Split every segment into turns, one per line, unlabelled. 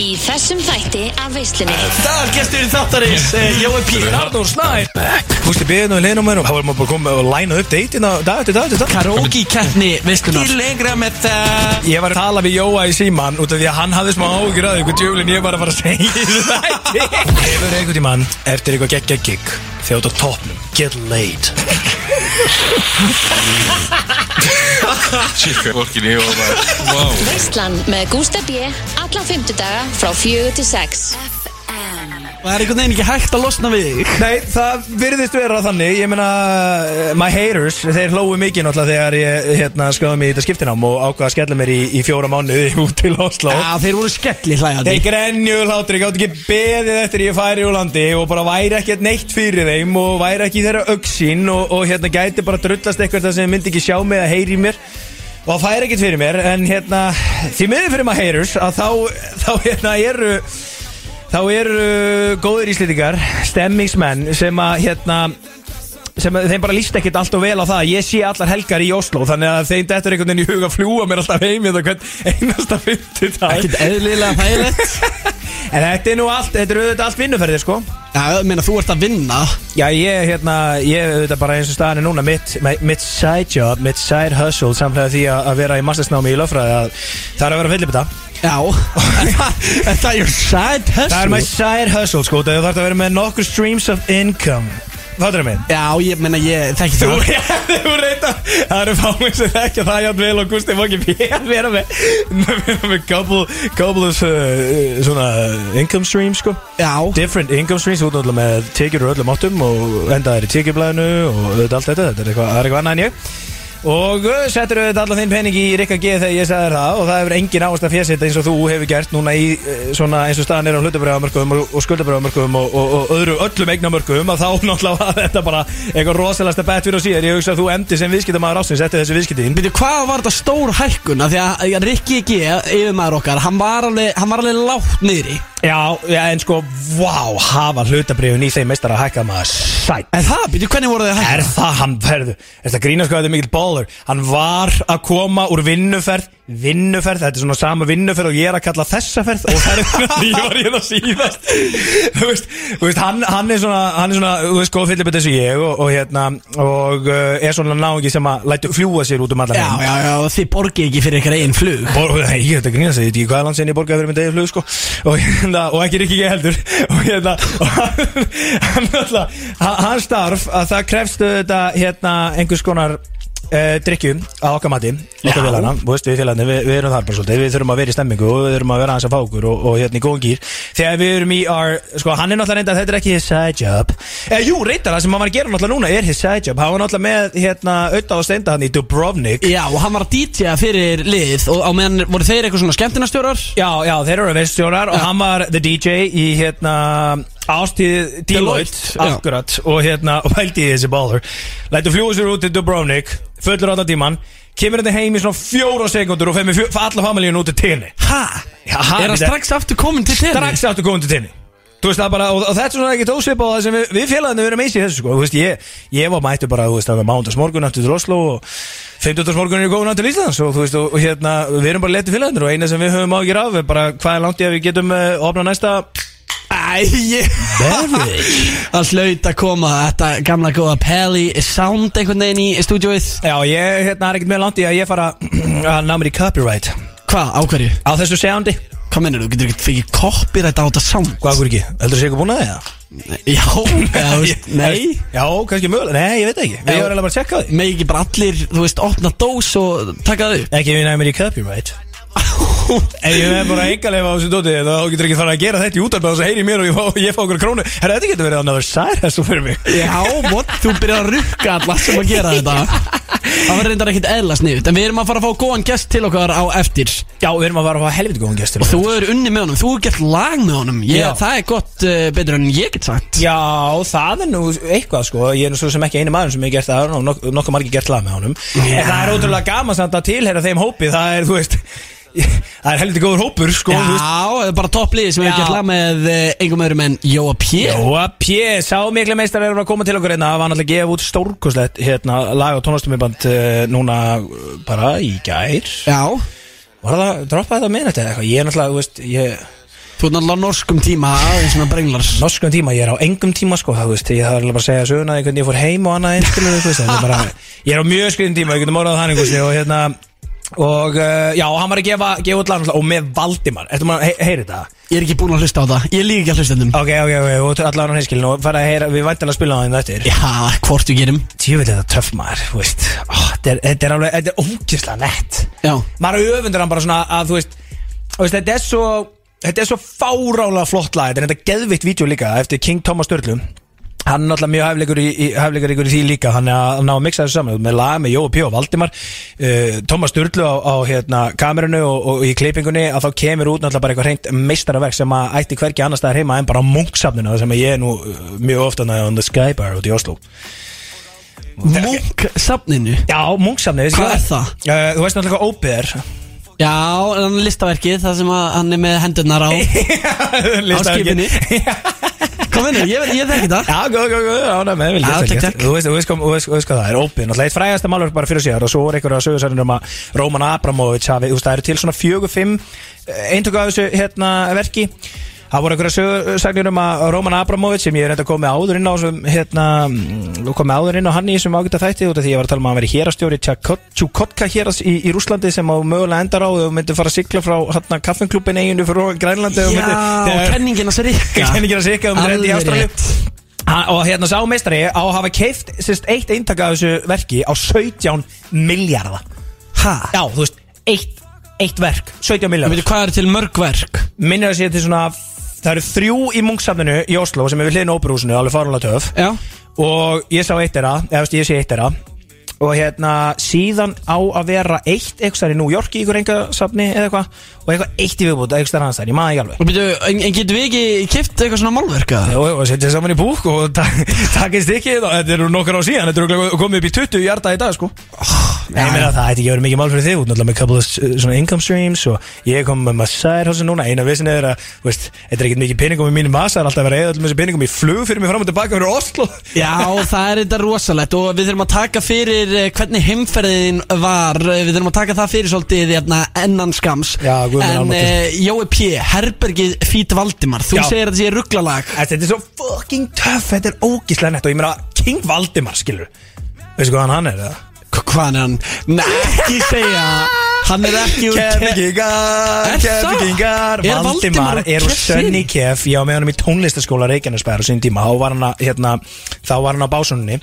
í þessum þætti af veislunni
Það er gesturinn þáttarins, eh, Jói Pír Arnór Snær
Fústi byrðin og við leiðum mér og þá erum við bara komið að læna upp deitina dag eftir dag eftir dag
Karóki keppni, veislunar
Ekki lengra með það
Ég var að tala við Jóa í síman út af því að hann hafði smá ágjur að ykkur djöflin ég var að fara að segja í þessu þætti Hefur einhvern tímann eftir eitthvað geggja gig þjótt á toppnum Get laid
Shit, hvað orkin ég var bara Wow
Veislan með Gústa B Alla fymtudaga frá fjögur til sex
Það er einhvern veginn ekki hægt að losna við þig
Nei, það virðist vera þannig Ég meina, eh, my haters Þeir hlóu mikið náttúrulega þegar ég hérna, skráði mig í þetta skiptinám og ákvaða að skella mér í, í fjóra mánuði út til Oslo
Já, þeir voru skelli hlægandi
Þeir grenjuðu hlátur, ég gátt ekki beðið eftir ég færi úr landi og bara væri ekkert neitt fyrir þeim og væri ekki í þeirra auksín og, og hérna gæti bara drullast eitthvað það sem myndi ekki sjá mig að heyri í mér og það færi ekkert fyrir mér en hérna því miður fyrir maður heyrus að þá, þá hérna eru þá eru góðir íslendingar stemmingsmenn sem að hérna sem að þeim bara líst ekkert allt og vel á það ég sé allar helgar í Oslo þannig að þeim þetta er einhvern veginn í huga að fljúa mér alltaf heim þetta hvern einasta fymtudag
Ekkert eðlilega þægilegt
En þetta er nú allt, þetta er auðvitað allt vinnuferðir sko
Já, ég meina, þú ert að vinna
Já, ég, hérna, ég auðvitað bara eins og staðan er núna mitt, mitt side job, mitt side hustle samlega því að, að vera í mastersnámi í löffræði að það er að vera fyllibita
Já Þetta er your side hustle
Það er my side hustle sko, það þarf að vera með nokkur streams of income Fattur það minn?
Já, ég meina, ég þekki
Þú,
það
þú reynda, það eru fámið sem þekkja það játn vel og Gusti Fokki Pér vera með, vera með couple, couple of uh, svona income streams sko
Já
different income streams út náttúrulega með tekjur úr öllum áttum og endaðir í tekjublaðinu og auðvitað allt þetta, þetta er eitthvað, það er eitthvað annað en ég og uh, settur auðvitað allan þinn pening í Rikka G þegar ég sagði þér það og það hefur engin áherslu að fésita eins og þú hefur gert núna í eh, svona eins og staðan er á hlutabræðamörkum og, og skuldabröðamörkum og, og, og öðru öllum eignamörkum að þá náttúrulega var þetta bara eitthvað rosalasta bett fyrir og síðan ég hugsa að þú emdi sem viðskiptamæður ásins eftir þessu viðskiptin
Býtu, hvað var þetta stór hækkun? Af Því að Rikki G, yfirmaður okkar, hann var alveg, hann var alveg látt niðri
Já, já, en sko, vá, hafa hlutabriðun í þeim meistara að hækka maður sætt
En það, býtu, hvernig voru þið að hækka?
Er það, hann verður, er það grínast hvað þetta er mikill baller Hann var að koma úr vinnuferð Vinnuferð, þetta er svona sama vinnuferð og ég er að kalla þessa ferð Og það er því ég var ég það síðast Þú veist, þú veist hann, hann er svona, hann er svona, þú veist, góð fyllibit eins og ég Og, og hérna, og uh, er svona náingi sem að lætu fljúa sér út um allar
Já, já, já, þið borgið ekki fyrir ykkar eigin flug
Bor, nei, ég þetta grínast, ég veit ekki hvaða land sem ég borgaði fyrir með degi flug sko. og, hérna, og ekki Rikki ekki heldur og, hérna, og hann, hann, alltaf, hann starf að það krefst þetta hérna, einhvers konar uh, drikkjum að okkar mati okkar
Já.
félagana, þú veist, við félagana, við, við erum þar bara svolítið við þurfum að vera í stemmingu og við þurfum að vera aðeins að fá okkur og, og hérna í góðan gýr þegar við erum í our, sko hann er náttúrulega reynda þetta er ekki his side job eh, jú, reyndar það sem hann var að gera náttúrulega núna er his side job hann var náttúrulega með hérna auðvitað og steinda hann í Dubrovnik
Já, og hann var að DJ fyrir lið og á meðan voru þeir eitthvað svona skemmtinastjórar
Já, já, þeir eru veistjórar og hann var the DJ í hérna ástíð Deloitte
Deloitte, já.
akkurat og hérna, og pældi í þessi báður lætur fljúa sér út til Dubrovnik fullur allan tíman, kemur hérna heim í svona fjóra sekundur og fer með fjó, alla familíun út til tinni
Ha?
Já, ha,
er hann
þetta-
strax aftur komin til þeirri?
strax áttu komin til tinni Þú veist það bara, og, og þetta er svona ekkert ósvip á það sem við, við félaginu við erum eins í þessu sko, þú veist ég, ég var mættu bara, þú veist, að mándags morgun aftur til Oslo og 15. morgun er ég góðun aftur til Íslands og þú veist, og, og hérna, við erum bara letið félaginu og eina sem við höfum ágjur af er bara hvað er langt í að við getum uh, opnað næsta
Æ, ég Það hlaut að koma þetta gamla góða Peli Sound einhvern veginn í stúdjóið
Já, ég, hérna, er ekkert mjög langt í að ég fara að ná mér í copyright
Hvað, á hverju?
á þessu soundi
Hvað mennir þú? Getur ekki fengið copyright á þetta sound?
Hvað, hver ekki? Heldur þú sé eitthvað búin að það?
Já, eða, þú veist, nei
Já, kannski mögulega, nei, ég veit það ekki Við
Já.
erum alveg bara að checka því
Megi ekki bara allir, þú veist, opna dós og taka það
Ekki ef ég næmir í copyright
upp
Ef ég er bara engalega á þessu dóti þá getur ekki fara að gera þetta í útarpið og þess að heyri mér og ég fá, ég fá okkur krónu Herra, þetta getur verið another side hustle fyrir mig
Já, what? Þú byrjar að rukka alla sem að gera þetta Það verður reyndar ekkit eðla sniðut En við erum að fara að fá góðan gest til okkar á eftir
Já, við erum að fara að fá helviti góðan gestur
Og þú er unni með honum, þú er gert lag með honum ég,
Já.
Það er gott uh, betur en ég get sagt
Já, það er nú eitthvað sko Ég er nú svo sem ekki einu maður sem hefur gert það og nok nokkuð margir gert lag með honum En það er ótrúlega gaman samt að tilheyra þeim hópi Það er, þú veist, það er helviti góður hópur sko þú veist.
Já, það er bara topplið sem
Já.
hefur gert lag með eh, engum öðrum en Jóa P
Jóa P, sá miklu meistar erum að koma til okkur hérna, það var náttúrulega að gefa út stórkoslegt hérna, lag og tónlastumiband uh, núna eh, bara í gær
Já,
Var það, droppaði þetta á miðnætti eða eitthvað? Ég er náttúrulega, þú veist, ég
þú Þú ert náttúrulega á norskum tíma aðeins svona brenglar
norskum tíma, ég er á engum tíma sko það, þú veist, ég þarf eiginlega bara að segja söguna því hvernig ég fór heim og annað eins skilur þú veist, það er bara, ég er á mjög skriðin tíma, ég getum orðað þannig þú veist, og hérna og uh, já, og hann var að gefa, gefa út lag og með Valdimar, ertu maður að hey, heyra þetta?
Ég er ekki búin að hlusta á það Ég er líka ekki að hlusta ennum
ok, ok, ok, og allan á hinskilin og fara að heyra, við væntanlega að spila það þetta eftir
Já, hvort við gerum
tjöfileg það töff maður, þú veist Ó, þetta er- þetta er alveg, þetta er ógislega nett
Já
maður öfundur hann bara svona að þú veist, þú veist þetta er svo þetta er svo fárálega flott lag þetta er þetta geðvitt vídeo líka eftir King Thomas Sturlu hann er náttúrulega mjög hæfleikur í, í, hæfleikur í því líka hann er að ná að mixa þessu saman með lag með Jó og Pjó og Valdimar uh, Thomas Sturlu á, á hérna, kamerunni og, og í klippingunni að þá kemur út náttúrulega bara eitthvað reynd meistaraverk sem að ætti hvergi annars staðar heima en bara á munksafninu sem að ég er nú eh, mjög ofta náði on the skybar út í Oslo
Munk safninu
Já, munksafnið
Hvað er það?
Uh, þú veist náttúrulega hvað ópið er
Já, en hann er listaverkið Það sem að hann er með hendurnar á
Listaverkið.
skipinu.
Já.
Hvað vinnur, ég, ég þekki það
Já, góð, góð, góð, ánæg með, vel
hérna. Já,
gert, vel
takk,
gert.
takk.
Þú veist, þú veist, hvað- þú veist, þú veist hvað það er, ópið Náttúrulega eitt frægasta málverk bara fyrir síðar Og svo voru einhverja sögursæðinur um að Róman Abramovich hafi, Þú veist, það eru til svona fjögur, fimm eh, Eintöku af þessu, hérna, verki Það voru einhverja sögursagnir um að Róman Abramovich sem ég er reynda að koma áður inn á sem, hérna, mm, komið áður inn á hann í þessum ágæta þætti út af því ég var að tala um að hann veri hérastjóri Tjúkotka hérast í, í Rúslandi sem á mögulega endar á þau myndi fara að sigla frá hérna, kaffinklúbin eiginu fyrir Grænlandi ef þú myndir-
Já,
þegar-
kenningin að sér ykka
Kenningin hans Rikka, þú myndir enda um í Ástralíu.
rétt.
Ha- og hérna sá meistari á að hafa keift sérst, eitt eintak af þessu verki á 17 miljardar
Ha?
já, þú veist, eitt, eitt verk 17
Ég
miljardar
veit hvað er til mörgverk
minnir að sé til svona það eru þrjú í mungsafninu í Oslo sem er við hliðin á óperúsinu, alveg faranlega töf
Já
og ég sá eitt þeirra eða þú veist, ég sé eitt þeirra og hérna síðan á að vera eitt eitthvað staðar í New York í ykkur engasafni eða eitthvað og eitthvað eitt í viðbúta eitthvað staðar annars staðar, ég maður ekki alveg
Og byrju, en, en getum við ekki kipt eitthvað svona málverka?
Já, og setja saman í búk og ta takist ekki og þetta eru nokkar á síðan, þetta eru örugglega komið upp í 20 hjarta í dag sko Nei, meina, það ætti ekki verið mikið mál fyrir þig út náttúrulega með couple of uh, svona income streams og ég kom með maður side hustle núna eina vissin er að, þú veist, þetta er ekkert mikið peningum í mínum vasa, það er alltaf að vera eða öllum þessu peningum í flug fyrir mig fram og tilbaka fyrir Oslo
Já, það er þetta rosalegt og við þurfum að taka fyrir eh, hvernig heimferðin var eh, Við þurfum að taka það fyrir svolítið hérna, ennan skams
Já, guð minn
En
almáttugur.
uh, Jói P, Herbergið Fít Valdimar Þú
Já.
segir að þetta sé rugglalag
Þetta er svo fucking töff, þetta er ógíslega nett og ég meina King Valdimar skilur Veistu hvað hann, hann er það?
Hvaðan er hann? Nei, ekki segja Hann er ekki úr
Kefingingar,
Er það?
kefingingar
Er Valdimar úr
Valdimar er úr
Keflavík?
sönni kef Ég var með honum í tónlistaskóla Reykjanesbæðar á sín tíma Þá var hann, að, hérna, þá var hann á básunni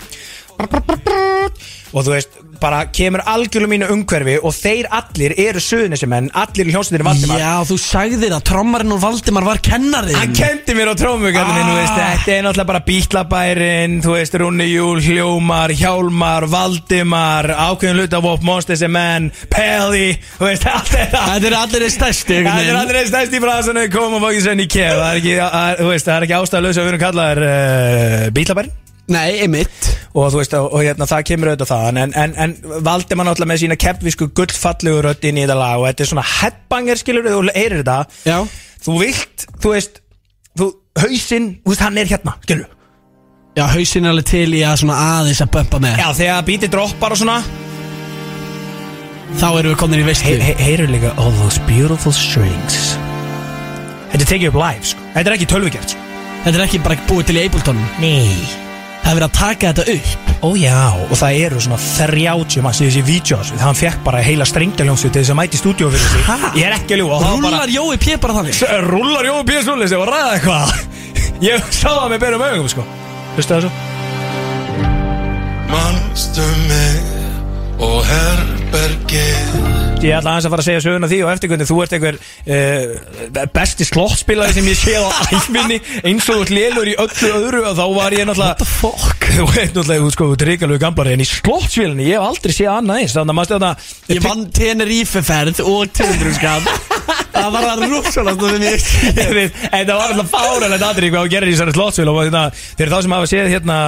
Og þú veist, bara kemur algjörlega mínu umhverfi Og þeir allir eru söðnesimenn Allir í hljómsveitinni Valdimar
Já, þú sagði það, trommarinn úr Valdimar var kennarinn
Hann kendi mér á trómugarðinu, þú veist,
Ah.
þetta er náttúrulega bara bítlabærin, þú veist, Rúni Júl, Hljómar, Hjálmar, Valdimar, ákveðin hlutavop, Monsters and Men, Peli, þú veist, allt þetta.
Þetta er allir þeir stærsti
Já, Þetta er allir einn stærst í bransunni Koma og fókið senni í kef Það er ekki, að, þú veist, það er ekki ástæðalösa að við erum kallaðar uh, bílabærin
Nei, einmitt
Og þú veist, og, og hérna, það kemur auðvitað það En, en, en valdi maður náttúrulega með sína keppvisku gullfallegu rödd inn í þetta lag Og þetta er svona headbanger skilur Þú heyrir þetta
Já
Þú vilt, þú veist, þú, hausinn, þú veist, hann er hérna, skilur
Já, hausin er alveg til í að svona aðeins að bömpa með
Já, þegar bítið droppar og svona
Þá erum við komin í veistlu
Hey- hey- Heyrir líka all those beautiful strings Þetta er tekið upp live, sko Þetta er ekki tölvugjart, sko
Þetta er ekki bara búið til í Abletonum
Nei
Það er verið að taka þetta upp
Ó já, og það eru svona 30 manns í þessi vídeos Hann fekk bara heila strengdaljónsvið til þess að mæti stúdíó fyrir sig
Ha?
Ég er ekki að ljúga og það var
Rúlar
bara-
Jói P bara þannig
S- Rúllar Jói P. Súlis, ég var að ræða eitthvað Ég sá það með berum augum sko Hlustu það svo?
Manstu mig og herbergið
Ég ætla aðeins að fara að segja söguna því og eftir hvernig þú ert einhver uh, besti slottspilari sem ég séð á æfinni eins og þú ert lélur í öllu öðru og þá var ég náttúrulega What the fuck? Þú veit náttúrulega, þú sko, þú er ríkalegu gamblari en í slottsvílinni, ég hef aldrei séð annað eins þannig að maður stjórna
Ég vann Tenerífe-ferð og Tindrumskap Það var það rússalast sem ég
Ég veit, Þetta var alltaf fáralegt aðrið hvað hún gerir í þessari slottsvíl og þetta, fyrir þá sem hafa séð hérna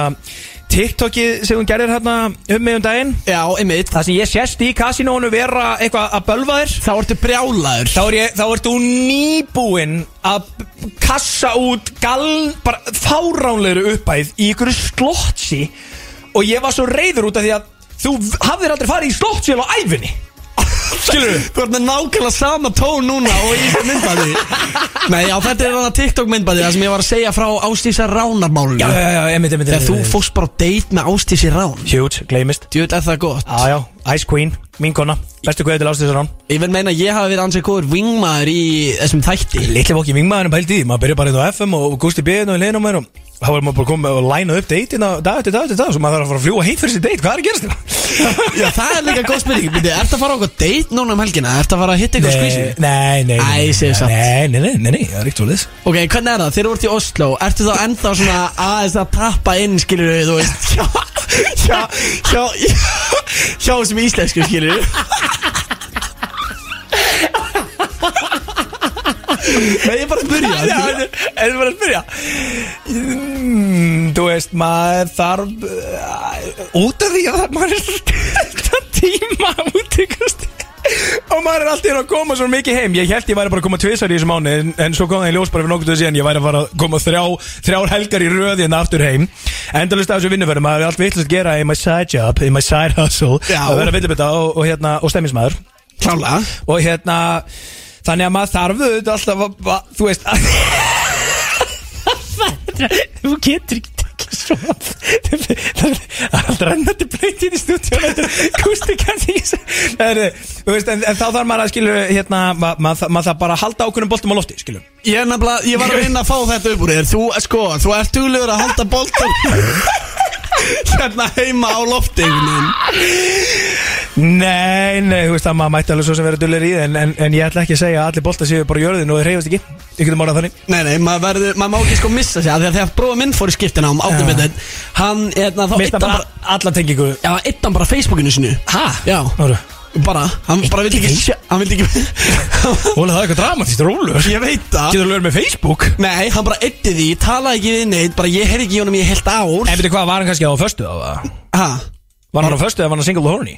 TikTokið sem hún gerir hérna um mig um daginn
Já, einmitt
Það sem ég sést í kasinónu vera eitthvað að bölva þér
Þá ertu brjálaður
Þá, er ég, þá ert þú nýbúinn að b- kassa út gal, bara fáránlegri uppæð í ykkur slottsi og ég var svo reyður út af því að þú v- hafðir aldrei farið í slottsvíl á æfinni Skilur við?
Þú ert með nákvæmlega sama tón núna og í þessu myndbæði Nei, já, þetta er þannig TikTok myndbæði Það sem ég var að segja frá Ástísa Ránarmálinu
Já, já, já, emitt, emitt
Þegar þú fórst bara á date með Ástísi Rán
Huge, gleymist
Djúvel er það gott
Já, já, Ice Queen, mín kona Bestu guðið til ástíðsar án
Ég vil meina að ég hafi verið ansið góður vingmaður í þessum þætti
Litli fók í vingmaðurinn pældi í því. Maður byrja bara hérna á FM og gústi bíðin og leiðin á mér og þá var maður bara komið og læna upp deitina dag eftir dag eftir dag Svo maður þarf að fara að fljúa heim fyrir sér deit Hvað er að gerast hérna? þetta?
Já, það er líka góð spurning Bíddu, Ertu að fara á okkur date núna um helgina? Ertu að fara að hitta eitthvað skvísi?
Nei, nei, nei
Æ,
nei,
ég segi satt.
Nei, nei, nei, nei, nei, það er ekkert svolítið
Ok, hvernig er það? Þeir eru vart í Oslo Ertu þá ennþá svona aðeins að tappa inn, skilur við, þú veist Hjá, hjá, hjá, hjá, hjá þessum íslensku, skilur við Nei, ég er bara að spyrja
Já, en þú bara að spyrja Mm, Þú veist, maður þarf uh, út af því að það- maður er alltaf tíma út í kusti og maður er alltaf að koma svo mikið heim ég held ég væri bara að koma tvisar í þessu mánu en, en svo kom það í ljós bara fyrir nokkuð síðan ég væri að fara að koma þrjá, þrjár helgar í röði en aftur heim endalist af þessu vinnuverðum maður er allt vittlust að gera í my side job í my side hustle
Já.
að vera villibita og, og, hérna, og stemmismæður
Klála
og hérna þannig að maður þarf auðvitað alltaf að, að, þú veist að þú getur ekki tekið svo það er- það er alltaf rennandi blöytið í stúdíu gústi kannski ekki svo- Það er, þú veist, en, en þá þarf maður að skilur hérna, ma- maður þarf- maður þarf bara að halda ákveðnum boltum á lofti skilur
Ég er nefnilega, ég var að vinna að fá þetta upp úr þér Þú, sko, þú ert duglegur að halda boltan Hérna heima á lofti einhvern
Nei, nei, þú veist að maður mætti alveg svo sem vera dullir í því, en, en, en ég ætla ekki að segja að allir boltar séu bara í jörðin og þeir reyfast ekki Ég getum orðað þannig
Nei, nei, maður verður, maður má ekki sko missa sig af Því að þegar bróða minn fór í skiptina um áttum
Já.
við þetta Hann, hérna, þá
Mista
eittan
bara
bara
alla tengingu
Já, eittan bara Facebookinu sinu
Hæ?
Já,
Nóru
bara, hann bara vildi ekki sjá- Hann vildi ekki
Ólega það er eitthvað dramatist, rólur
Ég veit það
Getur þú lögur með Facebook?
Nei, hann bara eitti því, talaði ekki við neitt Bara ég heyri ekki í honum í heilt ár
En veitu hvað, var hann kannski á föstu á það?
Ha,
Var hann á föstu eða var hann single og horny?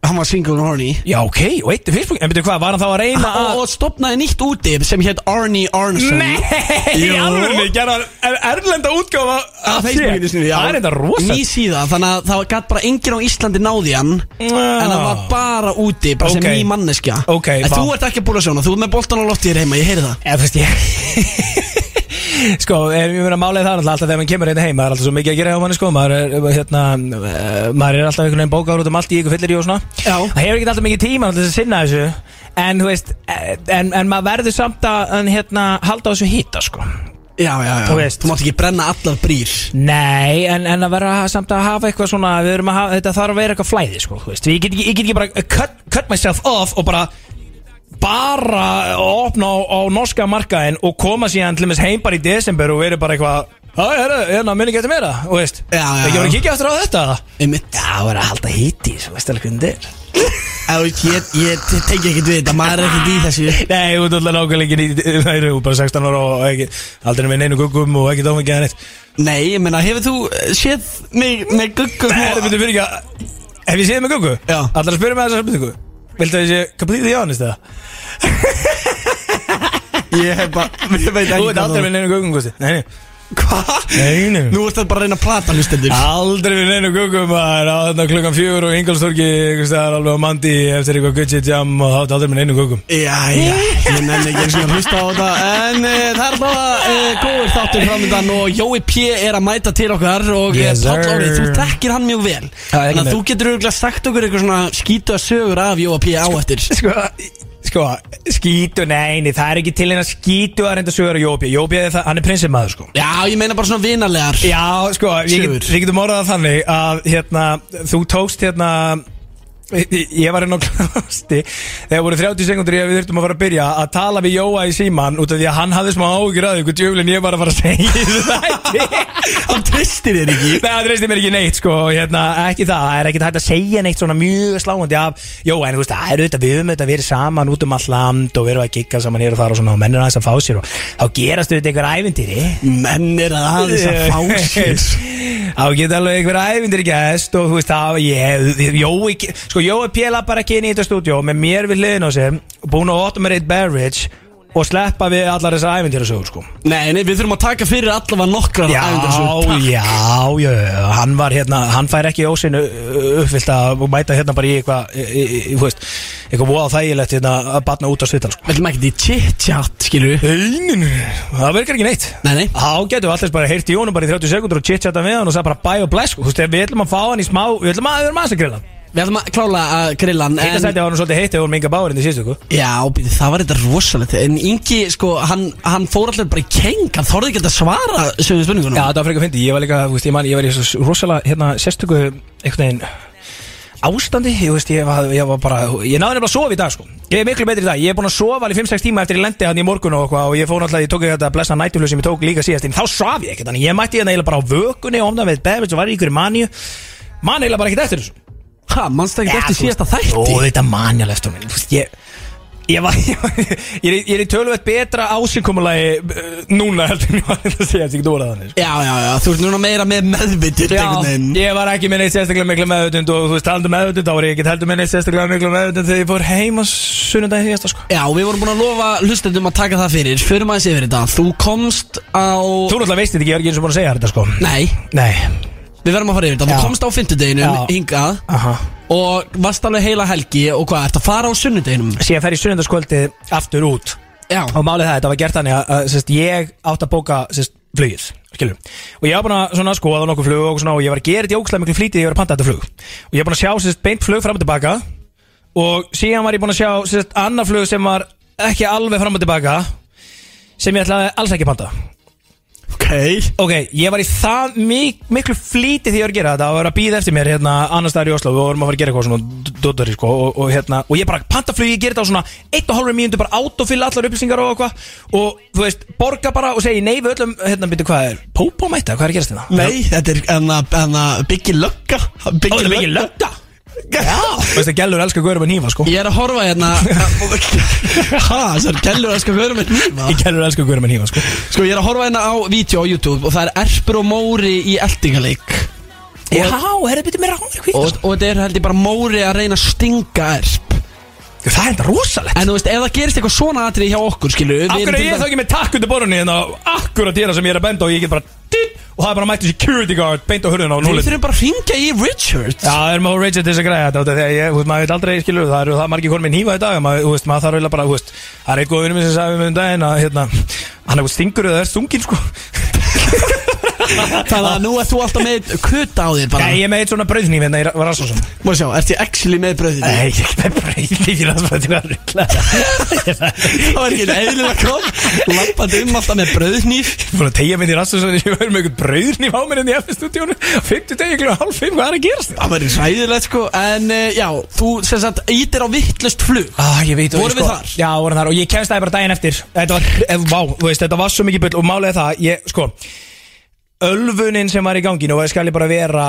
hann var single and horny
Já, ok, og eitt er Facebook En veitu hvað, var hann þá að reyna
Og,
að
og stopnaði nýtt úti sem hétt Arnie Arnson
Nei, í
Jú.
alvörni, gerða hann er erlenda útgáfa
Af Facebookinu sinu, já
Það er þetta
Ný
rosa
síða, þannig að það gætt bara enginn á Íslandi náði hann En það var bara úti, bara sem
Ok.
ný manneskja
Ok,
En þú
vá.
ert ekki búin að sjóna, þú ert með boltan á lofti þér heima, ég heyri það
Eða þú veist ég Sko, er, ég meina málið það er náttúrulega alltaf þegar maður kemur hérna heim Það er alltaf svo mikið að gera hjá manni sko Maður er, hérna, eh, maður er alltaf einhvern veginn bókar út um allt í ykkur fyllir í og svona
Já.
Það hefur ekki alltaf mikið tíma til þess að sinna þessu En þú veist, eh, en, en maður verður samt að en, hérna, halda á þessu hýta sko
Já, já, já,
Þú veist.
mátt ekki brenna allar brýr
Nei, en, en að vera samt að hafa eitthvað svona Við erum að hafa, þetta þarf að vera eitthvað flæði sko þú veist. Ég, get, ekki- ég get ekki bara cut, cut myself off og bara bara opna á, á norska markaðin og koma síðan til þess heim bara í desember og verið bara eitthvað Það er hérna, minni getur meira, og veist
Já, já.
Ekki voru að kíkja aftur á þetta
Einmitt
Já, það er að halda híti, svo veist alveg hvernig þetta er
Ég, ég, ég tengi ekkert við þetta, maður er ekkert í þessu
Nei, þú ert alltaf nákvæmlega ekki í Það eru bara 16 ára og ekki Aldrei með neinu guggum og ekki dófengi að neitt
Nei, ég meina, hefur þú eh, séð mig með guggum
Nei,
og...
það byrju fyrir ekki að Hef ég séð með Gungu?
Já.
Allar að spyrja með þessa spurningu Viltu að ég sé completely honest eða?
Ég hef bara, ég veit
Þú
ekki
veit aldrei
það
með neinu Gungu, Gusti Nei, nei
Hva?
Nei, nei.
Nú ert það bara að reyna að plata hlustendur
Aldrei með neinu Gungu maður Á þarna klukkan fjör og Ingolstorki Einhvers staðar alveg á mandi Eftir eitthvað Gucci Jam Og þá aldrei með neinu Gungu
Já, já, ég nenni ekki eins og að hlusta á þetta En uh, það er bara uh, góður þáttur framöndan og Jói P. er að mæta til okkar og yes,
Yes,
Páll
sir.
Orri, þú þekkir hann mjög vel
Já, ekki
Þannig að
neitt.
þú getur auðvitað sagt okkur eitthvað svona skýta sögur af Jói P. á eftir
Sko, sko Skítu, nei, nei Það er ekki til eina skítu að reynda sögur á Jópi Jópi, er það- hann er prinsimaður, sko
Já, ég meina bara svona vinarlegar
Já, sko, ég
Sögur.
get, við getum orðað það þannig að hérna, þú tókst hérna ég ég var inn á klásti þegar voru 30 sekundur ég að við þurftum að fara að byrja að tala við Jóa í síman út af því að hann hafði smá áhugur að því hvað djöflin ég var að fara að segja í þessu þætti
Hann tristir þér ekki
Nei, það treysti mér ekki neitt sko, hérna, ekki það, það er ekkert hægt að segja neitt svona mjög sláandi af Jó, en þú veist, það er auðvitað við höfum auðvitað verið saman út um all land og verið að gikka saman hér og þar og svona og mennir aðeins að fá sér og þá gerast auðvitað einhver ævindýri
Menn er að aðeins að fá sér
Á geta alveg einhver ævindir gæst og þú veist það, ég, Jói, sko Jói P. lappar ekki inn í þetta stúdjó með mér við hliðin á sér, búin að opna mér eitt beverage og sleppa við allar þessar ævintýra sko
Nei, nei, við þurfum að taka fyrir allavega nokkrar
Já,
æfingarsögur. Takk.
já, já, já, hann var hérna, hann fær ekki ósinn uppfyllt að mæta hérna bara í eitthvað, í- í- í- þú veist, eitthvað voða þægilegt hérna að batna út á svittal, sko.
Við ætlum ekkert í chit-chat, skilur við
Einin, það virkar ekki neitt.
Nei, nei
Þá getum við alltaf bara heyrt í honum bara í 30 sekundur og chit-chatta með hann og sagði bara bye og bless, sko, þú veist, við ætlum að fá hann í smá, við ætlum að, við erum aðeins að grilla.
Við ætlum að klála að grilla hann
Þetta
en,
sætti var hann svolítið heitt ef hún minga báðurinn í síðustu, sko.
Já, býti, það var þetta rosalegt En Ingi, sko, hann, hann fór allir bara í keng Hann þorði ekki að svara sögum spurningunum
Já, þetta var frekar fyndi, ég var líka, þú veist, ég man, ég var í svo rosalega, hérna, sérstöku, einhvern veginn, ástandi, ég veist, ég var, ég var bara, ég náði nefnilega að sofa í dag, sko, ég er miklu betri í dag, ég er búin að sofa alveg 5-6 tíma eftir ég lendi hann í morgun og eitthvað og ég fór náttúrulega, ég tók þetta blessa nættuflöð sem ég tók líka síðast, en þá svaf ég ekkert, þannig ég mætti hérna eiginlega bara á vökunni, ofnað við beðvits og var í ykkur maníu, man eiginlega bara ekkert eftir þessu.
Ha, mannst ekki eftir síðasta
Ó,
þætti
þetta manjalega eftir mér, þú veist, ég... Ég, var, ég, var, ég, er, í- ég er í tölvöld betra ásinkomulagi uh, núna heldur en ég var að segja þetta ekki dóra þannig sko.
Já, já, já, þú ert núna meira með meðvitið
Já,
einhvern veginn.
ég var ekki með neitt sérstaklega miklu meðutund og þú veist talandi um meðutund þá var ég ekki heldur með neitt sérstaklega miklu meðutund þegar ég fór heim á sunnundagin síðasta sko
Já, við vorum búin að lofa hlustendum að taka það fyrir Förum aðeins yfir þetta Þú komst á...
Þú náttúrulega veist þetta ekki, ég er ekki eins og búin að segja þér þetta sko
Nei,
Nei,
við verðum að fara yfir þetta
Já.
Þú komst á fymtudeginum,
Já.
hingað
aha
Og varst alveg heila helgi Og hvað, ert að fara á sunnudeginum?
Síðan fer ég sunnundaskvöldi aftur út
Já,
og málið það, þetta var gert þannig að, að sérst, ég átt að bóka sérst, flugið skilur. og ég var búin að svona, skoða nokkuð flug og, svona, og ég var að gera þetta í ógslag miklu flítið ég var að panta þetta flug og ég var búin að sjá sérst, beint flug fram og tilbaka og síðan var ég búin að sjá sérst, annað flug sem var ekki alveg fram og tilbaka sem ég ætlaði alls ekki að panta
ok
Ok, ég var í það mik miklu flítið því ég var að gera þetta Það var að býða eftir mér hérna annars staðar í Oslo Við vorum að fara að gera eitthvað svona dotari sko og, og, hérna, og ég bara pantaflug, ég gera þetta á svona Eitt og hálfur mínútu bara autofill allar upplýsingar og eitthvað Og þú veist, borga bara og segja nei við öllum Hérna, byrju, hvað er? Pópó mæta? Hvað er að gerast hérna?" þetta?
Nei, þetta er en að, en að byggja lögga
Ó, þetta er mikið lötta Þú veist, það gælur elskar góður með nýfa sko
Ég er að horfa hérna Ha, þessar kellur að sko vera með nýma
Ég gælur elskar góður með nýfa sko
Sko, ég er að horfa hérna á vídeo á YouTube Og það er erpur og móri í eldingaleik
Já, herri, byrju, mér rámur
Og, og þetta er held ég bara móri að reyna að stinga erp
Það er þetta rosalegt
En þú veist, ef það gerist eitthvað svona atrið hjá okkur, skilu
Akkur er ég þá ekki með takk undir borunni hérna Akkur að dýra sem ég er að benda og ég get bara dýr, Og það er bara mættu security guard Beint á hurðina og
Við
núlið Já,
þurfum bara að hringja í Richard
það er maður reyndið til þess að græða þetta út af Þegar ég, þú veist, maður veit aldrei, skilur Það eru það margir konum minn hífa í dag maður, Þú veist, maður þarf eiginlega bara, þú veist Það er eitthvað vinnum minn sem sagði við um daginn að hérna, Hann er eitthvað stingur eða er stungin, sko
Þannig að nú ert þú alltaf með kuta á þér bara
Nei, ég er með eitt svona brauðnýf hérna í Ra- Rasmussen
Má sjá, ert ég actually með bröðið
Nei, ég er ekki með brauðnýf í Rasmussen Það er ruglað.
Það var ekki eðlilega kom Lappandi um alltaf með bröðnýf
Ég er búin að tegja minn í Rasmussen Ég var með eitthvað brauðnýf á mér hérna í F-stúdíónu Fymtu degi klukkan hálf fimm, hvað er að gerast?
Það væri sæðilegt sko En uh, já, þú sem sagt ítir á vittlust flug
Ah, ég veit og
Vorum
ég
við þar?
Já, vorum þar og ég kemst það bara daginn eftir Þetta var, ef, vá, þú veist, þetta var svo mikið bull og málega það, ég, sko Ölfunin sem var í gangi, nú skal ég bara vera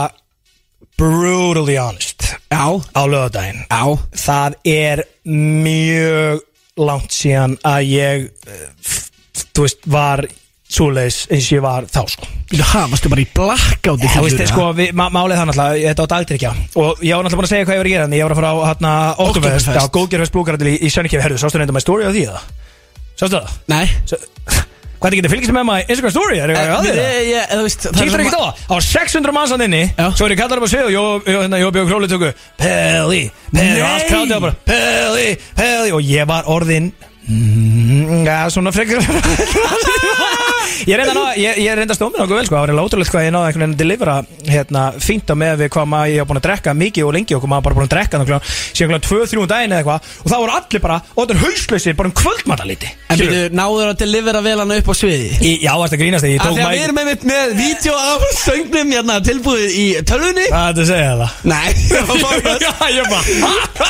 brutally honest
Já,
á lögadaginn
já
Það er mjög langt síðan að ég eh, f- f- þú veist, var svoleiðis eins og ég var þá, sko
Býtu, ha, varstu bara í blackout
Þú veist, sko, við, má, málið það náttúrulega, þetta á dagdrykja Og ég var náttúrulega búin að segja hvað ég var að gera En ég var að fara á, hérna, Oktoberfest
Oktoberfest.
Já, Góðgerfest Blúkarandil í, í Sönnikjöf Herðu, sástu nefndum að story á því eða? Sástu það?
Nei
S hvað þetta getur fylgist með maður í Instagram story? Er eitthvað að því það?
ég, þú veist það er
Kíktur ekki
svona-
á það? Það var 600 manns hann inni
um Já.
Svo er ég kallar upp á svið og Jó, Jó, hérna, Jó Björg Hróli tökku Peli, Peli Og allt
Nei.
krátið bara Peli, Peli Og ég var orðin mm, ja, Svona frekar Ég reynda að, ná- ég, ég reynda að stóma nokkuð vel sko, það var eiginlega ótrúlegt hvað ég náði einhvern veginn að delivera hérna, fínt á með við hvað maður ég var búin að drekka mikið og lengi og hvað maður bara búin að drekka nokkuð, síðan klokkan 2-3 um daginn eða eitthvað og það voru allir bara, og þetta er hauslausir bara um kvöldmataliti
En býtu, náður að delivera vel hann upp á sviði
Í, já, það grínast þegar ég
Af
tók
því að við
mæk
erum einmitt með vídeo af söngnum hérna tilbúið í tölvunni
Það er þetta að segja það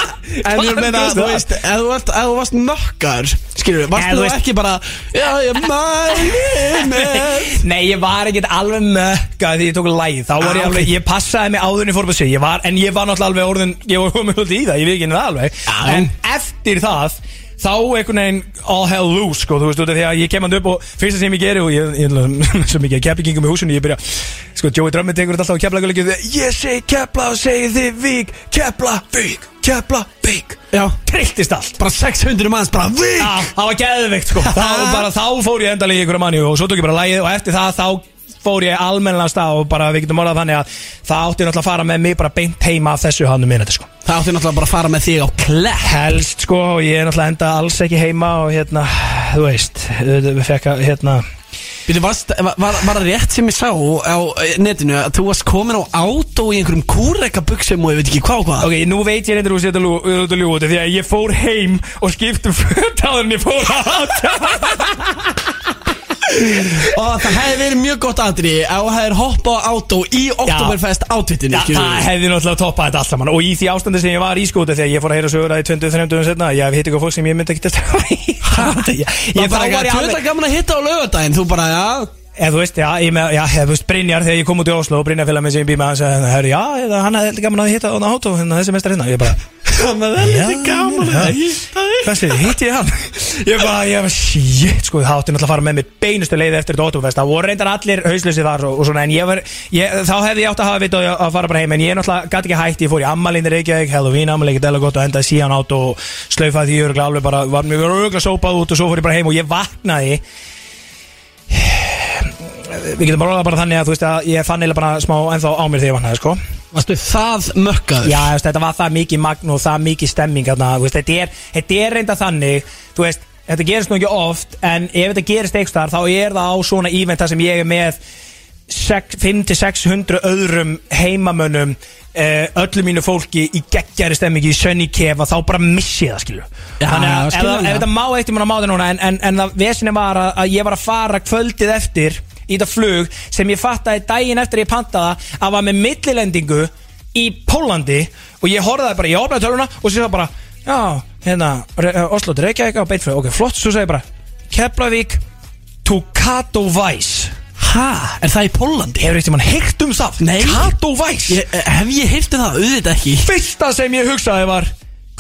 Nei
Já, ég bara
En ég meina, þú veist, ef þú varst, ef þú varst mökkar, skilur við,
Ef
varst
þú
þú
veist-
ekki bara Já, ég mæli með
Nei, ég var ekkert alveg mökka því ég tók læð Þá var ég
Ah,
alveg, ég passaði mig áðurinn í fórbúsi ég var, En ég var náttúrulega alveg orðin Ég var komið út í það, ég við ekki henni það alveg
Já.
En eftir það Þá einhvern veginn all hell loose sko, Þú veist, út af því að ég kem hann upp og fyrsta sem ég geri Og ég, ég, ég svo mikið keplingum í húsinu Ég byrja, sko, Joey Drummond tekur þetta alltaf á keplaguleikju Ég segi kepla og segi þið vík Kepla vík kepla, bygg
Já,
Trilltist allt
bara 600 manns, bara við
Já, það var geðveikt sko þá, bara, þá fór ég endalega í einhverja manju og svo tók ég bara lægið og eftir það þá fór ég almennilega af stað og bara við getum orðað þannig að það átti náttúrulega að fara með mig bara beint heima af þessu hannu minna sko.
Það átti náttúrulega bara að fara með þig á klett
helst sko og ég er náttúrulega enda alls ekki heima og hérna, þú veist við fekk að, hérna
Býtu, varst, var, var var það rétt sem ég sá á eh, netinu að þú varst komin á átó í einhverjum kúreka buksum og ég veit ekki hvað og hvað
ok, nú veit ég reyndir úr sér út að ljúa út af því að ég fór heim og skiptum fötáður en ég fór átt
Og það hefði verið mjög gott aðri að það hefði hoppa á átó í Oktoberfest átvitinu
Já, það hefði náttúrulega toppað þetta allt saman Og í því ástandi sem ég var í sko, skóta Þegar ég fór að heyra sögur að í 20-30 um setna Ég hef hitt ykkur fólk sem ég myndi ekki þetta Ég,
Ég
ég þá
bara
var
ekki
ég
að tölta
alveg
gaman að hitta á laugardaginn Þú bara, já,
Eða þú veist, já, ég með, já, eða þú veist, Brynjar Þegar ég kom út í Oslo og Brynjar félag minn sem ég býð með Hann sagði, herru, já, eða hann hefði gaman að hitta Þannig hátu, þannig þessi mestar hérna Ég bara,
það er
Já, já. hvað séð, hitti ég hann ég bara, ég bara, shit, sko það átti náttúrulega að fara með mér beinustu leiði eftir þetta ótumfest það voru reyndar allir hauslösi þar og, og svona en ég var, ég, þá hefði ég átt að hafa vitað að- að fara bara heim en ég náttúrulega gæti ekki hætt ég fór í ammalinni Reykjavík, Halloween ammalinni dæla gott og endaði síðan átt og slaufaði því örgulega alveg bara, var mér örgulega sópað út og svo fór ég bara heim og ég vaknaði við getum bara orðað bara þannig að þú veist að ég fann eiginlega bara smá ennþá á mér þegar ég vaknaði sko
Varstu það mökkaður?
Já, þú veist, þetta var það mikið magn og það mikið stemming þarna, þú veist, þetta, er, þetta er reynda þannig Þú veist, þetta gerist nú ekki oft En ef þetta gerist eitthvað þar Þá er það á svona íventa sem ég er með 5-600 öðrum heimamönnum eh, öllu mínu fólki í geggjari stemmingi í sönni kefa, þá bara missi ég það skilju
Já,
þannig að ef,
skilur
það-
það.
ef þetta má eitt í mann að má það núna en, en, en það vesinni var að, að ég var að fara kvöldið eftir í þetta flug sem ég fattaði daginn eftir ég pantaða að var með millilendingu í Pólandi og ég horfði bara, ég opnaði töluna og sér það bara já, hérna, Re- eh, Oslo til Reykjavík og beintflug, ok, flott, svo segi ég bara Keflavík to Katowice
Hæ, er það í Pólandi?
Hefur eitthvað mann heyrt um það?
Nei.
Katowice
Ég, eh, hef ég heyrti það? Auðvitað ekki
fyrsta sem ég hugsaði var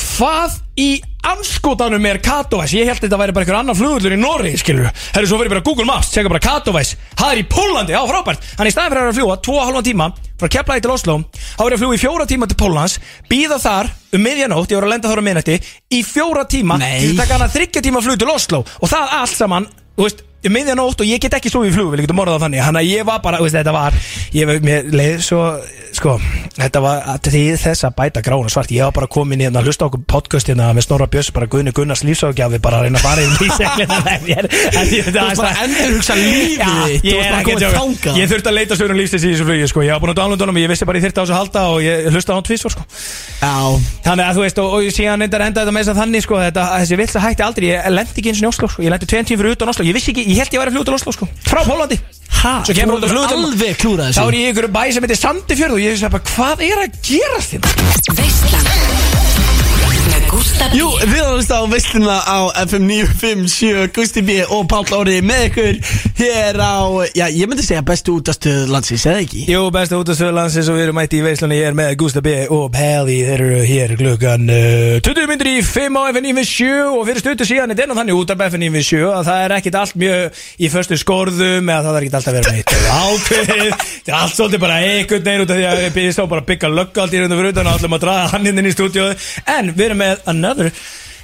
Hvað í anskotanum er Katowice? Ég held þetta væri bara einhver annar flugullur í Norri, skilur Herru, svo fyrir bara Google Maps, tjekka bara Katowice Það er í Pólandi, já frábært Þannig í staðin fyrir að vera að fljúa, tvo og halvan tíma Frá Keflaði til Oslo, þá er ég að fljúa í fjóra tíma til Pólans Býða þar um miðjanótt, ég voru að lenda þar á miðnætti Í fjóra tíma,
Nei.
til þess að taka hana þryggja tíma flug til Oslo Og það allt saman, þú veist um miðjanótt og ég get ekki svo í flug, við getum orðað þannig Þannig að ég var bara, þú veist, þetta var Ég mér leið svo, sko Þetta var að því þess að bæta grána svart Ég var bara komin í hérna, hlusta á okkur podcast hérna með Snorra Björns, bara Guðni Gunnars lífsögjafi bara að reyna að fara í lífseglina með mér En ég-
Þú varst bara að endurhugsa lífið þitt, þú
ég
varst
er
bara
ekki að
komin
tjóka
þangað.
Ég þurfti að leita stöðunum lífsins í þessu flugi, sko Ég var búin að dánlunda honum, ég vissi bara ég þyrfti á þessu að halda og ég hlusta á hann tvisvar, sko
Já,
Þannig að þú veist, og, og síðan endar enda þetta með þess að þannig sko, þetta, að þessi vill hætti aldrei, ég lendi ekki eins og Oslo sko, ég lendi tveim tíma fyrir utan Oslo, ég vissi ekki, ég held ég væri að fluga til Oslo sko, frá Pólandi
hæ,
Svo kemur út að fluga til
alveg klúrað
Þá
þessu
er ég í einhverju bæ sem heitir Sandifjörð og ég veist bara, hvað er að hérna? gera þinn?
Veislan Með Gústa B
Jú, við erum að hlusta á veisluna á FM 957, Gusti B og Páll Óri með ykkur hér á, já, ég myndi segja bestu útastöð landsins, eða ekki?
Jú, besta út af Söðlandsins og við erum mætti í veislunni, ég er með Gústa B. og Peli, þeir eru hér klukkan uh, 20 myndir í 5 á FNV7 og fyrir stötu síðan er denna þannig út af FNV7 að það er ekkit allt mjög í föstu skorðum eða það er ekkit alltaf verið meitt ákveðið, þetta er allt svolítið bara einhvern veginn út af því að við býðum bara að byggja löggald í raun og fyrir utan og ætlum að draga hann inn inn í stúdíóðu en við erum með another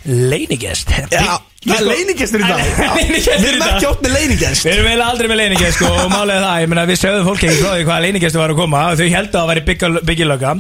leinigest
Já, það er leinigestur í dag Við
Leynigestur í
erum
dag
ekki átt með leinigest
Við erum eiginlega aldrei með leiningest sko, og málega það, ég meina við sögðum fólki ekki frá því hvaða leiningestu var að koma þau heldur að það væri byggja- byggjilöka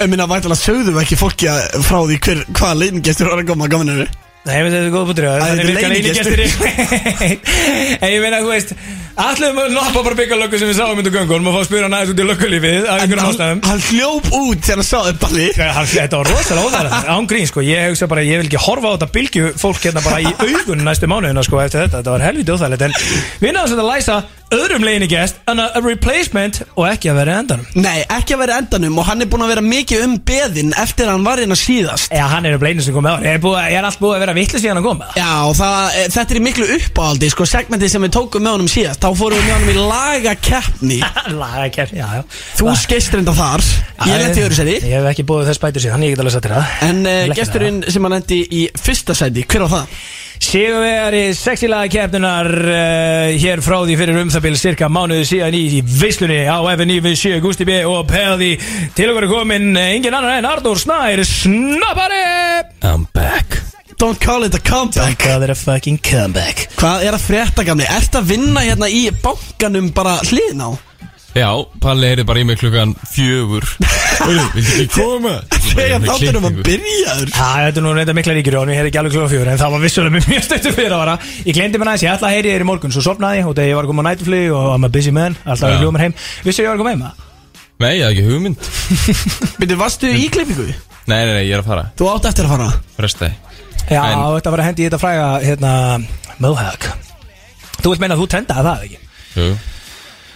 Ég minna, væntalega sögðum við ekki fólki að- frá því hver, hvaða leinigestur var að koma að gaman eru
Nei, ég veit að þetta er góð bútur
Æ,
Þannig
þetta er
virka
leynigestur.
leiningestir En ég meina, þú veist Allir við noppa bara byggjilöku sem við sáum undir göngunum og fá að spura hann aðeins út í lökulífið af
En
einhverjum
hann,
ástæðum
hann hljóp út þegar hann sá þau balli
Nei, hann- Þetta var rosalega óþægilegt, án grín sko Ég hugsa bara, ég vil ekki horfa á þetta bylgju fólk hérna bara í augun næstu mánuðina sko eftir þetta, þetta var helviti óþægilegt En við náðum svolítið að læsa öðrum leiningest en að a replacement og ekki að vera í endanum
Nei, ekki að vera í endanum og hann er búin að vera mikið um beðin eftir að hann var hérna síðast
Já, hann er um leinu sem kom með ári. Ég er, búið, ég er allt búið að vera vittlis í hann að koma.
Já, og það, e, þetta er í miklu uppáhaldi sko, segmentið sem við tókum með honum síðast þá fórum við með honum í lagakeppni
Lagakern, já, já.
Þú skeist reynda þar, ég lenti í öðru seti
Ég hef ekki búið þess bætur síðan, ég get alveg satt til það.
En uh,
Læknir
gesturinn sem hann endi í fyrsta sæti, hver á það?
það. Sigurvegari sexilagakefnunar uh, hér frá því fyrir um það byrja cirka mánuði síðan í, í veislunni á FNI við sjö Gusti B og Pelði til okkar er komin eh, engin annar en Arnur Snær Snappari I'm back
Don't call it a comeback
God they're a fucking comeback
Hvað er að frétta gamli? Ert að vinna hérna í bankanum bara hliðin á?
Já, Palli heyrði bara í mig klukkan fjögur Hörru, viltu ekki koma?
Þegar þáttunum að
Klippingu.
byrjaður
Já, þetta er nú reynda mikla ríkir og hann er ekki alveg klúða fjögur en það var vissulega mjög mjög stöttu fyrir ára Ég glemdi mér næst, ég ætla að heyri þér í morgun svo sopnaði ég og þegar ég var að koma á nætuflug og I'm a busy man, alltaf að
Já.
hljóma heim Vissu ég var að koma heim að?
Nei, ég hafði ekki hugmynd
Byrju, varstu í klippingu?
Nei, nei, nei, ég er að fara
Þú átt eftir að fara
Frestaði
Já,
En-
þetta var að hendi í þetta fræga hérna, Mohawk Þú vilt meina að þú trendaði það ekki?
Jú,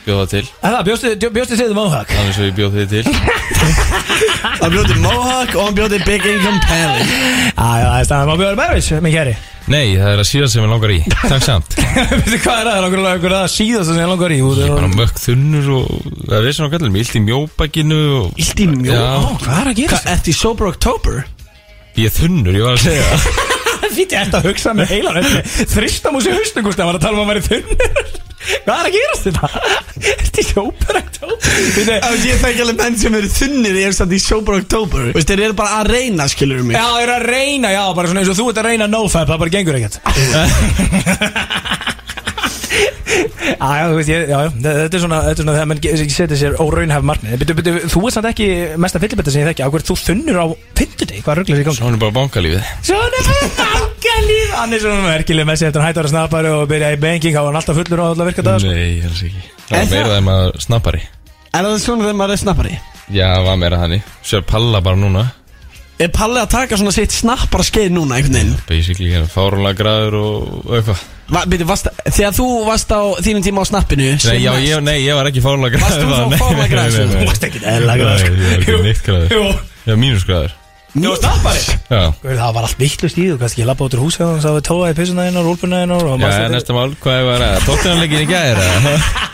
bjóð það til
Að það, bjóstu, bjóstu þið Mohawk?
Það er svo ég bjóð þig til
Hann bjóði Mohawk og hann bjóði Big Income Pally
Já, já, það er staðan má bjóður meðvits, minn kæri
Nei, það er að síðan sem ég langar í Takk samt Ég
Veistu hvað er það, það er okkur- okkur að síðast sem ég langar í út
er bara mökk þunnur og Það er sem á kallum, illt í mjóbakinu og...
Ílt í mjó
Já.
Hvað er að gera þessu? Ertu í Sober October?
Ég er þunnur, ég var að segja það.
Fýtti, ertu að hugsa með heilan Þristam úr sér haustu, Gústi, hann var að tala um að hann væri þunn Hvað er að gerast þetta? Ertu í sjópar Fýtti,
Ég þekki alveg menn sem eru þunnið Ég er samt í Sober October Veist, þeir eru bara að reyna, skilur mig
já, ég er að reyna, já, bara svona eins og þú ert að reyna nofab Það bara gengur ekkert Já, já, þú veist, ég, já, já, þetta er svona, þetta er svona þegar mann setja sér óraunhæf markmið Byttu, byttu, þú ert samt ekki mesta fyllibetta sem ég þekki Akkur þú þunnur á fyndudegi, hvað rugglar í gangi?
Svo hann er bara bankalífið
Svona fyrir bankalíf Hann er svona merkileg með sig eftir hann hættar að snappari og byrja í banking, þá var hann alltaf fullur og alltaf virka dag sko.
Nei, ég er ekki Það
Er
var meira
það?
það en maður snappari
Er það svona þegar maður er snappari?
Já, það var meira þannig Sér palla bara núna
Er Palli að taka svona sitt snappara skeið núna einhvern veginn?
Basically, hérna fárunlega graður og, og eitthvað
Va, byrju, varst, þegar þú varst á þínum tíma á snappinu
Nei,
sem
já,
mest-
ég, nei, ég var ekki fárunlega
Varst
graður
þú þá
Nei, nei,
fáránlega
nei,
graður,
nei,
Sjöfn?
nei.
Þú
varst ekkert eðlilega graður, sko.
Nei, Ég var
Jú.
ekki neitt graður
Jú.
Já, mínus graður
Jú, snappari
Já,
Guð, Það var allt vittlust í þú, kannski ég lappa út úr húsi og það var tóa í pissuna hennar, rúlpuna hennar og
já,
manstu þetta-
næsta mál, hvað er það? Tóttunarleikin í gæðir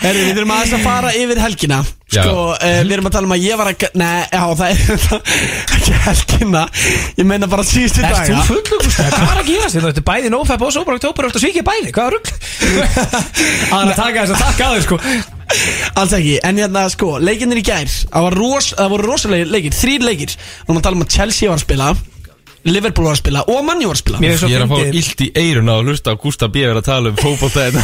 Herri, við þurfum aðeins að fara yfir helgina
Já.
Sko, uh, við erum að tala um að ég var að Nei, já, það er ekki helgina Ég meina bara síðustu
Erst
daga
þú fullur, Gústa? Hvað er að gerast þetta? Þetta er bæði nofab og sóbrak tópar og svíkja bæði, hvað er rugg? Það er að taka þess að taka að þau sko
Alls ekki, en hérna, sko, leikinnir í gær Það, var ros, það voru rosalegir leikir, þrýr leikir Við erum að tala um að Chelsea var að spila Liverpool var að spila og Manni var að spila
Mér er svo
Ég er að fá
fyndið
illt í eiruna og hlusta á Gústa B. vera að tala um fótbolta hérna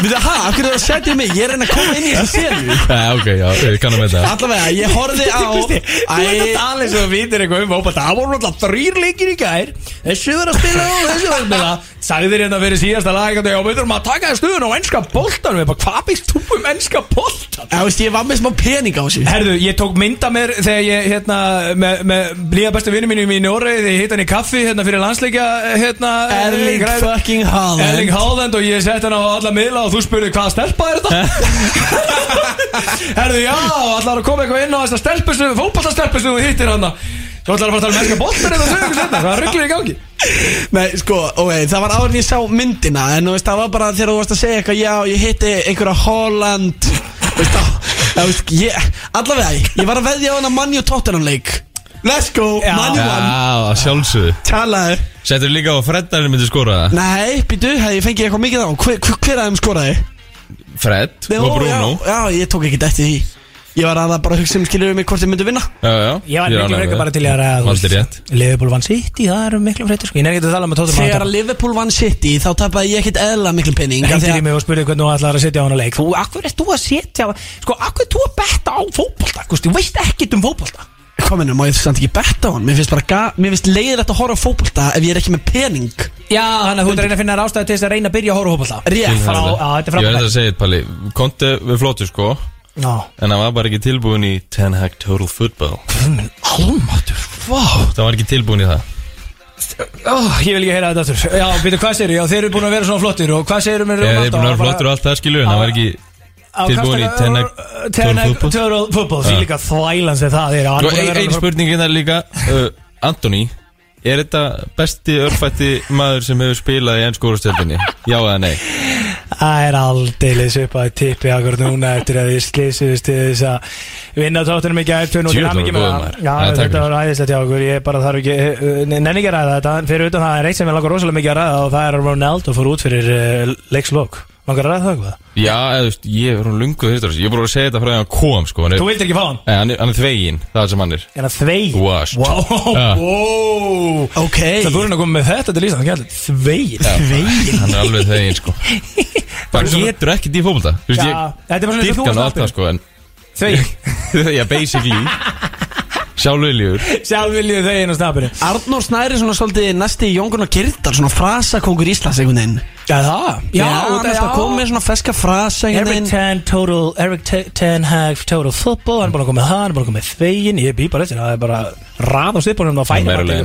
Við það, ha, af hverju er það að setja mig? Ég er að reyna að koma inn í þessu sériu
Já, ok, já, ég kannum þetta
Allavega, ég horfði á
Kristi, Þú ert að
Æ,
tala eins og þú vitir eitthvað um hópa Það voru alltaf þrýr leikir í gær Þessu var að spila og þessu var að spila Sagðir hérna fyrir síðasta lag Og við þurfum að taka það stuðun á ennska boltan Við bara, hvað byggst þú um ennska boltan?
Þú veist, ég var með smá pening á þessu
Herðu, ég tók mynda mér þegar ég, hérna, með, með blíða bestu vinnu mínum í Nóri Þegar ég hitt hann í kaffi, hérna, fyrir landsleikja, hérna
Erling
græði-
fucking Haaland.
Erling Haaland og ég sett hann á alla miðla og þú spurði hvaða stelpa er þetta? Herðu, já, allar að koma eitthvað inn á þessa stelpu sem, fótballta stelpu sem þú hittir hann Þú ætlar að fara að tala um ennska boltan eða sögum þetta, hvað rugglir í gangi?
Nei, sko, ok, það var áður en ég sá myndina En þú veist, það var bara þegar þú varst að segja eitthvað Já, ég hitti einhverja Holland Þú veist, þá Það veist, ég, allavega, ég var að veðja á hana Manni og Tottenham leik Let's go,
Já.
Manni
Já,
one
að sjálfsögðu
Talaðu
Settur líka á að Freddarinn myndi skora það
Nei, býtu, hefði ég fengið eitthvað mikið á Hver, hver, hver aðeim skoraði?
Fred
Nei,
og
ó, já,
Bruno
já, ég tók ekkert eftir því Ég var aða bara að hugsa um skilur mig hvort ég myndi vinna
Já, já
Ég var miklu frekar bara til ég að
Valdir rétt
Leifból vann sitt í, það er miklu frekar sko Ég nefnir ekki að tala með tóttum
Þegar að Liverpool vann City þá tapaði ég ekkert eðla miklu pening af því
Hendir
að-
í mig og spurði hvernig þú ætlar að setja á hana leik Þú, akkur er þú að setja Sko, akkur er þú að betta á fótbolta Gústi, Þú veist ekkert um fótbolta
kominu, má um ég samt ekki betta á hann mér finnst bara, ga- mér finnst leiðilegt að horfa á fótbolta ef ég er ekki með pening
Já, þannig að þú ert að reyna að finna rástæði til þess að reyna að byrja að horfa á fótbolta
rétt
Frá- já, þetta er
Ég verði
frábært.
að segja þetta, Palli Konte við flóttu sko
Ná,
En hann var bara ekki tilbúin í Ten Hag Total Football
almatur, vá
Það var ekki tilbúin í það
Ó, Ég vil ekki heyra þetta aftur Já, býtu, hvað segirðu? Já, þeir eru búin að vera svona flottir Og hvað segirðu mér
Ég er búin að vera flottur og allt það skilur En hann var ekki tilbúin í Ten Hag Total Football
Töral fútbol, því
Já.
líka þvælan sem það er hann
Sko,
búinn að
ein,
vera
ein
alveg-
spurning er líka uh, Antoni Er þetta besti örfætti maður sem hefur spilað í ennskórastöldinni? Já eða nei?
Það er aldeilis upp að tippi akkur núna eftir að þið slýsust til þess að vinna tóttunum í gætun og til
Djöfull voru
hamingju með
góðir,
það.
maður.
Já,
Já, takk
þetta
fyrir.
var æðislegt hjá okkur, ég bara þarf ekki, eh, nenni ekki að ræða þetta, fyrir utan það er eitt sem við langar rosalega mikið að ræða og það er að Ronaldo fór út fyrir uh, leikslokk. Langar að ræða það eitthvað?
Já, eða, þú veist, ég er hún lunguð þessar Ég er bara að segja þetta frá því að hann kom sko, hann, er,
Þú vildir ekki fá hann?
eh, hann, er, hann er þvegin, það er sem hann er
En að þvei?
Washed.
Wow,
Já.
wow.
Ok
Það voru hann að koma með þetta til Ísland, hann þvei, þvei.
Hann er alveg þvegin sko Það getur ekkert í fótbolta Þú veist,
Já,
ég
þetta er bara svona eins og þú
dyrka hann
varst
alltaf sko En,
Þvei,
já, basically Sjálfurljúr
sjálf viljið þvegin á snabinu.
Arnór Snæri er svona svolítið næsti í Jóngun og Gyrdal Svona frasakongur Íslands einhvern veginn
Já, það.
Já, og það er alltaf komið
já.
með svona feska frasa
Eric
einhvern veginn
Ten Total Eric Te- Ten Hag Total Football hann er búin að koma með það, hann er búin að koma með þvegin ég býð bara eftir, það er bara rað á stipunum og
Meira
fæna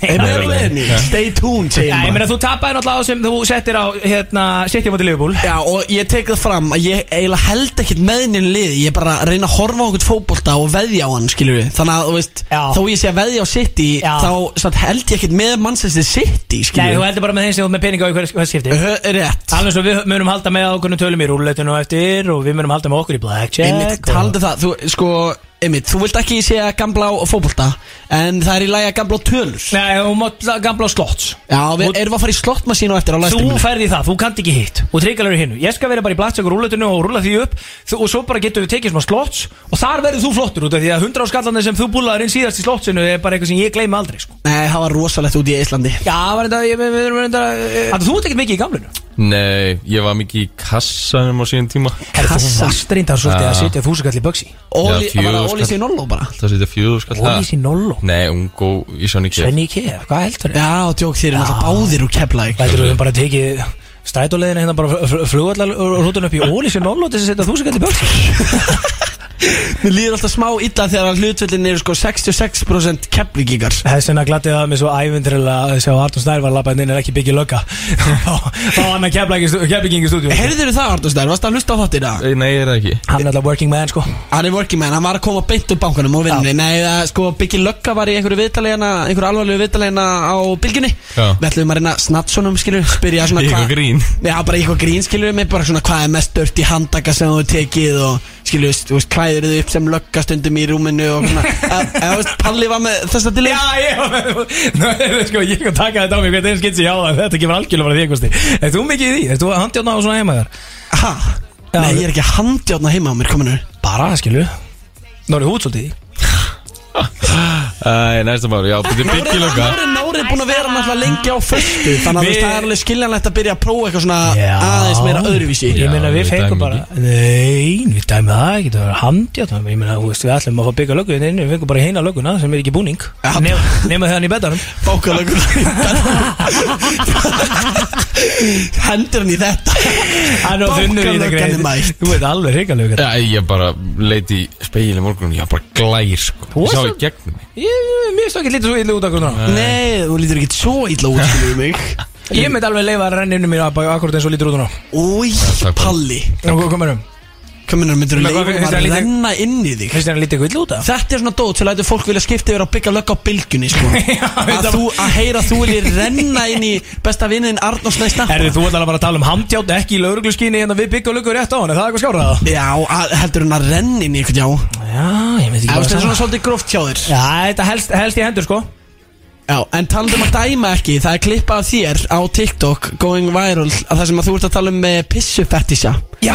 leiðinni.
Er
Nei,
maður
nei,
á leiðinni?
nei.
Stay tuned, segir
Já, ég
maður
meina þú tapaði náttúrulega á sem þú settir á hérna, setjum á til Liverpool
Já, og ég tek það fram að ég eiginlega held ekkert með henni liði Ég er bara að reyna að horfa á okkur fótbolta og veðja á hann, skilur við Þannig að, þú veist,
Já.
þó ég sé að veðja á City
Já.
Þá satt, held ég ekkert með mannsæsti City,
Nei,
skilur
þú
við
heldur bara með þeim sem þú ert með peninga á í hverju hver skipti
Hö- Rétt
Alveg svo við munum halda með ákveðnum tölum í rúlletinu og eftir og við munum halda með okkur í
Einmitt,
blackjack og...
talandi um það, þú, sko, einmitt, þú vilt ekki sé að gamla á fótbolta En það er í lagi að gamla á tölur
Nei, og mátt gamla á slotts
Já, við
Og-
erum að fara í slottmasínu á eftir á
Þú
læstiminu
ferði það, þú kannt ekki hitt og tryggalur í hinnu Ég skal vera bara í blattsak og rúletinu og rúla því upp þú, og svo bara getum við tekið smá slotts og þar verður þú flottur út af því að hundra á skallanir sem þú búlaður inn síðast í slottsinu er bara eitthvað sem ég gleymi aldrei sko.
Nei, það var rosalegt út í Íslandi
Já, var þetta, ég, við erum eh, þetta Þannig þú ert ekkert mikið í gamlinu
Nei, ég var mikið í kassanum á síðan tíma
Herra, þú
Kassa.
varst reyndar svolítið að
Já.
setja þúsugall í böksi
Óli, það var
Já, fjögur
að Óli
skall.
sé í Nolló bara
Það setja fjöðu skall
Ólís í nollo
Nei, hún góð í Sjóni Kef
Svenni í kef, hvað heldur þau?
Já, djók, þeir eru náttúrulega báðir úr Keflæk
Lætur við bara tekið strætóleðina hérna bara flugallar rútun upp í Ólís í nollo til þess að setja þúsugall í böksi
Mér líður alltaf smá illa þegar hlutvöldin eru sko 66% Keflíkíkar
Þessina glatið það mig svo ævindrilega að sjá að Artur Snær var að labba inn er ekki byggja lögga þá var hann að keflingi í stúdíu hann
Heyrður það Arnur Snær, varst að hlusta á þáttina?
Nei, ég er það ekki
er alltaf working man sko
Hann er working man, hann var að koma beint úr bankanum og vinnunni Nei, það, sko, Biggi Lögga var í einhverju viðtalegina einhverju alvarlegu viðtalegina á bylginni
Já.
Við ætlum að reyna snatsunum, skilur Spyrja svona
Í eitthvað
hvað-
grín.
Já, bara í eitthvað grín, skilur mig Bara svona hvað er mest dört í handtaka sem þú hefur tekið Og skilur, þú veist, klæður þau upp sem lögga stundum í rúminu Og svona, eða, eða, þú veist, Palli var með þessa til
Já, ég Nú, sko, ég kann taka þetta á mig hvernig einn skitsi á það þetta kemur algjörlega bara því einhversti Er þú mikið í því? Er þú að handjána á svona heima þar?
Ha?
Já.
Nei, ég er ekki að handjána heima á mér, kominu
Bara, skilu Nú er ég út svolítið í því.
Æ, næsta máli, já, þetta er
Nóri
byggjið lögga
Nóri- Nóri er búin að vera náttúrulega lengi á föstu Þannig að
Við-
Við... það er alveg skiljanlegt að byrja að prófa eitthvað svona
Já.
aðeins meira öðruvísi
Ég meina
Já,
við
við
fengum
dæmum
bara Nei, við dæmum það ekki, það var handjána Ég meina, þú veist, við ætlum að fá að byggja löggu hérna inni, Við fengum bara heina lögguna sem er ekki búning
Já.
Nefna þegar hann í betanum
Bákalögur Hendur hann í þetta
Hann á þunnu í þetta
Bankalöggan er
greið
mætt.
Þú veit alveg hrigalögur
Já, ég bara leit í speil í morgunum Ég var bara glær, sko
Þú
Ég sá
varst
í
svo-
gegnum mig
Mér stók ekki lítið svo illa út akkur núna
Nei, þú lítur ekki svo illa út skilur mig
Ég myndi alveg leifa að renna innum mér akkur eins og lítur út núna
Új,
takk.
Palli
Og hvað merum?
Kominar myndur
Hvað-
leifa
hvað finnst
að
þér að líta-
renna inn í þig
Finnst þér hann lítið illa út að?
Þetta er svona dót til að fólk vilja skipta yfir að byggja lögg á bylgjunni sko. að,
þetta-
þú, að heyra að þú viljir renna inn í besta vinniðin Arnórs Nei Snappa
Erði þú ætlar bara að tala um handjátt ekki í laurugluskinni en við byggja löggu rétt á hann, er það eitthvað skárað?
Já, að, heldur hann að renna inn í eitthvað já
Já, ég veit ekki
Það er
hvað
svona
það
svolítið gróft hjá þér
Já, þetta helst, helst í hendur sko
Já, en talandum að dæma ekki Það er klippa af þér á TikTok Going viral að Það sem að þú ert að tala um eh, pissu fetisha
Já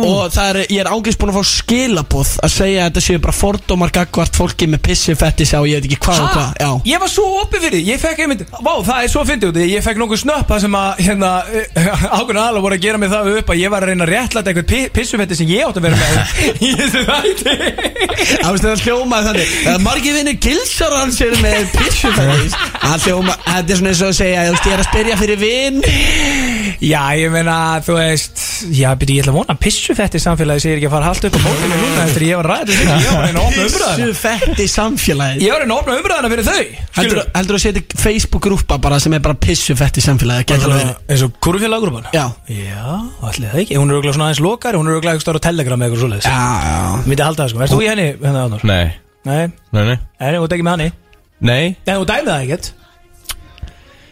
Og það er, ég er ángist búin að fá skilabóð Að segja að þetta séu bara fordómar Gagvart fólki með pissu fetisha Og ég veit ekki hvað og hvað Já
Ég var svo opið fyrir því, ég fekk einmitt Vá, það er svo fyndið út, í því. ég fekk nokkuð snöpp Það sem að, hérna, ákveðna aðla voru að gera mig það upp Að ég var að reyna að réttlæta eitthvað pi- pissufetti sem ég átt að vera með Í þessu þætti
Það veist það hljómaði þannig Það margir vinnir gilsar hans er með pissu fetish Það hljóma, þetta er svona eins og að segja Þú veist ég er að spyrja fyrir vinn
Já, ég meina, þú veist Já, byrju, ég ætla að vona að pissufetti samfélagi Segir ekki að fara haldt upp á bókinu núna Eftir að ég var ræðið fyrir, ég var að reyna að opna
Pissu
umræðana
fetish samfélagið
Ég var að reyna að opna umræðana fyrir þau
Heldur
Skilur,
þú að setja Facebook grúpa bara sem er bara pissu fetish samfélagið Gæti alveg verið.
eins og kurfélaggrúpan
Já.
Já, allir það ekki Hún er auðvitað svona aðeins lokar, hún er auðvitað ekki stóra telegram eða eitthvað svoleiðis
Já, já
Myndi halda það sko, erst þú í henni, henni Arnór?
Nei,
Nei,
nei, nei
nei, þú ert ekki með henni
Nei,
Nei, þú dæmið það ekkert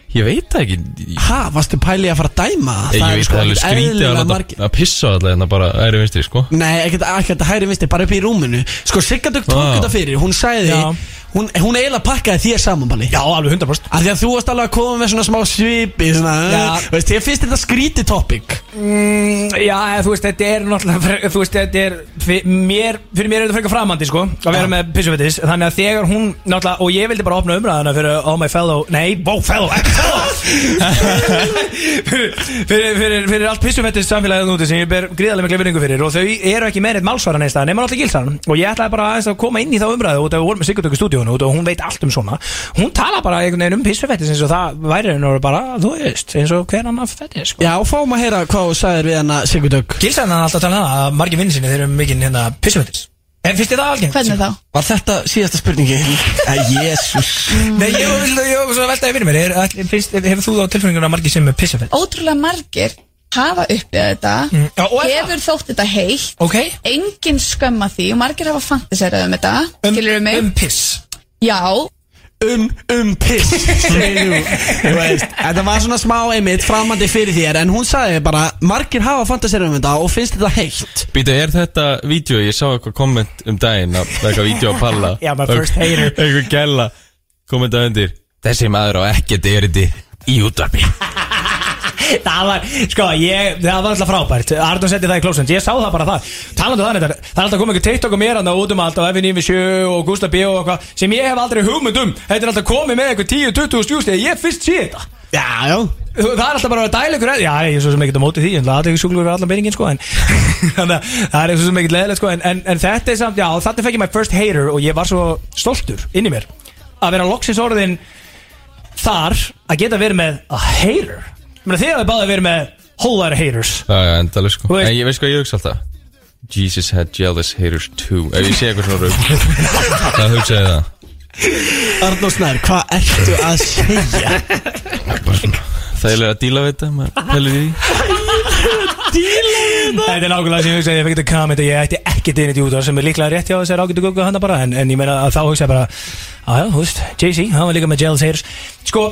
Ég veit það ekki Ég,
Ha, varstu pæli að fara að dæma það?
ég
Það er sko
veit það alveg
ekkert
skrítið
eðlilega
að,
margir-
láta- að pissa alltaf hérna bara æri vinstri sko
Nei, ekkert, ekkert að hægri vinstri, bara upp í rúminu Sko, Sigga Dögg tók
Vá.
þetta fyrir Hún sagði,
Já.
hún, hún eiginlega pakkaði þér saman, Palli
Já, alveg 100%
Af því að þú varst alveg að koma með svona smá svipi svona, eh,
Já.
veist, ég finnst þetta skríti topic
mm, Já, eða, þú veist, þetta er náttúrulega fre- Þú veist, þetta er fyrir mér, fyrir mér er þetta frekar framandi, sko Að vera með pissufettis Þannig að þegar hún, náttúrulega Og ég vildi bara opna umræðana fyrir All my fellow Nei, wow, fellow, ekki fellow fyrir, fyrir, fyrir, fyrir allt pissufettis samfélagið núti Sem ég ber gríðarlega mikla virðingu fyrir Og þau eru ekki meiritt málsvara neins það Nefnir alltaf gilsan Og ég ætlaði bara aðeins að koma inn í þá umræðu Út af við vorum með Sigurdöku stúdíónu Út af hún veit allt um svona Hún tala bara einhvern veginn um pissufettis Eins og það væri hennar bara, þú veist Eins og hver annar fettis, sko
Já, fáum að heyra hvað þú sagðir við hana Sigga Dögg
Gilsan hann alltaf talað að margir vinn sinni þeir eru mikinn hérna pissumöndis En finnst þið það algengt?
Hvernig þá?
Var þetta síðasta Eh, spurningi? Jésús
Nei, ég vil það, svo veltaði fyrir mér er, ætli- finnst, Hefur þú þá tilfinninguna margir sem er pissumönd?
Ótrúlega margir hafa uppið þetta
Mm, já, og er það?
Hefur þótt þetta heitt
Ok
Engin skömm að því og margir hafa fantisera um þetta Skilurðu mig?
Um piss
Já,
Um, um, piss segir þú. Þú veist, Þetta var svona smá einmitt framandi fyrir þér En hún sagði bara, margir hafa fantasir um þetta Og finnst þetta heitt
Býta, er þetta vídeo, ég sá eitthvað komment um daginn að það er eitthvað vídeo að palla
Já, my first hater.
Eitthvað gæla kommenta undir Þessi maður á ekkert erindi í útvarpi
Það var, sko, ég, það var alltaf frábært Arnum setti það í klósend, ég sá það bara það Talandi um það neitt, það er alltaf komið ekki TikTok og mér hann út um allt á F97 og Gustaf B og eitthvað sem ég hef aldrei hugmynd um Þetta er alltaf komið með eitthvað 10-20 stjúst eða ég fyrst sé þetta
Já, já
Þú- Það er alltaf bara að dæla ykkur eða- Já, ég er svo sem ekkert á móti því Það er ekki sjúklugur við allan beiningin sko en, Þannig að það er ekki svo sem ekkert leðilegt sko en, en, en þetta er samt, já, þetta fekk ég my first hater Og ég var svo stoltur inn í mér Að vera loksins orðin Þar að geta verið með a hater Menni, Þið hafið báðið verið með Whole lot of haters
Já, já, endalega sko
Þú veist-
En ég veist hvað ég hugsa alltaf Jesus had jealous haters too Ef ég sé eitthvað svona rögg Það hugsa ég það
Arnó Snær, hvað ertu að segja?
Það er að díla við þetta, maður pælir í því
Þetta er nákvæmlega sem ég hugsaði, ég fekk þetta comment að ég ætti ekki dinit í útvar sem er líklega rétt hjá þessari ágættu guggu hana bara en, en ég meina að þá hugsaði bara að já, þú veist, Jay-Z, hann var líka með Jealous Haters Sko,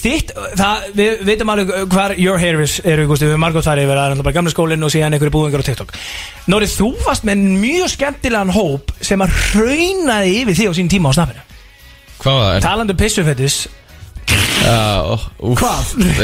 þitt, það, við veitum alveg hvar your haters eru, Gústi, við erum margótt farið yfir það er náttúrulega bara gamla skólinn og síðan einhverju búingar á TikTok Nórið, þú varst með mjög skemmtilegan hóp sem að raunaði yfir því á sín tíma á snappinu
Hvað var það?
Talandi um pissufettis
Hvað?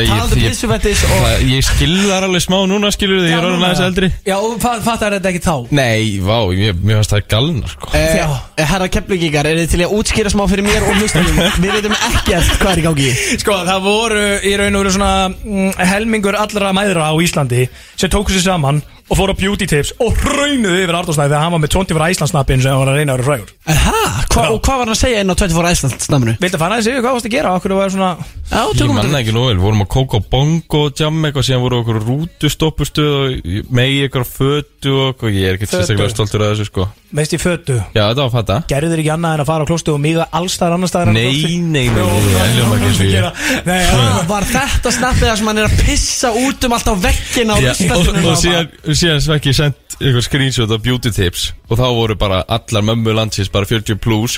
Talandi um pissufettis og-
Ég skilur það alveg smá núna skilur þið, ég er orðin aðeins eldri
Já, og fa- fattar þetta ekki þá?
Nei, vá, mér mér fannst það galnar sko
Eh,
Já.
Herra Keflingingar, er þið til í að útskýra smá fyrir mér og hlustum Við veitum ekkert hvað er í gangi
Sko, það voru í raun og veru svona mm, helmingur allra mæðra á Íslandi sem tóku sér saman og fóru á beauty tips og raunuðu yfir Arnósnæði þegar hann var með 24 Íslandsnappin sem hann var að reyna að vera frægur.
Aha, hva,
Já.
og hvað var hann að segja inn á 24 Æsland snaminu?
Viltu að fara aðeins yfir hvað varst að gera? Okkur var svona...
Já,
Ég
tökum
manna
þetta
ekki nú vel, við vorum að kóka á bongo jam eitthvað, síðan voru okkur rútustoppustuð og megi eitthvað fötu og okkur, ég er ekkert
Fötu.
sérstaklega stoltur að þessu sko
Meist í fötu.
Já, þetta var fatta
Gerðu þér ekki annað en að fara á klóstu og míga allstaðar annarstaðar
Nei, nei, nei, nei, það hljóma ekki eins og ég
Nei,
Ah, Var þetta snappið þar sem hann er að pissa út um allt á veggin á
Já, og,
Íslandinu
og síðan, síðan svekk ég sendt eitthvað screenshot af beauty tips og þá voru bara allar mömmu landsins bara 40 plus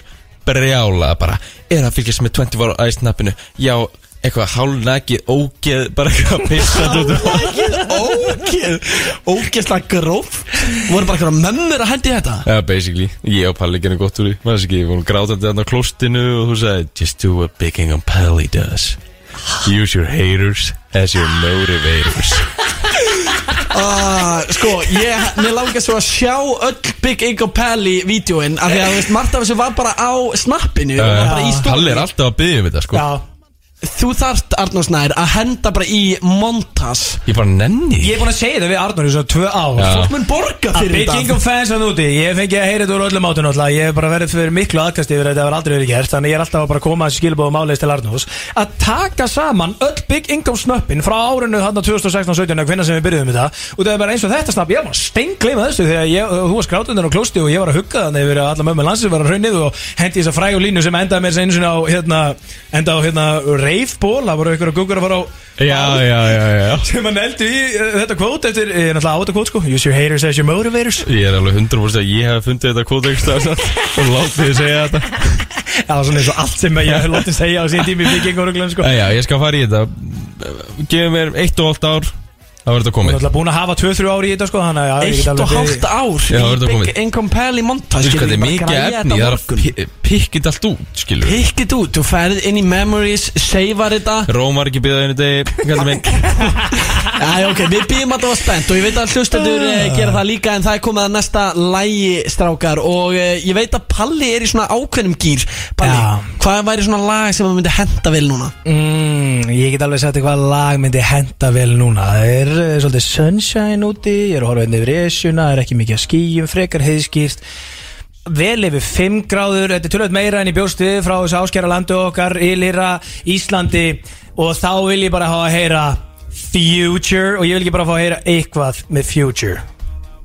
brjála bara er að fylgjast með 20 var á æsnappinu já, eitthvað hálnækið ógeð bara eitthvað pissað út um
Ógeð, ógeðslega gróf Voru bara eitthvað mömmur að hendi þetta
Já, basically, ég og Palli gerðum gott úr því maður sé ekki, við vorum grátandi þarna á klostinu og þú sagði, just do what Big Hang on Palli does use your haters as your motivators
Ah, Sko, ég, mér langar svo að sjá öll Big Ink og Pally vídjóin Af því að, þú veist, margt af þessu var bara á snappinu og var bara í stóri
Uh, Palli er alltaf að byggja um þetta, sko
Já,
Þú þarft, Arnór Snær, að henda bara í montas
ég bara nenni
ég er búin að segja þetta við Arnóri svona tvö ár.
Já.
Fólk mun borga
Að
fyrir
Ah, Big
þetta
Income fans að núti Ég fengi að heyra þetta úr öllum átun alltaf Ég hef bara verið fyrir miklu aðkast yfir að þetta hefur aldrei verið gert Þannig ég er alltaf að bara koma að skilbóðum áleis til Arnús Að taka saman öll Big Income snöppin Frá árinu hann 2016-17 Hvernig sem við byrjuðum þetta Og það er bara eins og þetta snapp Ég er bara steingleima þessu Þegar ég, þú var skrátundan og klósti og ég var að hugga þannig Yfir að alla mömmu landsins var að hrunnið Og hendi þess að frægu línu sem endaði mér eins og á hérna, Enda á hérna reifból Það voru ykkur að guggur að fara á
Já, já, já, já
sem hann eldi í eh, þetta kvót eftir, ég er náttúrulega á þetta kvót sko Use your haters as your motivators
Ég er alveg 100% að ég hef fundið þetta sko. kóta ekki stafsat og látið þið segja þetta
Það var svona eins og allt sem ég lótti segja á síðan tími fyrir genguruglan sko
Æ, já, ég skal fara í þetta Gefum mér eitt og hálft ár Það verður
Hún
þetta
er
komið
alltaf búin að hafa 2-3 ári í þetta sko Þannig að já, ég
Eitt
get
og
alveg
hálft ár
Já, verður
í
það
Big
komið.
Income Pally Monta
Þú veist
skilur,
hvað, þetta er
ég bara
mikið
græja þetta
efni Það er
morgun.
að pi- pikka þetta allt út, skilur við.
Pick it út, þú ferð inn í memories, seivar þetta
Rómar ekki um byggða einu degi kallar mig.
Æ, ok, við býðum að það var spennt og ég veit að hlustendur uh, gera það líka en það er komið að næsta lægi strákar og uh, ég veit að Palli er í svona ákveðnum gýr Palli,
Já.
hvað væri svona lag sem að myndi henda vel núna?
Mm, ég get alveg sagt hvað lag myndi henda vel núna Það er uh, svolítið sunshine úti Ég er að horfa henni yfir esjuna Það er ekki mikið að skýjum, frekar heiðskýrt Vel yfir 5 gráður Þetta er tölvöld meira en ég bjóst við Frá þessu áskjara landu okkar Ylira, Íslandi Og þá vil ég bara hafa að heyra Future Og ég vil ekki bara fá að heyra eitthvað með Future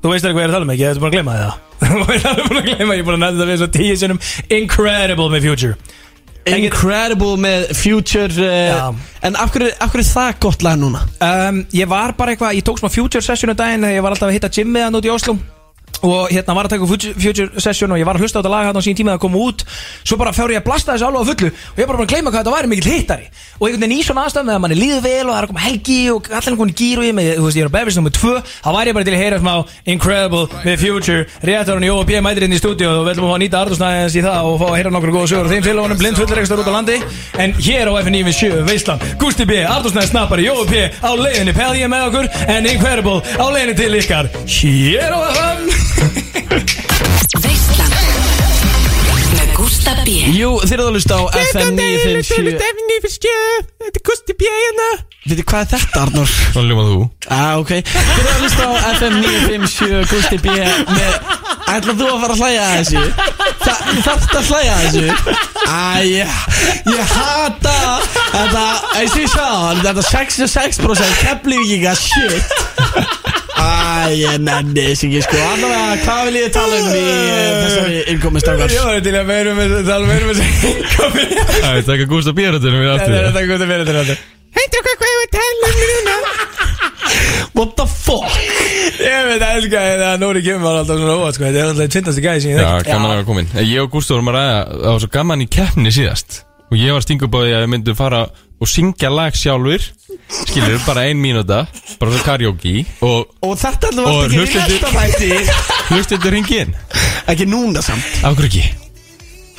Þú veist alveg hvað ég er að tala um ekki, ég er búin að gleyma það Þú veist alveg búin að gleyma, ég er búin að nefna þetta við svo tíu sinnum Incredible með Future
Incredible með Future
Já.
uh, En af hverju, af hverju er það gott lag núna?
um, Ég var bara eitthvað, ég tók smá future session um daginn Ég var alltaf að hitta Jimmy hann út í Oslo Og hérna var að taka future, future session Og ég var að hlusta á þetta lag hann á sín tíma að koma út Svo bara fjár ég að blasta þessu alveg á fullu Og ég er bara búin að gleyma hvað þetta væri mikill hittari Og einhvern veginn í svona aðstæðum með að manni líður vel Og það er að koma helgi og allir komin í gýr Og ég, með, þú veist, ég er á Beverage nr. 2 Það væri ég bara til að heyra smá Incredible með Future Réttar hann í OP mætir inn í stúdíu Og við ætlum að fá að nýta Arðursnæðins í það Og fá að heyra nokkur góða sögur Og þeim félagunum blind fullir ekstra út á landi En hér á FNÍV7 Veislan Gusti B, Arðursnæðins snappari OP á leiðinni Pelgið með okkur En Incredible á leiðinni til ykkar Hér á FM
Veislan Með Gústa B
Jú, þeir eru að hlusta á FM 957 Veitir, hvað er þetta Arnur?
Svona ljóma þú
Ah, ok Þeir eru að hlusta á FM 957 Gusti B með Ætlar þú að fara að hlæja að þessu? Þa, þarft að hlæja að þessu? Æ, ég, ég hata þetta, eins og ég sagði það, þetta 66% keflíkinga, shit Æ, ég nenni þess ekki sko Allavega, hvað vil ég tala um í eh, þessari innkomi strákar?
var til að verum við Það er verum við sem komið
Það er taka gúst á björðinu mér aftur
takk út að vera til þetta
What the fuck?
Ég veit að elska þetta að Nóri kemur var alltaf svona óvægt sko Þetta er alltaf tvindasti gæði sem ég
Já,
þekki
gaman að vera komin Ég og Gústi vorum að ræða Það var svo gaman í keppni síðast Og ég var stingu báði að við myndum fara Og syngja lag sjálfur Skilur, bara ein mínúta Bara svo karaoke Og
Og þetta ætlum
Og
við að gera í næsta
hlustendur-
þætti
hlustendur hringi inn
Ekki núna samt
Af hverju ekki?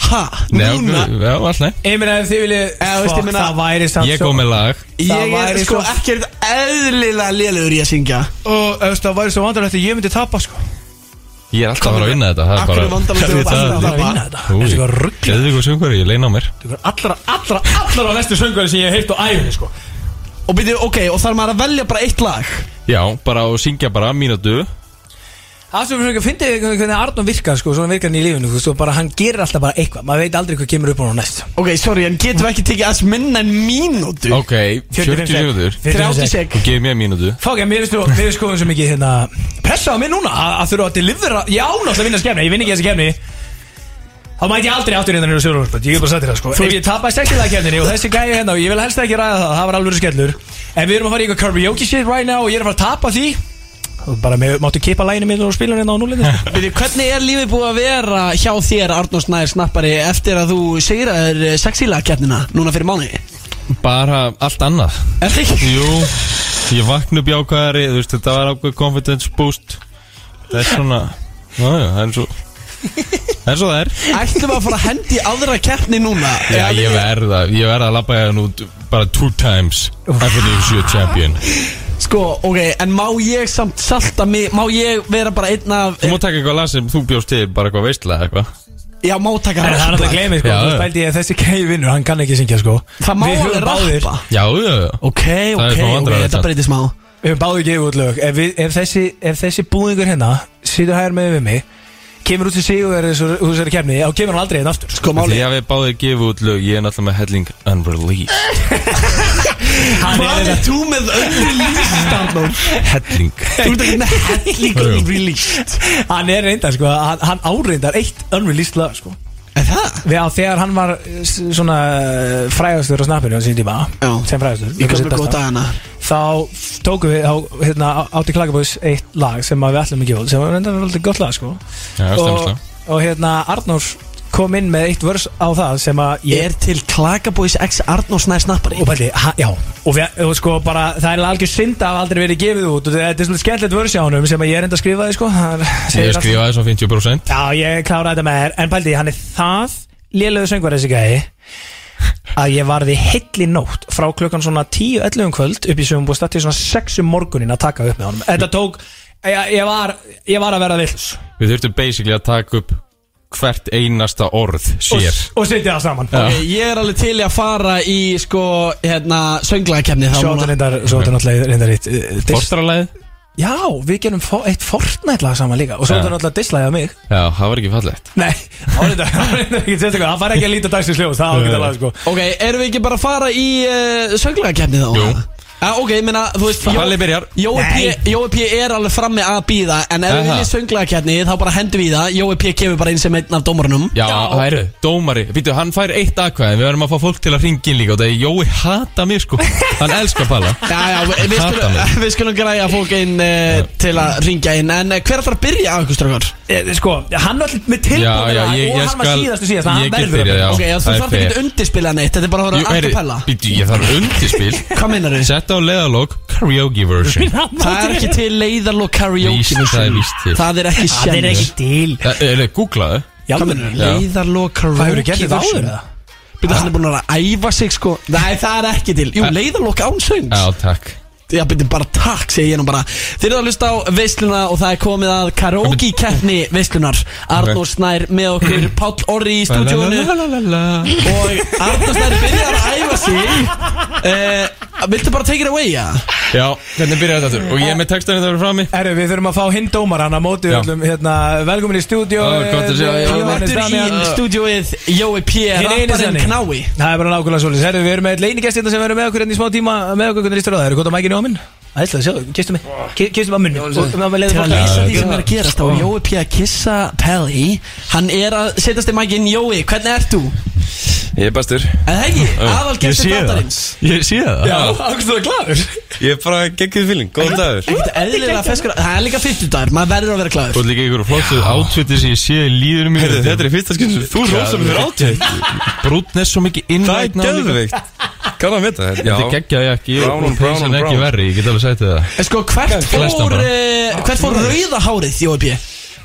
Ha?
Nei, af
núna?
hverju- já, alltaf nei.
Ég meina ef þið viljið
Eða, veist, ég
Fuck,
meina-
Það væri samt
Ég
svo-
kom með lag
Ég
Það
er
væri
sko
svo-
ekkert eðlilega lélegur í að syngja
Og þú veist, það væri svo vandarlegt að ég myndi tapa sko
Ég er alltaf að fara að vinna þetta Það er
Af hverju
bara
vandamál-
Ég veit
Það er
það.
alltaf að
vinna þetta.
Úi,
Þetta er svo ruglað.
Geðvík og söngvari, ég leina á mér
Þú er allra, allra, allra á næstu söngari sem ég hef heilt á æfinni sko
Og byrju, ok, og þarf maður að velja bara eitt lag
Já, bara að syngja bara mínútu
Það sem fyrir að fyndi hvernig Arnum virkar sko Svona virkar hann í lífinu, þú veist, og bara hann gerir alltaf bara eitthvað Maður veit aldrei hvað kemur upp á hann næst
Ok, sorry, en getum við ekki tekið aðeins minna en mínútu
Ok, 40 sekundur
30
sek
sek
Og gef mér mínútu
Fák, en mér finnst þú, mér finnst skoðum svo mikið hérna Pressa á mig núna að, að þurfa að delivera Ég ánátt að vinna skefni, ég vinn ekki þessi kefni Þá mæti ég aldrei aftur hérna nýra sjóðunarsböld Ég er bara satt þér það sko Ef ég tapaði sextilega kefninni og þessi gæði hérna Og ég vil helst ekki ræða það, það var alveg skellur En við erum að fara í eitthvað karaoke shit right now Og ég er að fara að tapa því Og bara með, máttu kipa læginu minn og spila hérna á núlinni sko.
Byrju, hvernig er lífið búið að vera hjá þér, Arnór Snær Snappari Eftir að þú segir að þér sexíla keppnina núna fyrir mánu
Bara allt annað
Er það ekki?
Jú, ég vakna upp jákvæðari Þú veist, þetta var ákveð confidence boost Það er svona Nája, það er svo Það er svo það er
Ætlum við að fara að hendi í aðra keppni núna
Já, ég verða, ég verða að labba hérna út Bara two times FNU7 champion
Sko, ok, en má ég samt salta mig Má ég vera bara einn af
Þú má taka eitthvað lag sem þú bjóst til Bara eitthvað veistlega eitthvað
Já, má taka
En það er alltaf
lag.
gleymið sko,
Já,
þú
já.
spældi ég að þessi gæði vinnur, hann kann ekki syngja sko
Það má
Við
alveg
höfum báðir-
rappa
Já, já, já
Ok,
er
ok,
smá
ok,
vandræðalegt
þetta
samt.
breytir smá
Við höfum báðu gefið út lög Ef, við, ef, þessi, ef þessi búðingur hérna Situr hægur með við mig Kemur út til sig og er þessari kemni Þá kemur hann aldrei hérna aftur
Sko,
Því
máli
að við báðir gefum út lög Ég er náttúrulega með helling unreleased
Hvað er þú með öllri líst, Arnór?
Helling
Þú ert ekki með helling
Jú.
released
Hann er reyndar sko Hann, hann áreindar eitt unreleased lag sko
Er það?
Við á þegar hann var eh, s- svona eh, frægastur á snappinu á sín tíma
Já.
Sem frægastur
Ég kom með
Besta.
góð dagana
Þá f- tókum við þá, hérna, á- átti klakabóðs eitt lag sem að við ætlum að gefa út Sem var reyndar alveg gott lag sko
Já,
og,
stemsla
og hérna Arnór kom inn með eitt vörs á það sem að ég
Er til Klakabóis X Arnórs næði snappari
Og bæti, ha, já, og, við, og sko bara, það er algjör synd að hafa aldrei verið gefið út og þetta er svona skemmtilegt vörsjánum sem að ég er enda að skrifa þið sko Það er- segir
Ég
allt.
skrifaði svo 50%
Já, ég kláraði þetta með þér En pældi, hann er það lélöðu söngvar þessi gæði að ég varði heilli nótt frá klukkan svona 10-11 um kvöld upp í sögum búið statt til svona 6 um morgunin að taka upp með honum Þetta tók, ég, ég, var, ég var að vera vill
Við þurftum basically að taka upp hvert einasta orð sér
og, og setja það saman
Já.
Ok, Eh, Ég er alveg til í að fara í sko, hérna, sönglæðakefni
Svo þetta reyndar, svo þetta náttúrulega reyndar eitt uh, dis-
Forstralæð?
Já, við gerum fo eitt Fortnite-lag saman líka og svo
Já.
þetta náttúrulega dislæði á mig
Já, það var ekki fallegt
Nei, það var þetta það var þetta ekki sérstaklega, það fær ekki að líta dagsins ljós, það var ekki að laga sko
Ok, erum við ekki bara að fara í uh, sönglæðakefni þá?
Jú.
Ja, ok, ég meina, þú veist Jó-
Palli byrjar
Jói P, Jói P er alveg frammi að býða En ef við
Aha.
viljum sönglæðakefni þá bara hendum við í það Jói P kemur bara inn sem einn af dómarunum
Já, það eru Dómari, býtu, hann fær eitt aðkvæðin Við verðum að fá fólk til að ringa inn líka og Það er Jói hata mig sko Hann elskar Palla
Já, já, við, við,
Hata
skulum,
mig.
við skulum græja fólk inn uh, til að ringja inn En uh, hver ætlar að byrja á ykkur strökkur?
Eh, Sko, hann var alltaf með
Já,
tilbúin
já,
og
ég, ég
hann var
skal
síðastu síðast, þannig að
Ég
hann
get
verður að
byrjað, já
ok, já, þú
það er
þarf ekki
fair.
að undirspila neitt Þetta er bara að
Jú,
vera
heyri,
acapella
Býtu, ég þarf undirspil
Hvað meinar þau?
Sett á leðalók Karaoke version
Það er ekki til leiðarlokk karaoke
Víst,
version.
það er víst til.
Það er ekki
Það
sjálf
er ekki til
Það er googlaðu
Já,
Hvað meinar Leiðarlokk karaoke
hefurðu gert þetta áður,
version.
eða?
Býttu, hann er búin að æfa sig sko Nei, það er ekki til Jú,
Eh.
leiðarlokk ánsöng
Já, takk
Já, byrju bara takk, segi ég nú bara Þeir eru að hlusta á veisluna og það er komið að karaoke keppni veislunar Arnór Snær með okkur, Páll Orri í stúdíónu
Lalalala.
Og Arnór Snær byrjar að æfa sig uh, Viltu bara take it away, já?
Já, hvernig byrjar þetta aftur? Og ég er með textanir það eru frammi
Herru, við þurfum að fá hinn dómar hann að móti
Já.
öllum hérna, velkomin í stúdíu
Já, gott að sjá, já, já.
Mættur í stúdíóið Jói P.
Hinn eini
Rapparinn
sanni.
Knái
Það er bara nákvæmlega svolítið Herru, við erum með leiningestirna sem verður með okkur enn í smá tíma með okkur hvernig listur á það, eru gott að mækina á minn Ætlaði, sjáðu, kistu mig, Ki- kistu mig á munni og og- og- og-
Til að
leiðu
lýsa
fólki.
því sem er að gerast á
Sko.
Jói P. að kissa Pelli Hann er að setjast í mækinn Jói, hvernig ert þú?
Ég er bestur
En það ekki, aðal
Ég sé það
þáttarins
Ég sé það
Já, ákvæmstu það glaður
Ég er bara geggið fíling, góðan dagur
Ekkert eðlilega feskur Það er líka 50 dagar, maður verður að vera
Þú
klæður
ert líka ykkur flottu átfittir sem ég sé í líðunum mínu
Heyrðu, þetta er í fyrsta skinn sem þú rosa mér fyrir átveit
Brúnn er svo mikið
Það er
innrætna
geðveikt Kann að vita þetta?
Þetta er geggjaði ekki Ég
Brown
er
on brown
peysan
on
ekki
brown.
verri, ég get alveg sagt þér það
En sko, hvert
flestan
fór,
bara.
eh, hvert fór rauða hárið, Jói B?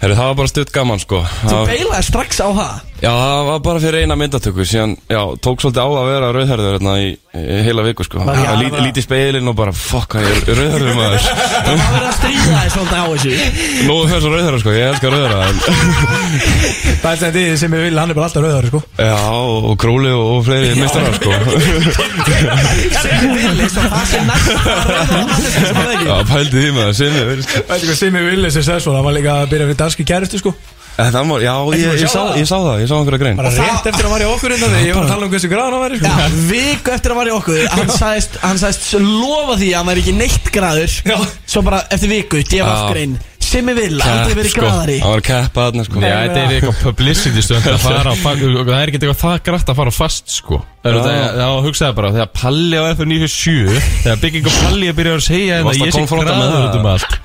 Heyrðu, það var bara stutt gaman sko
Þú
Það-
beilaði strax á það
Já, það var bara fyrir eina myndatöku Síðan, já, tók svolítið á að vera rauðherður hérna í, í heila viku sko
Já,
Það lít,
bara-
lít í speilin og bara, fuck, hvað ég er rauðherður maður
Það var verið að stríða þér svolítið á þessu
Nú er þessu rauðherður sko, ég elskar rauðherða en-
Það er sem þið sem ég vil, hann er bara alltaf rauðar sko
Já, og Króli og, og fleiri mistarar sko
Eins og það sem næst að rauða manneski sem það ekki
Já, pældi því maður, sem ég verið sko
Veitir hvað Simi Willis er sessvon, hann var líka að byrja fyrir danski kæristu sko
En það var, já, ég, ég, sá, ég sá það, ég sá einhverja grein
Bara rétt eftir að var í okkur innan því, ég var að tala um hversu gráðan hann væri sko
Já, viku eftir að var í okkur Hann sagðist, hann sagðist lofa því að hann væri ekki neitt graður
Já.
Svo bara eftir viku, djöfast
Já. sko.
grein Simmi vil, aldrei verið graðari
Það var keppa þarna sko
Já, þetta er eitthvað publicity stönd að fara á fag- og það er ekkert eitthvað það grætt að fara á fast sko Það er
Já.
það að hugsaði bara þegar Palli á F97 þegar bygging og Palli að byrja að segja hérna,
Varst að
ég sé
konfronta með
græður
það?
út um allt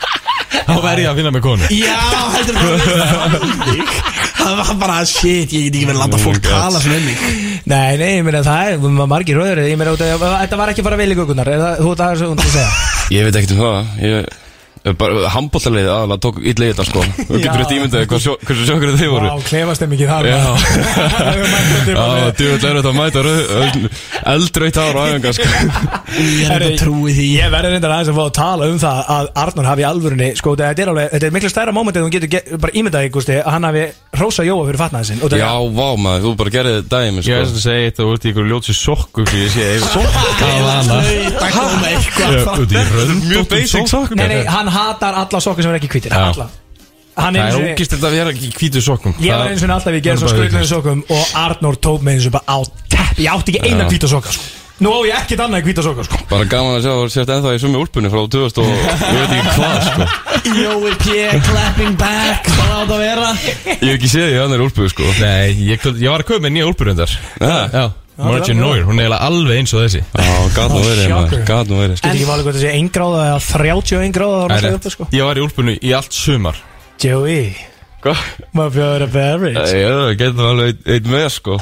þá verð ég að finna með konu
Já, heldur það Það var bara, shit, ég get ekki verið að landa
Oh
fólk tala svona um mig
Nei, nei, ég meina það er, maður margir rauður Ég meina, út af- þetta var ekki bara vel í gökunar Þú ert aðeins að segja
Ég veit ekkert um það Ég bara handbóllarleiði aðalega tók illa í þetta sko Þú getur rétt ímyndaði hvað sjó- hversu sjokkur þið voru
Vá, klefast þeim ekki þar
Já. Já,
Já
djúvill er þetta að mæta eldreitt ára æfinga sko
Ég er
Herri,
enda að trúi því
Ég verður reyndar aðeins að fá að tala um það að Arnur hafi í alvörunni, sko, þetta er alveg þetta er miklu stærra móment en þú getur get, bara ímyndað ykkur að hann hafi rósa Jóa fyrir fatnaði sinn og þetta
Já, vá maður, þú bara gerði dæmi
Ég
sko
er sem að segja þetta út í ykkur ljótsi sokku fyrir ég sé
Það kom eitthvað frá
út í röndóttum
Nei, nei, hann hatar alla sokkur sem er ekki hvítir
Já.
alla Hann
Það
er
er
eins og
ógist þetta að vera ekki í hvítu sokkum
Ég var eins og alltaf ég gerði
Það er
svo
bara
skröldlega
auglýst.
sokkum og Arnur tók með eins og bara á tepp Ég átti ekki eina
Já.
hvíta sokka, sko Nú á ég ekkert annað en hvíta sokka, sko
Bara gaman að sjá að sért ennþá í sumi úlpunni frá 2000 og ég veit ekki hvað sko
Jói P. Clapping back Hvað átt að vera
Ég hef ekki séð því að hann er úlpu sko
Nei, ég, ég var að köpa með nýja úlpurundar
Já,
Já, Margin Neuer, hún er eiginlega alveg eins og þessi
gæt nú verið maður, gæt nú verið sko.
Getur ekki valið hvort að segja 1 gráða eða 31 gráða þá er
Það er
alltaf
rétt.
upp, sko
Ég var í úlpunni í allt sumar
Joey
Hvað?
My favorite beverage
Sko,
Ah,
Já, getum alveg einn- einn með sko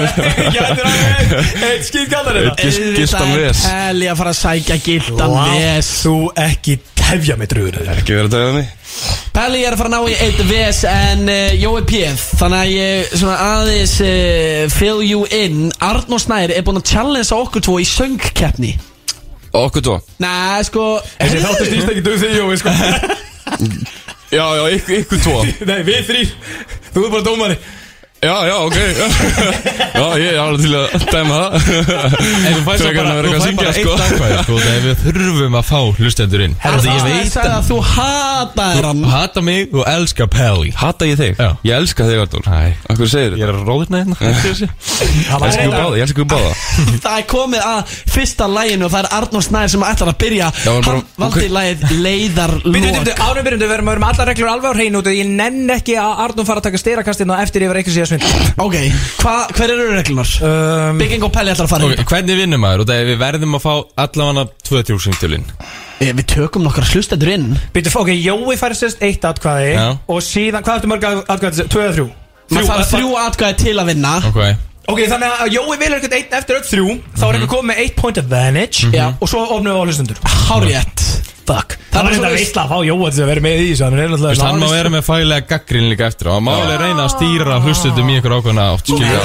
Gætur alveg Eitt skýt kallar hérna. þetta
Gist- Gistan ves
Helgi að fara að sækja gildan wow. VS
Þú ekki tefja mig dröður
Ekki verið að dæða mig
Pelli er að fara að ná í eitt VS en uh, Jói P Þannig að ég svona aðeins uh, fill you in Arnó Snær er búinn að challenge okkur tvo í söngkeppni
Okkur tó
Nei, sko
Þessi þáttu snýst ekki duð þig Jói sko
Já, já, ykk- ykkur tó
Nei, við þrýr Þú er bara dómari
Já, já, ok Já, ég er alveg til að dæma það
En þú fæst
Frekar
bara,
en að
þú
vera eitthvað að
fæst bara
syngja,
eitt
sko.
ákvæði sko, þegar við þurfum að fá hlustendur inn Því
Arnó
ég
Snær
veit
sagði að þú hatar hann
að hata mig og elska Pelli
Hata ég þig?
Já.
Ég elska þig, Arnór
Æ.
Akkur
Ég
segir
er
þetta?
að róðna hérna hættu þessu.
Ég elska ykkur báða, ég elska ykkur báða
Það er komið að fyrsta læginu og það er Arnó Snær sem ætlar að byrja
Já, en bara-
Hann valdi
ok.
lægið
Býttu,
Leiðarlók
býttu, ánum byrjum, við verum að vera með alla reglur alveg á hreinu út af því Ég nenn ekki að Arnum fara að taka styrakastinn og eftir yfir eitthvað síðan svind
Ok, hva, hver eru reglunar?
um,
Bygging og Pelli ætlar að fara
Ok,
okay.
Hvernig vinnum maður? Og þegar við verðum að fá allavega 2000 singtölinn
Eh, Við tökum nokkar hlustendur inn
Býttu, ok, Jói fær sérst eitt atkvæði
Já.
Og síðan, hvað ertu mörg atkvæði? Tvö eða þrjú?
Maður þarf
atkvæði.
þrjú atkvæði til að vinna
Ok
Ok, þannig að Jói velur eitthvað eitt eftir öll þrjú Þá er eitthvað komið með eitt point advantage
Já.
Og svo ofnum við á hlustundur
Hárjætt
Mhm. Ah, Fuck
Það
Það
var
er þetta
svoleiðis.
veistla að fá Jóa til að vera með í þessu Hann er
Þú veist, hann má vera
náttúrulega
með fælega gaggrin líka eftir og hann má alveg reyna að stýra hlustutum í einhver ákveðna átt skilja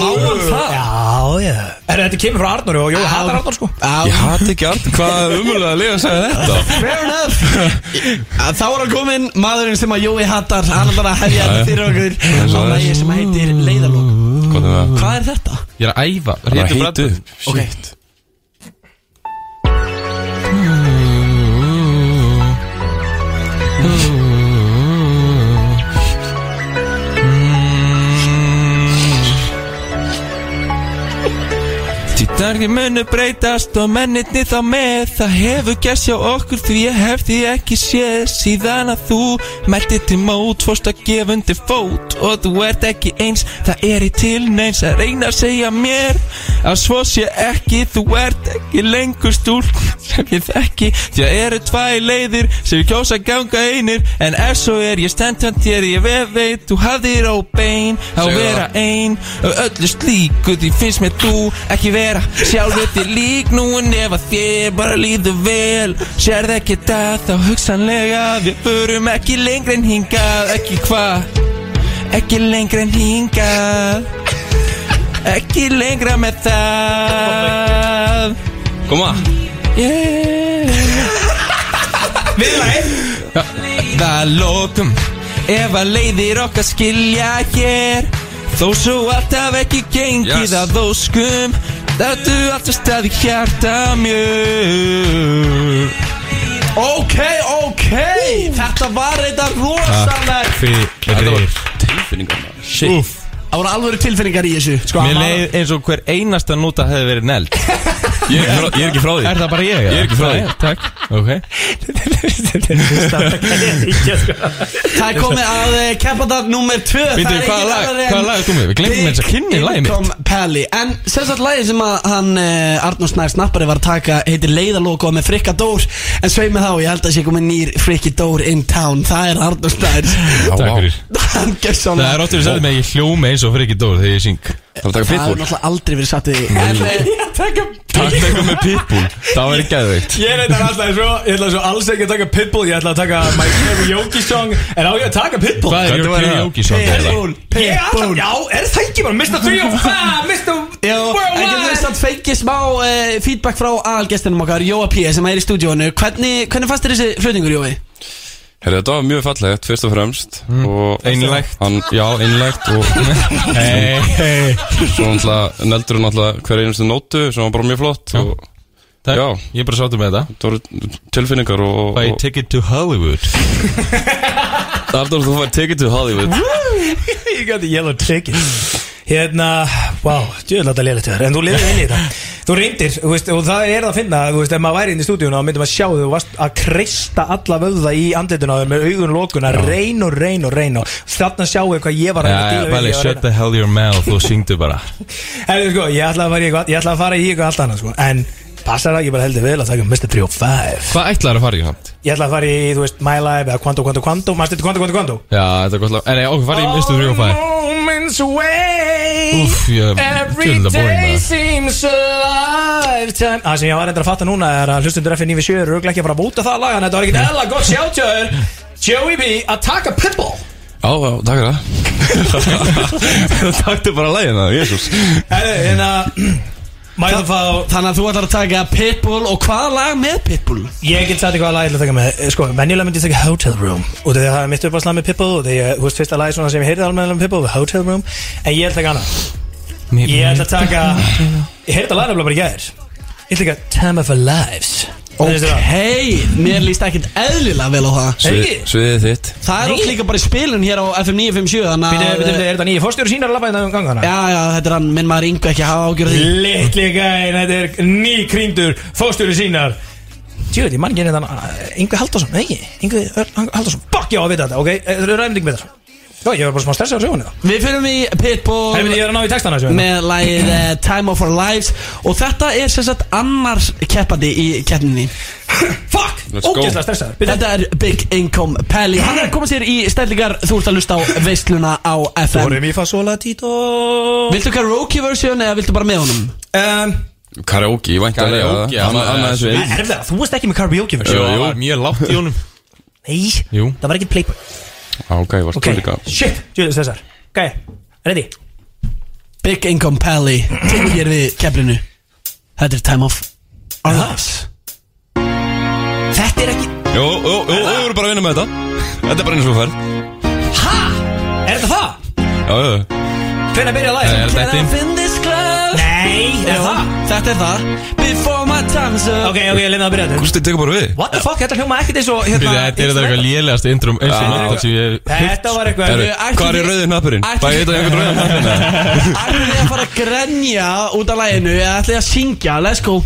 Máum það
Já, já Er þetta kemur frá Arnur og Jói hatar Arnur sko
Ég
Já,
hata ekki Arnór Hvað umhverfið að lifa að segja þetta?
fair enough Að Þá er að komin maðurinn sem að Jói hattar Hann er bara að hefja þetta fyrir okkur Á
svo er.
lægi sem heitir Leiðalók
Hvað er það?
Hvað er þetta?
Ég er að æfa
Það er
réttu
að hýtu
brandara.
Ok.
Shit
Því dagir munu breytast og mennirni þá með Það hefur gerst hjá okkur því ég hef því ekki séð Síðan að þú mætti til mót, fórst að gefa undir fót Og þú ert ekki eins, það er í tilneins að reyna að segja mér Að svo sé ekki, þú ert ekki lengur stúl sem ég þekki Því að eru tvær leiðir sem ég kjósa að ganga einir En ef svo er ég stendant hér, ég vef veit, þú hafðir á bein Að
Segðu það.
vera ein og öllu slíku því finnst mér þú ekki vera sjálfur þér lík nú en ef að þér bara líður vel sérð ekki það þá hugsanlega við förum ekki lengri en hingað ekki hvað ekki lengri en hingað ekki lengra með það
Koma
yeah. Viðlæg Það lókum Ef að leiðir okkar skilja hér Þó svo alltaf ekki gengið
Yes.
að óskum Þetta er alltaf staði hjarta mjög
Ok, ok Þetta var þetta Ah, rosalega
Þetta var
Fyrir
tilfinningar maður Shit
Úff.
Það voru alvöru tilfinningar í þessu Sko,
Mér leið eins og hver einasta núta hefði verið neld
Ég er ekki frá- ég er ekki frá því
Er það bara ég?
Ég er ekki frá því.
Takk, ok
Það er komið að uh, keppanda nummer 2
Býttu, hvaða lag- hvaða lag er komið? Við gleymdum eins að kynna lagið mitt.
Pelli En sem sagt lagið sem að hann uh, Arnór Snær snappari var að taka heitir Leiðalók og með Frikka Dór En svei með þá, ég held að sé komið nýr Frikki Dór in town Það er Arnór Snær
Takk
vá.
fyrir
Hann gerð
Það
svona
er óttur að segja mig að ég hljóma eins og Friki Dór þegar ég syng
Það var
Það
að taka
er
pitbull
náttúrulega aldrei verið satt við því En eh,
Takk eitthvað með pitbull Það var ekki gæðveikt
Ég reyndar alltaf svo, ég ætla svo alls ekki að taka Pitbull Ég ætla að taka My Karaoke Song En á ég að taka Pitbull
Hvað er
Hvernig var
Jóki
það?
Jóki svo?
Pitbull,
Ég er alltaf,
Pitbull
já, er það ekki bara Mr.
Já, en
305, Mr.
getur við
Ah, Worldwide
samt fengið smá uh, feedback frá aðalgestinum okkar, Jóa P. sem er í stúdíónu Hvernig, hvernig fannst þér þessi flutningur, Jói?
Herra, þetta var mjög fallegt, fyrst og fremst og
Einlægt.
hann, Mm. Já, einlægt og
Hei, hei
svo náttúrulega neldur hann náttúrulega hver einustu nótu sem var bara mjög flott og
Takk,
Já.
ég er bara sáttu með þetta
það voru tilfinningar og, og,
By
og
Ticket to Hollywood
Arnór, þú fær ticket to Hollywood
You got the yellow ticket Hérna, wow, djöðlátt að lélega til þér En þú lifir inn í þetta Þú reyndir, þú veist, og það er það að finna Þú veist, ef maður væri inn í stúdíuna og myndum að sjá þau Þú varst að kreista alla vöðva í andlituna á þér Með augun lokuna, reyn og reyn og reyn og Þarna sjáu hvað ég var að reyna að
Já,
díla við,
Bali,
ég var að
shut the hell your mouth og syngdu bara
Herðu sko, ég ætla að fara í eitthvað Ég ætla að fara í eitthvað allt annað sko En Passar það ekki bara heldur vel að taka Mr. 3 og 5
Hvað ætlaður að fara í samt?
Ég ætla að fara í, þú veist, My Life eða Quanto, Quanto, Quanto Mastu þetta Quanto, Quanto, Quanto?
Já, þetta er gott lag En ég okkur fara í mistu þrjú og fæ
moments away
Úff, ég
Every
Tjóðlega bóin
day
með
seems a lifetime Það sem ég var reyndar að fatta núna er að hlustundur FN 97 eru örugglega ekki að fara að búta það lag en þetta var ekkert eðla gott sjátjöður Joey B. Attack a Pitbull
Já, já, takk fyrir það Takk til bara lægin það, jésús
Herru, hérna Mæðum fá
Þannig að þú ætlar að taka Pitbull og hvaða lag með Pitbull?
Ég get sagt eitthvað að lagið að taka með Eh, Sko, venjulega myndi ég taka Hotel Room Og þegar það er mitt uppáðslag með Pitbull Og þegar, þú veist, fyrsta lagið svona sem ég heyrði almennilega með Pitbull var Hotel Room En ég ætla að taka annað Ég ætla að taka Ég heyrði að laga nefnilega bara í gæðir Ég ætla að taka Time of Our Lives Finnst þér það?
Hei, mér líst ekkert eðlilega vel á það
Ekki?
Sviðið þitt
Það er
Nei.
okkur líka bara í spilun hér á FM 957 Þannig
Býtu, býtu, býtu,
að
er þetta nýja fórstjóri sínar að labba þetta um gangana?
Já, já, þetta er hann, minn maður yngu ekki að hafa ágjörði
Littli gæn, þetta er ný krýndur fórstjóri sínar Tjóðið, ég mann ekki hérna Yngvi Haldarsson, nei, ekki Yngvi Örn Haldarsson, bokk já að vita þetta, ok? Þetta eru ræmding með þetta Já, ég var bara smá stressað á sjónu það
Við fyrir í Pitbull
Herri, ég er að ná í textana þessu hérna.
með lagið uh, Time of Our Lives og þetta er sem sagt annars keppandi í keppninni
Fuck,
Let's go.
ógeðslega stressað Býtu,
Þetta er Big Income Pally Hann er að koma sér í stællingar Þú ert að lusta á veisluna á FM
Vorum í fasola tító
Viltu karaoke version eða viltu bara með honum?
um,
Karaoke, væntanlega
Karaoke, já,
Annað-
maður-
annað þessu einn.
Erfða, þú veist ekki með karaoke version
Jú, það var mjög látt í honum
Nei,
Jú.
það var ekki playboy
Á, Ok, varst
Ok,
þú líka
shit, tjóðið stressar Ok, ready?
Big Income Pally Tekur hér við keppninu Þetta er Time of Our Lives
Þetta er ekki
Jú, jú, jú, þú eru bara að vinna með þetta Þetta er bara eins og þú ferð
Ha? Er þetta það?
Já, já, já
Hvernig byrja að læra?
Er þetta
I've
einn?
been this club
Nei, er það?
Þetta er það Before my time's up
Ok, ok, ég lefði að byrja þetta
Gústi, tekur bara við
What the fuck, þetta hljóma ekkert eins og hérna
Þetta er þetta eitthvað lélegast intro eins og nátt sem ég
Þetta var eitthvað
Herru,
ætli-
Hvað er rauðið nappurinn?
ætli-
Fæ ég þetta einhvern rauðið nappurinn?
Ætlum við að fara að grenja út af læginu Eða ætlum við að syngja Let's go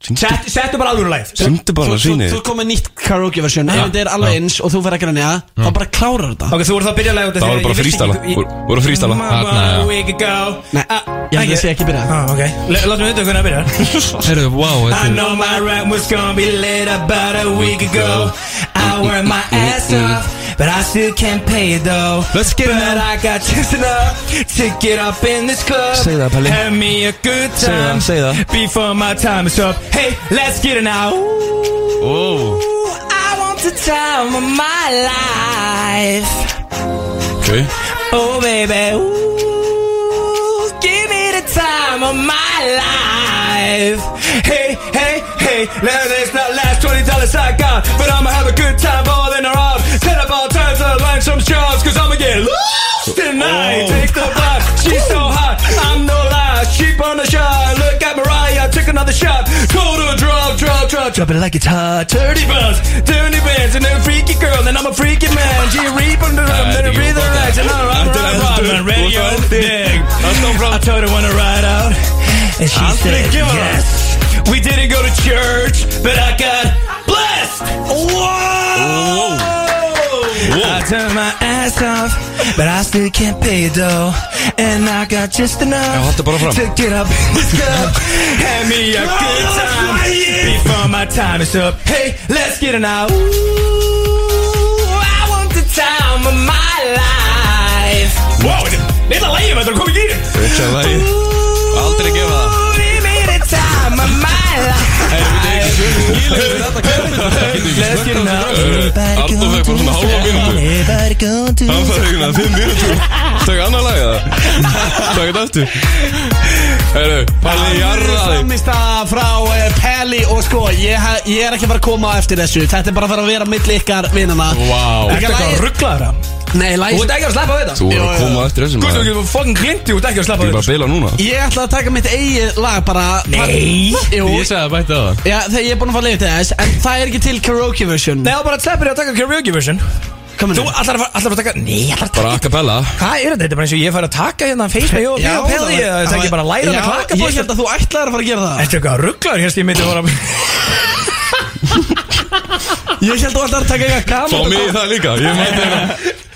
Sett- Settu bara alvöru læð
Sýndu bara
Þú,
sýnið
þú komið nýtt karaoke versjón Ef þetta er alveg eins og þú fer að grenja Þá bara klárar þetta
Ok, þú voru það að byrja að læða
Það voru bara freestyle. Voru- voru freestyle.
Þarna, já.
Nei, ég held að sé ekki byrja
Ah, ok, Le- látum við þetta hvernig að byrja
Herru, wow,
I
þetta er
know my rap was gonna be late about a week ago I worked my ass off But I still can't pay it though
Let's get it
But I got just enough To get up in this club
Segðu það, Palli.
Have me a good time
það, segðu það.
Before my time is up Hey, let's get it now
Ó,
Ooh, I want the time of my life
Ok
Oh baby ooh, Give me the time of my life Hey, hey, hey Now this not last $20 I got But I'ma have a good time all in a row Set up all times I line some shots Cause I'ma get lost tonight Take the vibe, she's so hot I'm no lie, sheep on the shot Look at Mariah, took another shot Go to a drop, drop, drop Drop it like it's hot Dirty buzz, dirty bands And then freaky girl, then I'm a freaky man G-Reap on the drum, then I breathe the rest And I'm I'm I'm radio dig I told her wanna ride out And she said yes We didn't go to church But I got blessed Whoa I turned my ass off But I still can't pay it though And I got just
Já,
enough
haltu bara fram.
To get up in this cup Hand me a good time Before my time is up Hey, let's get it now Ooh, I want the time of my life Wow, þetta er lægjum, þetta er komið gýrin
Þetta er lagi Aldrei gefa það
Give me the time of my life Let's get it now
Aldo fekk bara svona hálfa mínútu Hann fær ekki að fimm mínútu Takk annar lag eða Takk þetta aftur Herru, Palli jarðaði
Framist að frá uh, Pelli og sko ég, ha- ég er ekki að fara að koma á eftir þessu Þetta er bara að fara að vera mill ykkar vinnana
wow
Þetta
Hvað rugglaður það?
Nei,
Þú
læs
ert ekki að slappa af þetta?
Þú er að
Jú,
koma eftir þessum
Guðstu
maður.
ekki, þú fucking glinti, þú ert ekki að slappa
Ég
af
er bara
þetta
að beila núna
Ég ætla að taka mitt eigið lag bara
Nei.
Jú,
Ég sagði að bæta það
já, þegar ég er búin að fara að leiða til þess En það er ekki til karaoke version
Nei, þá bara sleppir ég að taka karaoke version
Come
Þú
on
allar að fara- allar að fara að taka Nei, allar að
Bara
taka
a cappella
Hvað er þetta? Þetta er bara eins og ég fara að taka hérna Facebook og Bíó Pelli Það er ekki bara að læra hann að klaka
Ég held að þú ætlaðir að fara að gera það
Þetta er hérna. eitthvað rugglaður hérst ég myndi að fara
Ég held að þú ætlaðir að taka eitthvað
Fá
gaman
mig í það líka Ég mæti hérna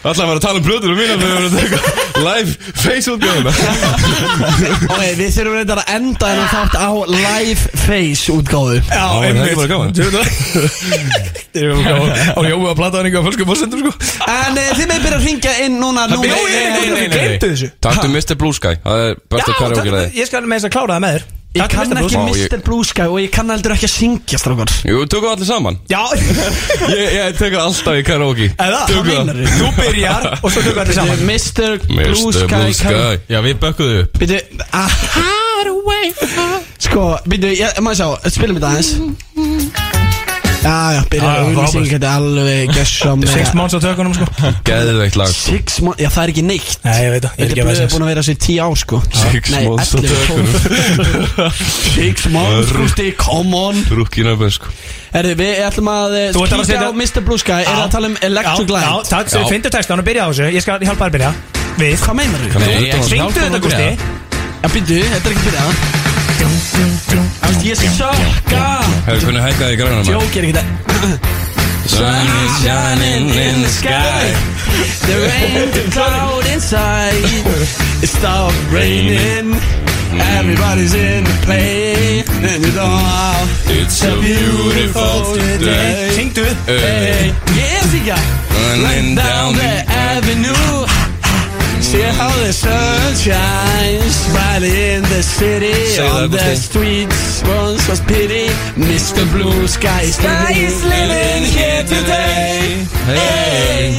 Alltaf að fara að tala um blöðunum mína Þegar við erum að taka live face út
Ok, við þurfum reyndar að enda þennan þátt á live face útgáðu
Já,
er það ekki bara gaman?
Ég var gaman Á Jói að plata hann eitthvað fölskum fórsendur sko
En e, þið með byrja að ringja inn núna
Nei,
númer- eh,
nei, nei, nei, nei
Gleymdu
þessu
Taktu Mr. Blue Sky Það er besta karaoke
Já,
leið
ég skal með þess að klára það með þér
Ég kann ekki
Blue Sky.
Mr. Blue Sky og ég kann heldur ekki að syngja strákar
Jú, tökum allir saman
Já,
Ég, ég tekur alltaf í karaoke
eða
Tökum það.
Þú byrjar og svo tökum við allir saman
Mr. Blue
Mr.
Sky,
Blue Sky
Já, við bökkuðu upp
Býtu ah, Sko, býtu, ég- maður sjá, spilum þetta aðeins Já, já, byrjar
Já,
að
já,
auðlýsing
frábært.
Þetta er alveg gessam
Six months á tökunum sko
Geðveikt lag
Six months, já það er ekki neitt
Nei, ég veit það, ég er
Þetta
ekki að
blöð
veða
er búin að vera þessi í tíu ár sko
Six
Nei,
months á
11, 12. Six months, Rústi, come on
Rúkina upp sko
Herðu, við ætlum að eh,
Þú ætlar að
kíkja á
setja-
Mr. Blue Sky Er það að tala um Electric
Já,
Light?
já, það,
Já.
finndu textan og byrja á þessu Ég skal hjálpa þér að byrja Við
Hvað meinar þú?
Nei,
ekki
Syngdu þetta Gusti
Já, býtu, þetta er ekki byrjað Það veist, ég sökka
Hefur kunni hækkaði í græna maður
Jók er ekki það
Sun is shining in the sky
The rain the cloud inside It stopped raining Everybody's in the play And it's all
It's a beautiful day
Syngdu
Hey,
Yes, ég yeah.
Running
down
down
the avenue. See how the sun shines brightly in the city.
Say that
On the
again.
streets, once was pity. Mr. Blue Sky is living here today.
Hey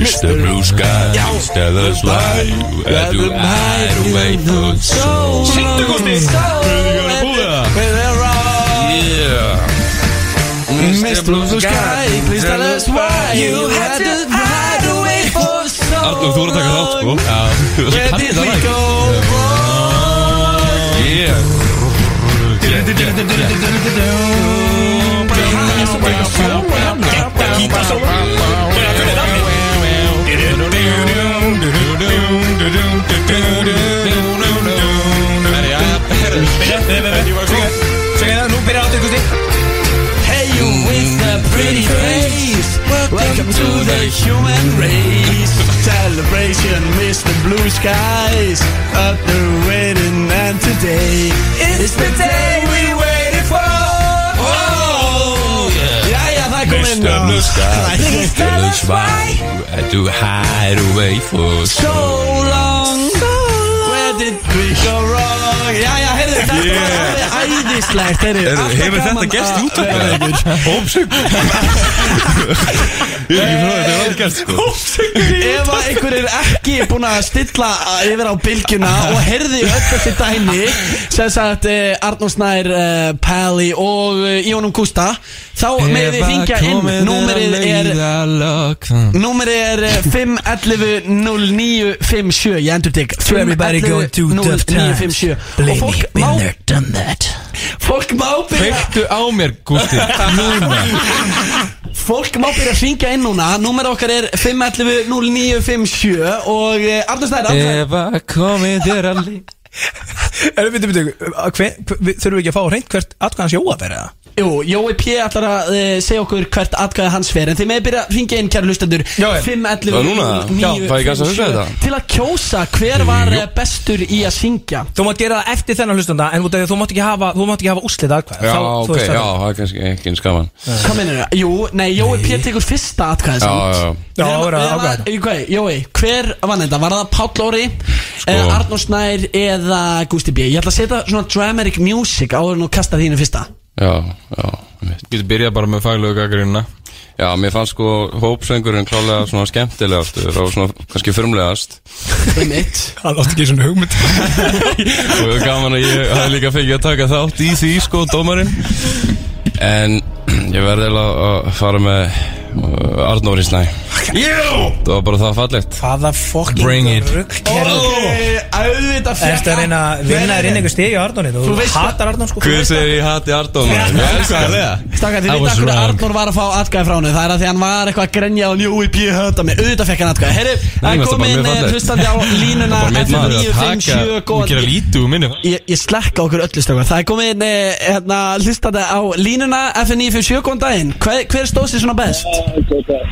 Mr. Blue Sky Instead of fly At your night away for so
Sýndu Gusti With a rock
Yeah
Mr. Blue Sky Please tell us why You had to hide away for so long
Arnum, þú voru að taka þátt sko Já
Where did we go
Yeah
Segja það, nú byrja áttur Gusti
Hey, you with the pretty face. Welcome to the human race. Celebration, Mr. Blue Skies. Up the waiting, and today is the day we waited for. Oh, yeah, yeah, það kom inn.
Mr. Blue Sky
Please tell us why.
I do hide away for
So long. Where did we go wrong? Já, já, heyrðu, þetta
Yeah.
var alveg æðislegt, heyrðu.
Heyrðu,
alltaf
hefur
gaman
þetta gerst í
að-
útvarpinu?
Já, já, já.
Hópsug Ég er ekki frá þetta er alveg gert sko
Ef að einhver er ekki búin að stilla yfir á bylgjuna og herði öll þessi dæmi sem sagt eh, Arnór Snær, eh, Pally og eh, Jónum Gústa þá meði þið hringja inn númerið er, númerið er eh, 511 0957 ég endur tek
To everybody
uh,
going through tough times.
0957 og
Blimey,
fólk
been
má
there,
done that fólk má byrja
Kveiktu á mér, Gusti Núna
Fólk má byrja að hringja inn núna Númer okkar er 511 0957 Og eh, Arnur Snær, Arnur Snær
að komið þér að líka
Erum við, við, við, þurfum við ekki að fá hreint hvert atkvæðans Jóa fyrir það?
Jú, Jói P. ætlar að uh, segja okkur hvert atkvæði hans fer En þið meði byrja að ringja inn, kæru hlustendur
Já, já.
5, 11,
Það er núna? Já, fæ ég gas að hugsa þetta?
Til að kjósa hver var eh, bestur í að syngja
Þú mátt gera það eftir þennan hlustanda en út af því að þú mátt ekki hafa, þú mátt ekki hafa úslið aðkvæð
Já, ok, já, það er kannski ekki eins gaman
Hvað mennir það? Jú, nei, Jói P. tekur fyrsta atkvæði
Já,
samt.
já, já.
Já,
Við erum-
það er að
við erum
ákveða þetta.
í hvað, Jói, hver vann þetta? Var það Páll Óri, sko. Arnór Snær eða Gústi B? Ég ætla að setja svona dramatic music áður en þú kastar þínu fyrsta
já, já einmitt.
Getur byrjað bara með faglegu gaggrunna
Já, mér fannst sko hópsöngurinn klálega svona skemmtilegast og svona kannski förmlegast
Um eitt
Það átti ekki svona hugmynd
og það er gaman að ég hafði líka fengið að taka þátt í því sko, dómarinn en ég verði eiginlega að fara með uh, Arnóri Snæ Jú! Það var bara það fallegt
Hvaða
Bring
fokking
it.
rugg Oh!
Auðvitað
Ertu að reyna að vinna þér inn einhver stig í Arnóni Þú
Þú veist
hatar Arnón sko
Hver segir ég hati Arnóri? Ég elska það
Stakka, þið
I
veit að
was
hverju
wrong.
Arnór var að fá atkvæði frá henni Það er að því hann var eitthvað að grenja á njói píu höta mig Auðvitað fekk hann atkvæði Herri,
Nei,
það kom
mér finnst það bara
inn
mjög
eh,
fallegt.
hlustandi á línuna
Bara mitt maður að
957
Þú gera
góðan
lítið úr minni
Ég, ég slekka okkur öllu stökkur Það er komið inn eh, hérna, hlustandi á línuna FN957 góðan daginn Hver, hver stóð sér svona best?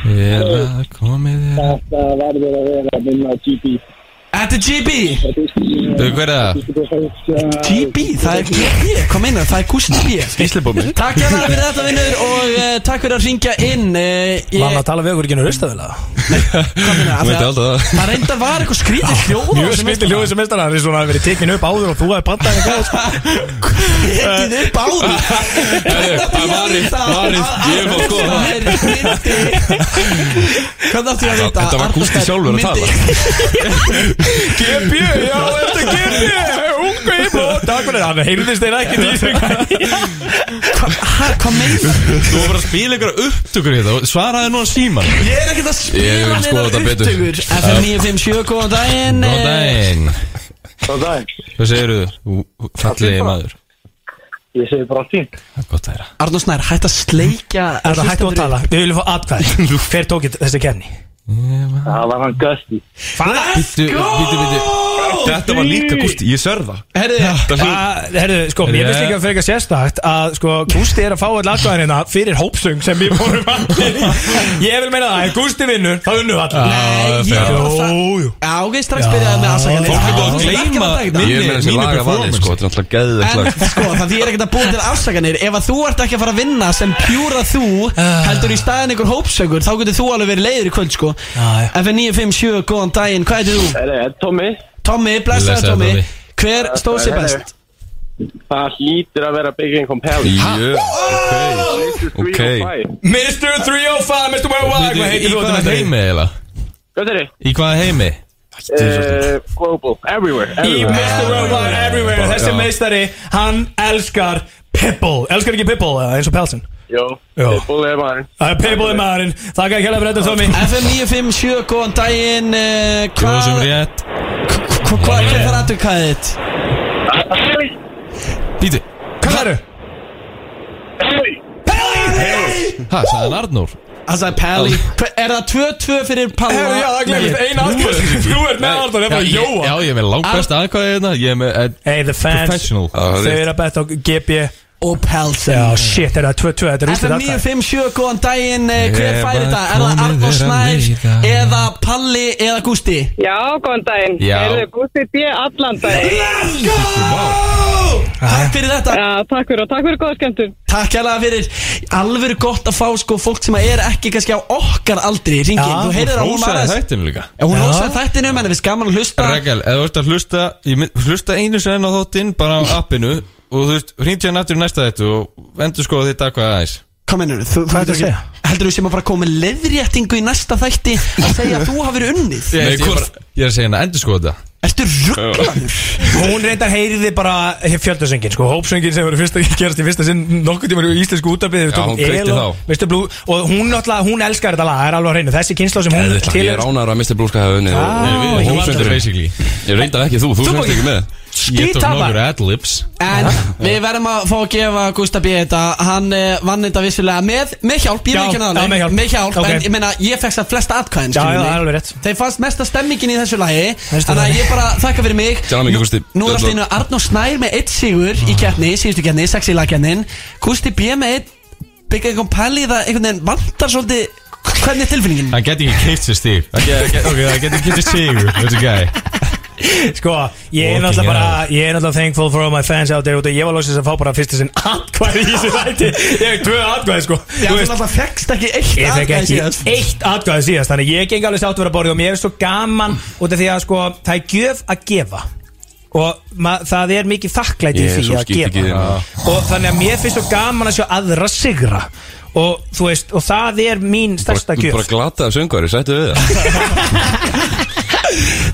Ég er að komið þér
Þetta verður að vera minna GB
Þetta er GB
Þú, hver er það?
GB, það er GB, hvað meinar, það er Gusti B
Gíslibómi
Takk hérna fyrir þetta vinnur og uh, takk fyrir að ringja inn uh, ég,
Var hann að tala við okkur ekki nú rustaðilega?
hvað meinar, af því
Þú veit Ah,
að-
alltaf það
Það reynda var eitthvað skrítið hljóð á
Mjög
þessum
smittir hljóðið sem mestar hann er svona að verið tekin upp áður og þú hefði bandað henni góð
Hitið upp á því
Eh, Það er varinn, varinn, ég er fá að skoða það
Hvað þáttu ég að vita?
Þetta var Gústi sjálfur að tala.
Gebjö, já, þetta er gebjö Unga í blóð, takk fyrir hann Heyrðist þeir ekki því sem
Hæ, hvað meinar?
Þú var bara að spila einhverja upptökur hérna og svaraði núna síman
Ég er ekkert að
Ég
spila neina
vil skoða þetta betur.
upptökur FM 957, góðan daginn
Góðan daginn
Góð dag,
Hvað segir þú? Fallegi maður
ég segi bara fínt
Það er Gott að heyra
Arnó Eh, Snær, hætt að sleikja
Það hættu að tala, við viljum fá atkvæði Hver tók þessi kefni?
Það var hann Gusti
Bíddu, bíddu, bíddu. Þetta var líka gústi, ég sörða
Herðu,
Að, Herðu, sko, mér finnst líka frekar sérstakt að sko, Gústi er að fá all aðgæðina fyrir hópsöng sem við vorum allir í Ég vil meina það, ef Gústi vinnur, þá vinnum við allir
Nei,
ég
Jú, jú.
Já, ok, strax byrjaði með aðsakanir
Fólk er búið að
Þú ert ekki
gleyma
að taka þetta.
Minni-
Ég er með þessi
mínu
laga valið
performance.
sko, þetta er náttúrulega geðið
En
slag
sko, það þýr ekkert að búa til afsakanir Ef að þú ert ekki að fara að vinna sem pjúra þú
Ah.
Heldur í staðin einhver hópsökur Þá getur þú alveg verið leiður í kvöld sko
Já, já.
FN957, góðan daginn, hvað heitir þú?
Það er Tommy
Tommy, blessaður
Blessaður,
Tommy
Tommy.
Hver stóð sér best?
Það hlýtur að vera Big Income Pally
Jö, ok
Mr. 305, Mr. oh Worldwide, hvað
Í
heitir þú?
hvaða
þetta er?
heimi eða?
Hvað er þið?
Í hvaða heimi?
Eh, Global, everywhere,
Í
everywhere.
Mr. Worldwide Everywhere,
Bara,
þessi
já.
meistari, hann elskar Pipple Elskar ekki Pipple, eða eins og Pelsin
Jó,
Jó.
Pitbull er maður
Það er Pipple í maðurinn, þakka ekki hella fyrir þetta Tommy
FN957, góðan daginn eh,
Hvað sem
Hvað
rétt
hva- hva- hver var aðtökkaðið þitt?
Bíti
Hvað eru?
Hæ, sagði hann Arnór?
Það sagði Pally Hver- Er það 2-2 fyrir Palla?
Herru, já, það glemist, eina aðgæð Þú ert með Arnur, ég er bara
Já, ég-
Jóa
Já, ég er með langt besta aðkvæði hérna Ég er með eh,
Hey, the fans,
professional
þau eru að betta á GB
Og Pelsen
Já, shit, er það 2-2, þetta er úrstuð alltaf
FM957, góðan daginn, eh, hver
Ég
fær
var
þetta? Er það
komin
Arnó
vera
Snær
líka.
eða Palli eða Gústi?
Já, góðan daginn.
Já.
Heyrðu, Gústi B. allan daginn.
Takk fyrir þetta
Já, takk fyrir og takk fyrir góða skemmtun.
Takk hérlega fyrir Alvöru gott að fá sko fólk sem er ekki kannski á okkar aldri í ringin
Já,
Þú heyrir að hún var
Rósaði
aðeins
þættinu líka
Já, Hún hósaði þættinu, menn við skaman að hlusta
Regal, ef þú ert að hlusta ég mynd- Hlusta einu sem enn á þáttinn Bara á appinu Og þú veist, hringi hann aftur í næsta þetta Og endur sko þitt aðkvæði aðeins
Hvað mennur þú?
Hvað ertu að
heldur
segja?
ekki- Heldur þú sem að fara að koma með leðréttingu í næsta þætti að segja að þú hafi verið unnið?
Nei, ég, bara, ég er að segja hérna, endur sko þetta
Ertu rugglaður?
Hún reyndar heyriði bara fjöldasöngin, sko, hópsöngin sem verið fyrst að gerast í fyrsta sinn nokkuð tíma í íslensku útarbið
Já, hún kveikti þá.
Og hún náttúrulega, hún elskar þetta lag, það er alveg á hreinu Þessi kynsla sem hún
Ég er ánæður að Mr. Blúska hafa
Já,
unnið og- og
ég
Þetta er
hómsöndurinn.
basically
Ég reyndar ekki þú, þú
Þú
semst
ekki.
ekki með
Ég tók
Skítapa.
nokkur adlibs
En við verðum að fá að gefa Gustaf B. þetta Hann eh, vann þetta vissulega með, með hjálp, ég
Já,
veit ekki hann
já, með hjálp.
með hjálp
Ok.
En ég meina, ég fekk það flesta atkvæðin
Já,
skilur
já,
mig.
það er alveg rétt.
Þeim fannst mesta stemmingin í þessu lagi
Veistu
Þannig að
það?
ég bara þakka fyrir mig
Til hamingju, Gústi.
Nú er alltaf einu Arnó Snær með eitt sigur
Ah.
í keppni, síðustu keppni, sexi lagkeppnin Gusti B. með eitt Byggja einhvern pæli það einhvern veginn vantar svolítið Hvernig er tilfinningin?
Hann geti ekki keipt sér stíl Hann get- get- ok, Hann geti ekki keipt sér sigur Þetta er gæði
Sko, ég er
Walking
náttúrulega bara
out.
Ég er náttúrulega thankful for all my fans out there út af Ég var lóksins að fá bara fyrst þessin atkvæði í þessu þætti Ég hef tvö atkvæði, sko
Já,
Þú
þú
veist,
náttúrulega fekkst ekki eitt
Ég fekk
atkvæði
ekki
síðast.
eitt atkvæði síðast Þannig ég geng alveg sátt að vera borðið og mér er svo gaman út af því að sko, það er gjöf að gefa og ma- það er mikið þakklæti í
Ég er
því
svo
að
skítið
gefa
ekki þinn.
og þannig að mér finnst svo gaman að sjá aðra sigra og þú veist, og það er mín stærsta
Bara-
gjöf
Bara glataða söngvari, sættu við það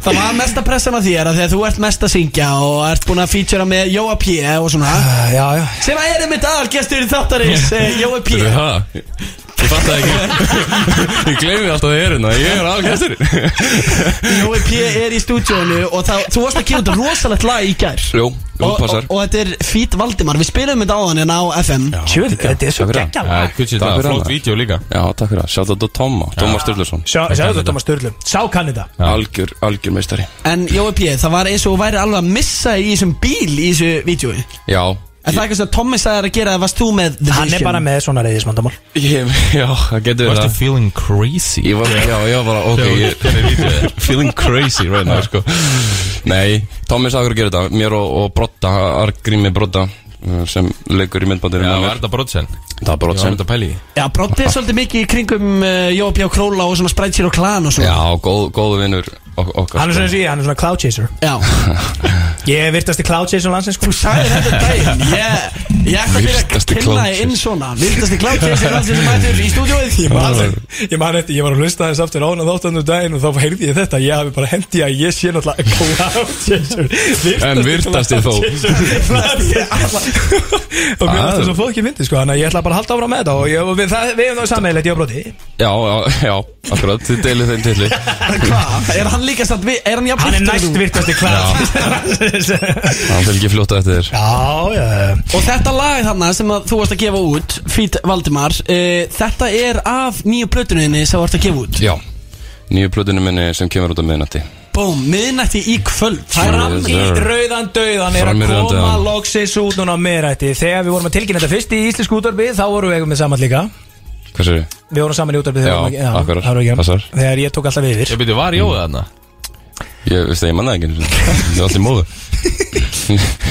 Það var mesta pressan á þér að þegar þú ert mest að syngja og ert búin að featura með Jóa P. eh, og svona
Ah, Já, já
sem að er einmitt aðalgestur í þáttarins eh, Jóa P.
Fyrir það Ég fatt það ekki Ég gleymi alltaf þið erinn að ég er aðgæstur
Jói P. er í stúdíónu og þá, þú varst að gefa út rosalegt lag í gær
Jó,
og,
þú
og,
passar
og þetta er Fít Valdimar Við spilum þetta á hann en á FM
Tjöð, þetta er svo
Takk fyrir
geggjala
Það er kvitsið
Takk
það,
fyrir
flott
hana.
vídeo líka
Já, takk fyrir það Sjátt að þú Tomma, Tomma Sturluson
Sjáðu
kann
þetta
þetta.
Thomas Sturlum, sá kannida
Algjör, algjör meistari
En Jói P. það var eins og þú væri alveg að missa í þessum bíl í þessu vídjói
Já,
Er það eitthvað sem Tommi sagði þér að gera eða varst þú með The Vision?
Hann er bara með svona reyðismandamál
Ég, já, það getur verið
Varstu
það
feeling crazy?
Ég var, já, ég var bara, ok, ég, feeling crazy right now, sko Nei, Tommi sagði okkur að gera þetta, mér og, og Brotta, Argrími Brotta eh, sem leikur í myndbandinu
Já,
með
var
mér.
þetta brotsen?
Það var
Ég var
Brotta
þetta pæli í
Já, Broddi er svolítið mikið í kringum uh, Jóp Jó Króla og svona Sprite Zero Clan og
Já,
svona
góð, góðu vinnur okkar
Hann er
sko.
svona eins og ég, hann er svona cloud chaser
Já.
Ég er virtasti cloud chaser landsins sko
Þú sagði þetta daginn Ég, ég ætla að byrja að
Virtasti
kynna þið inn
clownfish.
svona Virtasti kláttir sem allir sem mættur í stúdíóið
Ég man eftir- ég man eftir, ég var að hlusta þess aftur ána þáttanum daginn og þá heyrði ég þetta, ég hafi bara hendi að ég sé náttúrulega cloud chaser virtasti
En virtasti
cloud
þó.
chaser. Virtasti alla- og mér fannst það svo fólki myndi sko þannig að ég ætla bara að halda áfram með þetta og ég, og við, það, við hefum það sammeðilegt, ég og broti
Já, já, já, akkurat, þið deilið þeim tilli
Hvað? Er hann líka satt við? Er hann jafn
hann er
virtur og
næst
þú?
virtasti cloud chaser
Hann fylgir fljóta eftir þér
Já, já,
Og þetta lag þarna sem að þú varst að gefa út Fít Valdimar uh, Þetta er af nýju plötuninni sem þú varst að gefa út
Já, nýju plötunum minni sem kemur út á miðnætti
Bóm, miðnætti í kvöld Það er
Fram í
Sure.
rauðan dauðan er
Fram
að
í rauðan
koma
dauðan.
loksins út núna á meðrætti Þegar við vorum að tilkynna þetta fyrst í Íslensku útvarfi þá vorum við með saman líka
Hvað sér þið?
Við vorum saman í útvarfi þegar
Já,
við vorum að-
akkurat.
það var ekki-
Passar.
Þegar ég tók alltaf yfir
Ég byrju, var Jóða þarna?
Ég veist það, ég manna ekki einu sinni. Það er allir móðu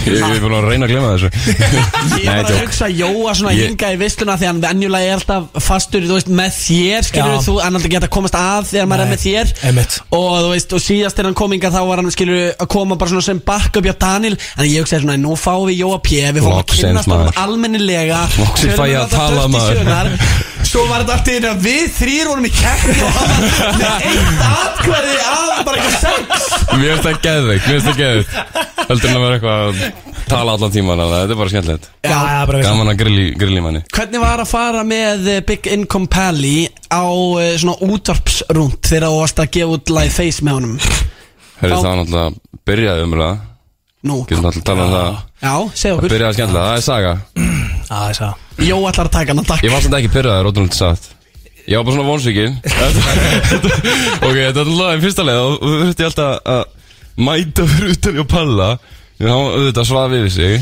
Ég ég er búin að reyna að glemma þessu
Ég var að
djók.
hugsa Jóa svona
Ég-
hinga í vistuna Því hann venjulega er alltaf fastur þú veist, með þér Skilur
Já.
þú, hann er aldrei geta að komast að Þegar maður er
Nei,
með þér
einmitt.
og, þú veist, og síðast þegar hann kom inga þá var hann skilur að koma bara svona sem backup hjá Daniel En ég hugsaði svona, nú fáum við Jóa P Við fáum að
Loksins,
kynnast
maður.
honum almennilega
Loksins
tölum
fæ ég að
þetta
tala,
traust í
maður.
sögurnar. Svo var þetta allt í einu að við þrýr vorum í keppni Og hann var með eitt atkvæði af bara eitthvað sex
Mér finnst það geðveik, mér finnst það geðveik Heldur en að vera eitthvað að tala allan tíman að Þetta er bara skemmtilegt
Já, já, bara við
Gaman að grilli, grilli manni
Hvernig var að fara með eh, Big Income Pally á eh, svona útvarpsrúnd þegar þú varst að gefa út live face með honum? Já.
Herri það var náttúrulega byrjaði umræða
Nú,
Getum alltaf talað um það
já, segja
Það
okkur
byrjaði skemmtilega, það er saga
Já, það er sá
Jó ætlar að taka hann að
Ég
takk
var svolítið ekki pyrraður, ótrúlega satt Ég var bara svona vonsvikinn Ok, þetta er alveg fyrsta leið og þú þurfti alltaf að mæta fyrir utan og palla Þannig að hann auðvitað svaf yfir sig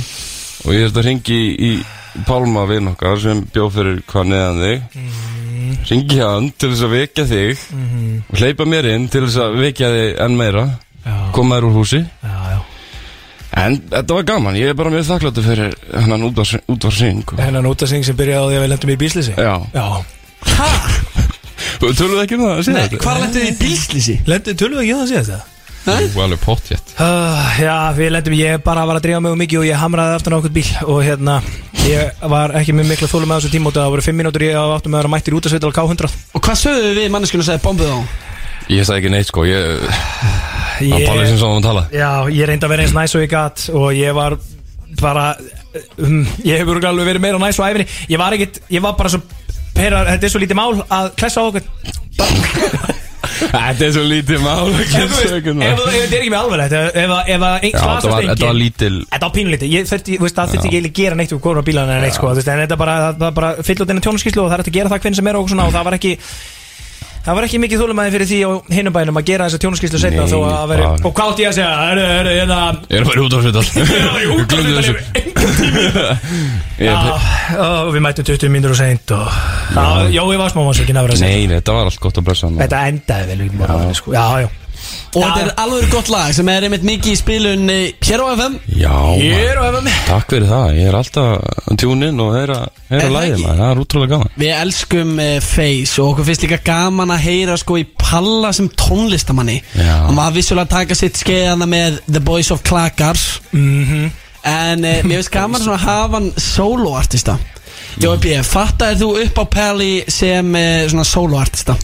og ég þurfti að ringi í, í Pálma vinn okkar sem bjóð fyrir hvað neðan þig Ringi hann til þess að vekja þig og hleypa mér inn til þess að vekja þig enn meira koma þér úr húsi
Já, já
En þetta var gaman, ég er bara mjög þakkláttur fyrir hennan útvarsing og...
Hennan útasing sem byrjaði á því að við lendum í bíslýsi
Já,
Já
tölum við ekki um það að segja þetta?
Hvar lendið þið í bílslýsi?
Lendum, tölum við ekki það að segja þetta?
Þú er alveg pottjett
Uh, já, við lendum, ég bara var að drífa mig um mikið og ég hamraði aftan á okkur bíl og hérna, ég var ekki með mikla þólum með þessu tímóti það voru fimm mínútur ég á aftan með að vera mættir út að sveita á K100
Og hvað sögðu við manneskinu að segja bombið á? hann?
Ég sagði ekki neitt sko, ég Það
Ég-
talaði sem svo að tala
Já, ég reyndi að vera eins næs og ég gatt og ég var bara um, ég hefur örugglega alveg verið meira næs og æfinni ég var ekkit, ég var bara svo pera, þetta er svo lítið mál að klessa á okkur
Þetta er svo lítið mál
Ef þú veist, ef þú- ef þetta er ekki með alveg þetta ef að- ef að einn
þetta
slasast
var, þetta var
enginn
lítil
Þetta var pínulítið, ég þurfti, þú veist, það þurfti ekki eiginlega gera neitt við korun á bílana en neitt, sko, þú veist, en þetta bara, það, það bara fyll út einu tjónaskíslu og það er hægt að gera það hvernig sem er og svona og það var ekki, það var ekki mikið þólumæði fyrir því á hinum bænum að gera þessa tjónaskíslu setna
Nei,
þó að veri,
bara-
og hvað átti ég að segja, herru, herru, hérna,
Ég er að fara út á svittal Ég glöndi þessu Ég-
já, og við mættum 20 mínútur og seint og, já, Jói var smá vansökin að vera að segja,
Nei, nei, þetta var allt gott að blessa hann
þetta endaði vel, við morgunni, sko, já, já,
Og
Já.
þetta er alveg gott lag sem er einmitt mikið í spilun eh, hér á FM
Já, maður.
og hefa með,
takk fyrir það Ég er alltaf að tjúna inn og heyra
Er það
heyra lægið
ekki?
maður Það er útrúlega gaman
Við elskum uh, Face og okkur finnst líka gaman að heyra sko í Palla sem tónlistamanni
Já.
og maður vissulega taka sitt skeiðana með The Boys of Klakar en uh, mér finnst gaman svona að hafa hann soloartista Jói B, fattar þú upp á Pally sem uh, svona soloartista?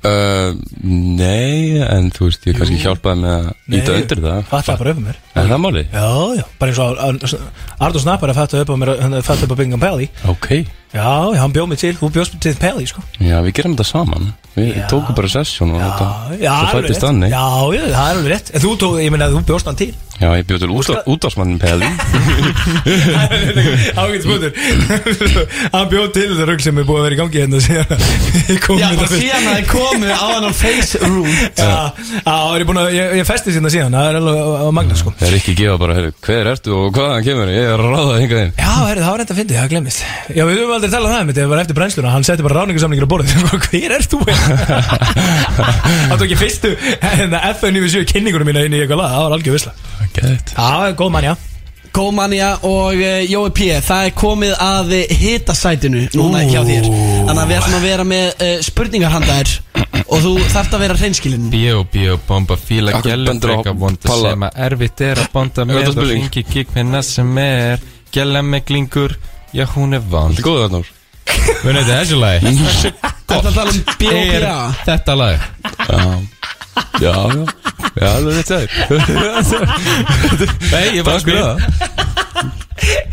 Uh, Nei, en þú veist, ég kannski hjálpaði með að íta
Nei.
undir það
það bara hefa mér,
Er það málið?
já, já, bara eins og Arnur Snappar að fættu upp á mér, fættu upp á Bingham Pally,
Ok,
Já, já, hann bjóð mig til, þú bjóðst mig til Peli, sko
já, við gerum þetta saman Við
Já.
tókum bara sessjón og þetta
já,
Svo
alveg
fættist
rétt.
þannig
Já, já, það er alveg rétt En þú tók, ég meina, þú bjóðst hann til
Já, Já, ég bjóð til útvarsmannin Pelli
Ágætt spútur Hann bjóð til þetta rögg sem er búið að vera í gangi hérna síðan Ég kom hérna
Já,
með
bara
þetta fyrst.
síðan að þið komu á hann á face root
Já, já, það er ég búin að, ég, ég festi síðan síðan, það er alveg á- á magna sko
Það er ekki að gefa bara, heyrðu, hver ertu og hvaðan kemur Ég er að ráða það hingað inn
Já, herri, það var þetta að fyndi, það glemist Já, við höfum aldrei talað um það, mitt, það var eftir brennsluna Hann setti bara ráningarsamlingur á borðið Hver er þú? Það tók ég fyrstu hérna, FN97 kynningunum mína inn í eitthvað lag Það var algjör visla
Gæðið
Já, góð mann, já
Gómanja og eh, Jói P Það er komið að hitasætinu Núna ekki á þér Þannig að við ætlum að vera með eh, spurningar handa þér Og þú þarft að vera hreinskilinn
Bjó, bjó, bomba, fíla,
Akkur
gælum,
bendur á
drega, vonda
palla.
sem að erfitt er að bonda
Ég veit
með
að
og
spurning.
hringi gík með næst sem er gæla með glingur, já hún er vand
góð þarna úr
Við neitt, þessi lag
Mm.
Þetta er að tala um B.O.P.A.
er þetta lag
Já, já, já, alveg rétt sæður
Nei, ég var að spila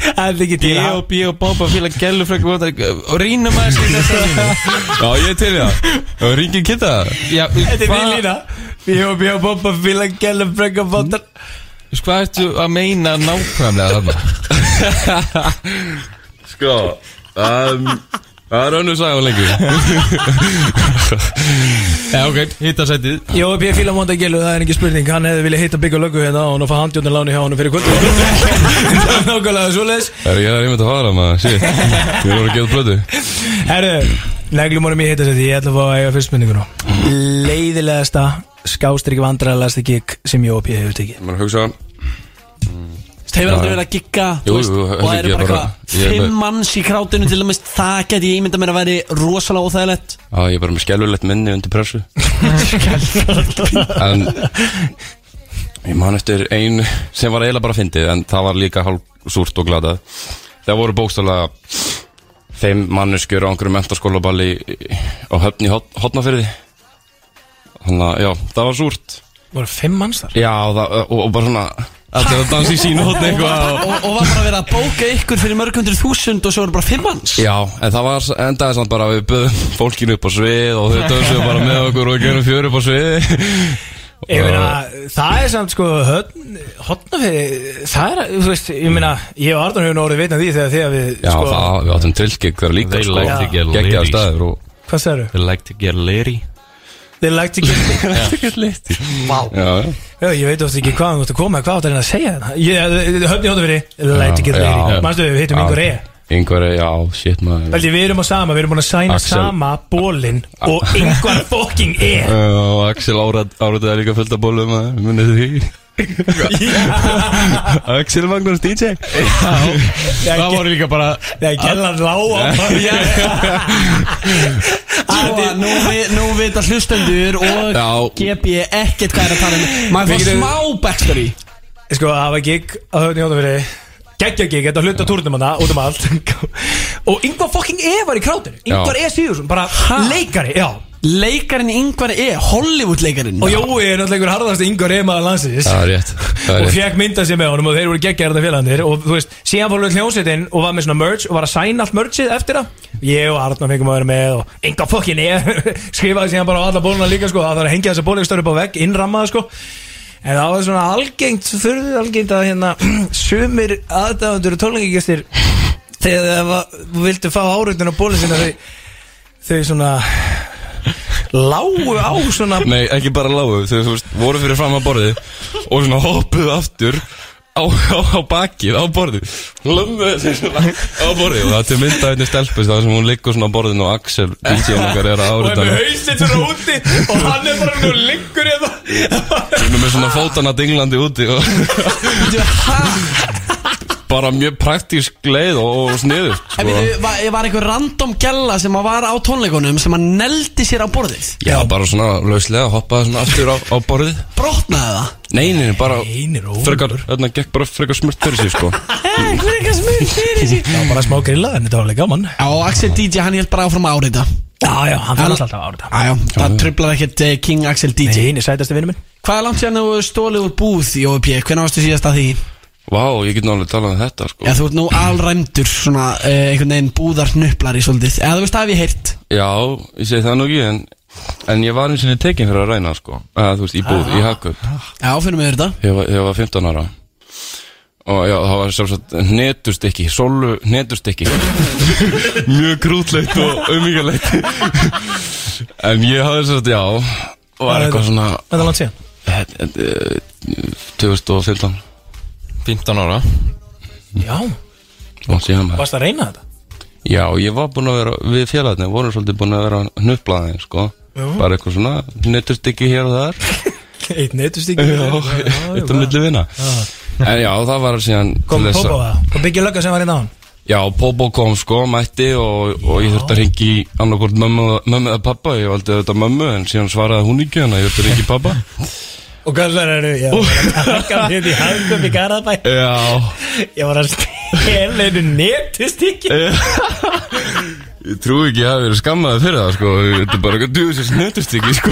Það er ekki til
Bjó, bjó, bomba, fíla, gælu, fræk, vonda og rínum aðeins í þessa línu
Já, ég er til í það Og ringi kitta
Já,
Þetta er
hvað-
mín lína Bíó, bíó, bópa, fíla, gæla, frekka, bóta
Þú veist, Hvað ertu að meina nákvæmlega þarna?
Sko, um, það er önnur saga lengur
Já, ok, hittasætið
Jó, bíó, fíla, bóta, gælu, það er ekki spurning Hann hefði viljað hitta byggja löggu hérna og nú fá handjóttin láni hjá honum fyrir kvöld Það er nákvæmlega svoleiðis
Það er ég að reyna að fara maður, shit Ég voru að gefa plötu
Herru, neglum honum í hittasæti Ég ætla að fá að eiga fyrstmyndinguna Leiðilegasta, skástrygg vandræðalegasta gig sem ég og P hefur tekið
Mér hugsa
Það hefur aldrei verið að gigga þú
Jú,
veist,
jú,
Og
heldur
það eru
ekki,
bara
ég bara-
eitthvað
ég er
Fimm
með-
manns í krátinu til dæmis Það geti ég ímynda mér að veri rosalega óþægilegt
Já, ég er bara með skelvilegt minni undir pressu En Ég man eftir ein sem var eiginlega bara fyndið En það var líka hálf súrt og glatað Það voru bókstaflega Fimm manneskjur á einhverju mentaskólaballi Á höfn í hotnafyrði Þannig að, já, það var súrt
Voru fimm manns þar?
Já, og, það, og, og bara svona Allir að dansa í sínu hotni eitthvað
og,
og-
og var bara að vera að bóka ykkur fyrir mörg hundruð þúsund Og svo eru bara fimm manns
Já, en það var endaði samt bara að við böðum fólkinu upp á svið og þau dansuðu bara með okkur og gerum fjör upp á svið
Ég meina, það er samt sko Hotnafið, það er Þú veist, ég meina, ég og Arnur hefur nú orðið vitna því þegar þegar við
Já,
sko,
það, við áttum trillgig þar líka
They
sko,
like to get
geggjaður
ladies.
staður og,
Hvað sagðu?
They like to get lady
They like to get
já, já.
Já, ég veit ofta ekki hvað þú ert að koma Hvað átt að reyna að segja þarna? Ég- Höfn í Hotnafiri, they like to get
Já,
lady
já.
Manstu, við hittum E. yngur reyja
Yngvar, já, shit maður
Veldi, við erum á sama, við erum búin að sæna
Axel.
sama bólinn og yngvar fucking E. er
Já, og Axel áraðið líka fullt af bólum maður, munið því Axel Magnús DJ
Það voru líka bara
Þegar gellan lág á
Sko, nú, vi- nú vita hlustendur Og
Já.
gef ég ekkert hvað er að tala um Maður fá
Við getum-
smá backstory
Sko, það var gig á höfni hjónafyrir Gekkja gig, þetta hluta túrnum hana út um allt Og yngvar fucking E var í krátinu Yngvar E Sigursson, bara leikari, já
Leikarinn yngvar E, Hollywood leikarinn
Og Jói er náttúrulega einhver harðasti yngvar E maður landsins
Það er rétt, það
Og
er rétt
fekk mynda sér með honum og þeir voru geggjaðarna félagandir Og þú veist, síðan fór við hljónsveitin og var með svona merch Og var að sæna allt merchið eftir það Ég og Arnar fengum að vera með og Inga fokkin ég Skrifaði síðan bara á alla bóluna líka sko Það þarf að hengja þessa bólegstöru upp á vegg, innrammaða sko En það var svona algengt, furðu algengt að hérna Sumir aðdáðundur og tólengingestir Þegar það var, vildu fá árautun á bólinn sinna Þau, þau svona Lágu á svona
Nei, ekki bara lágu, þau þú veist, voru fyrir fram að borðið og svona hoppuðu aftur á, á, á bakið, á borðið Lömmuðu sig svona á borðið og það er til mynda einnig stelpust það sem hún liggur svona á borðinu og Axel DJ okkar er að
Og er
áriðan
með hausinn svona úti Og hann er bara nú liggur eða
Hún er með svona fótana dinglandi úti og bara mjög praktísk leið og, og sniður
En
sko.
við, var, var einhver random gælla sem að var á tónleikunum sem að neldi sér á borðið
Já, bara svona lauslega hoppaði svona aftur á, á borðið
Brotnaði það
Nei, neini, bara
Einir og
frekar, þarna gekk bara frekar smurt fyrir sig sko
Það var bara smá grilla en þetta var alveg gaman
Já, og Axel DJ hann held bara áfram að áreita
Já, já, hann
Hann-
fyrir alltaf árið það
Æjá, það tröflar ekkert eh, King Axel
Nei,
DJ
eini sætasti vinnu minn
Hvað er langt sérna þú stólið úr búð í OVP? Hvernig varstu síðast að því?
Vá, ég get nálega talað um þetta sko
Já, þú ert nú alræmdur svona eh, einhvern veginn búðarnuplari svolítið Eða þú veist að við heyrt
Já, ég segi það nú ekki en, en ég var eins og tekinn fyrir að ræna sko að, Þú veist, í búð, í hakkaup
Já, finnum við þetta
Þegar ég var 15 ára og já, það var sjálfsagt netustykki, sólu netustykki mjög krútlegt og umíkjalegt en ég hafði sjálfsagt, já var eitthvað svona
Þetta er langt síðan
eh, eh, 2015 15 ára
Já,
og síðan maður
varst að reyna þetta?
Já, ég var búinn að vera, við félagarnir vorum svolítið búin að vera hnuplaðið, sko
Já.
bara eitthvað svona, netustykki hér og þar
Eitt netustykki
Já, eitt og milli vina En já, það var síðan
Kom
til þess
Popo
að-
það, kom Byggja Lögga sem var inn á hann
Já, Popo kom sko, mætti og, og ég þurfti að ringi í annarkort mömmu, mömmu eða pappa Ég valdi þetta mömmu, en síðan svaraði hún ekki Þannig að ég þurfti að ringi pappa
Og kallar eru, já, takka við hérna í hangum í Garðabæ
Já,
Ég var að stela einu netustykki
ég trúi ekki að ég hafi verið skammaði fyrir það sko Þetta er bara eitthvað duð sér snöttust ekki sko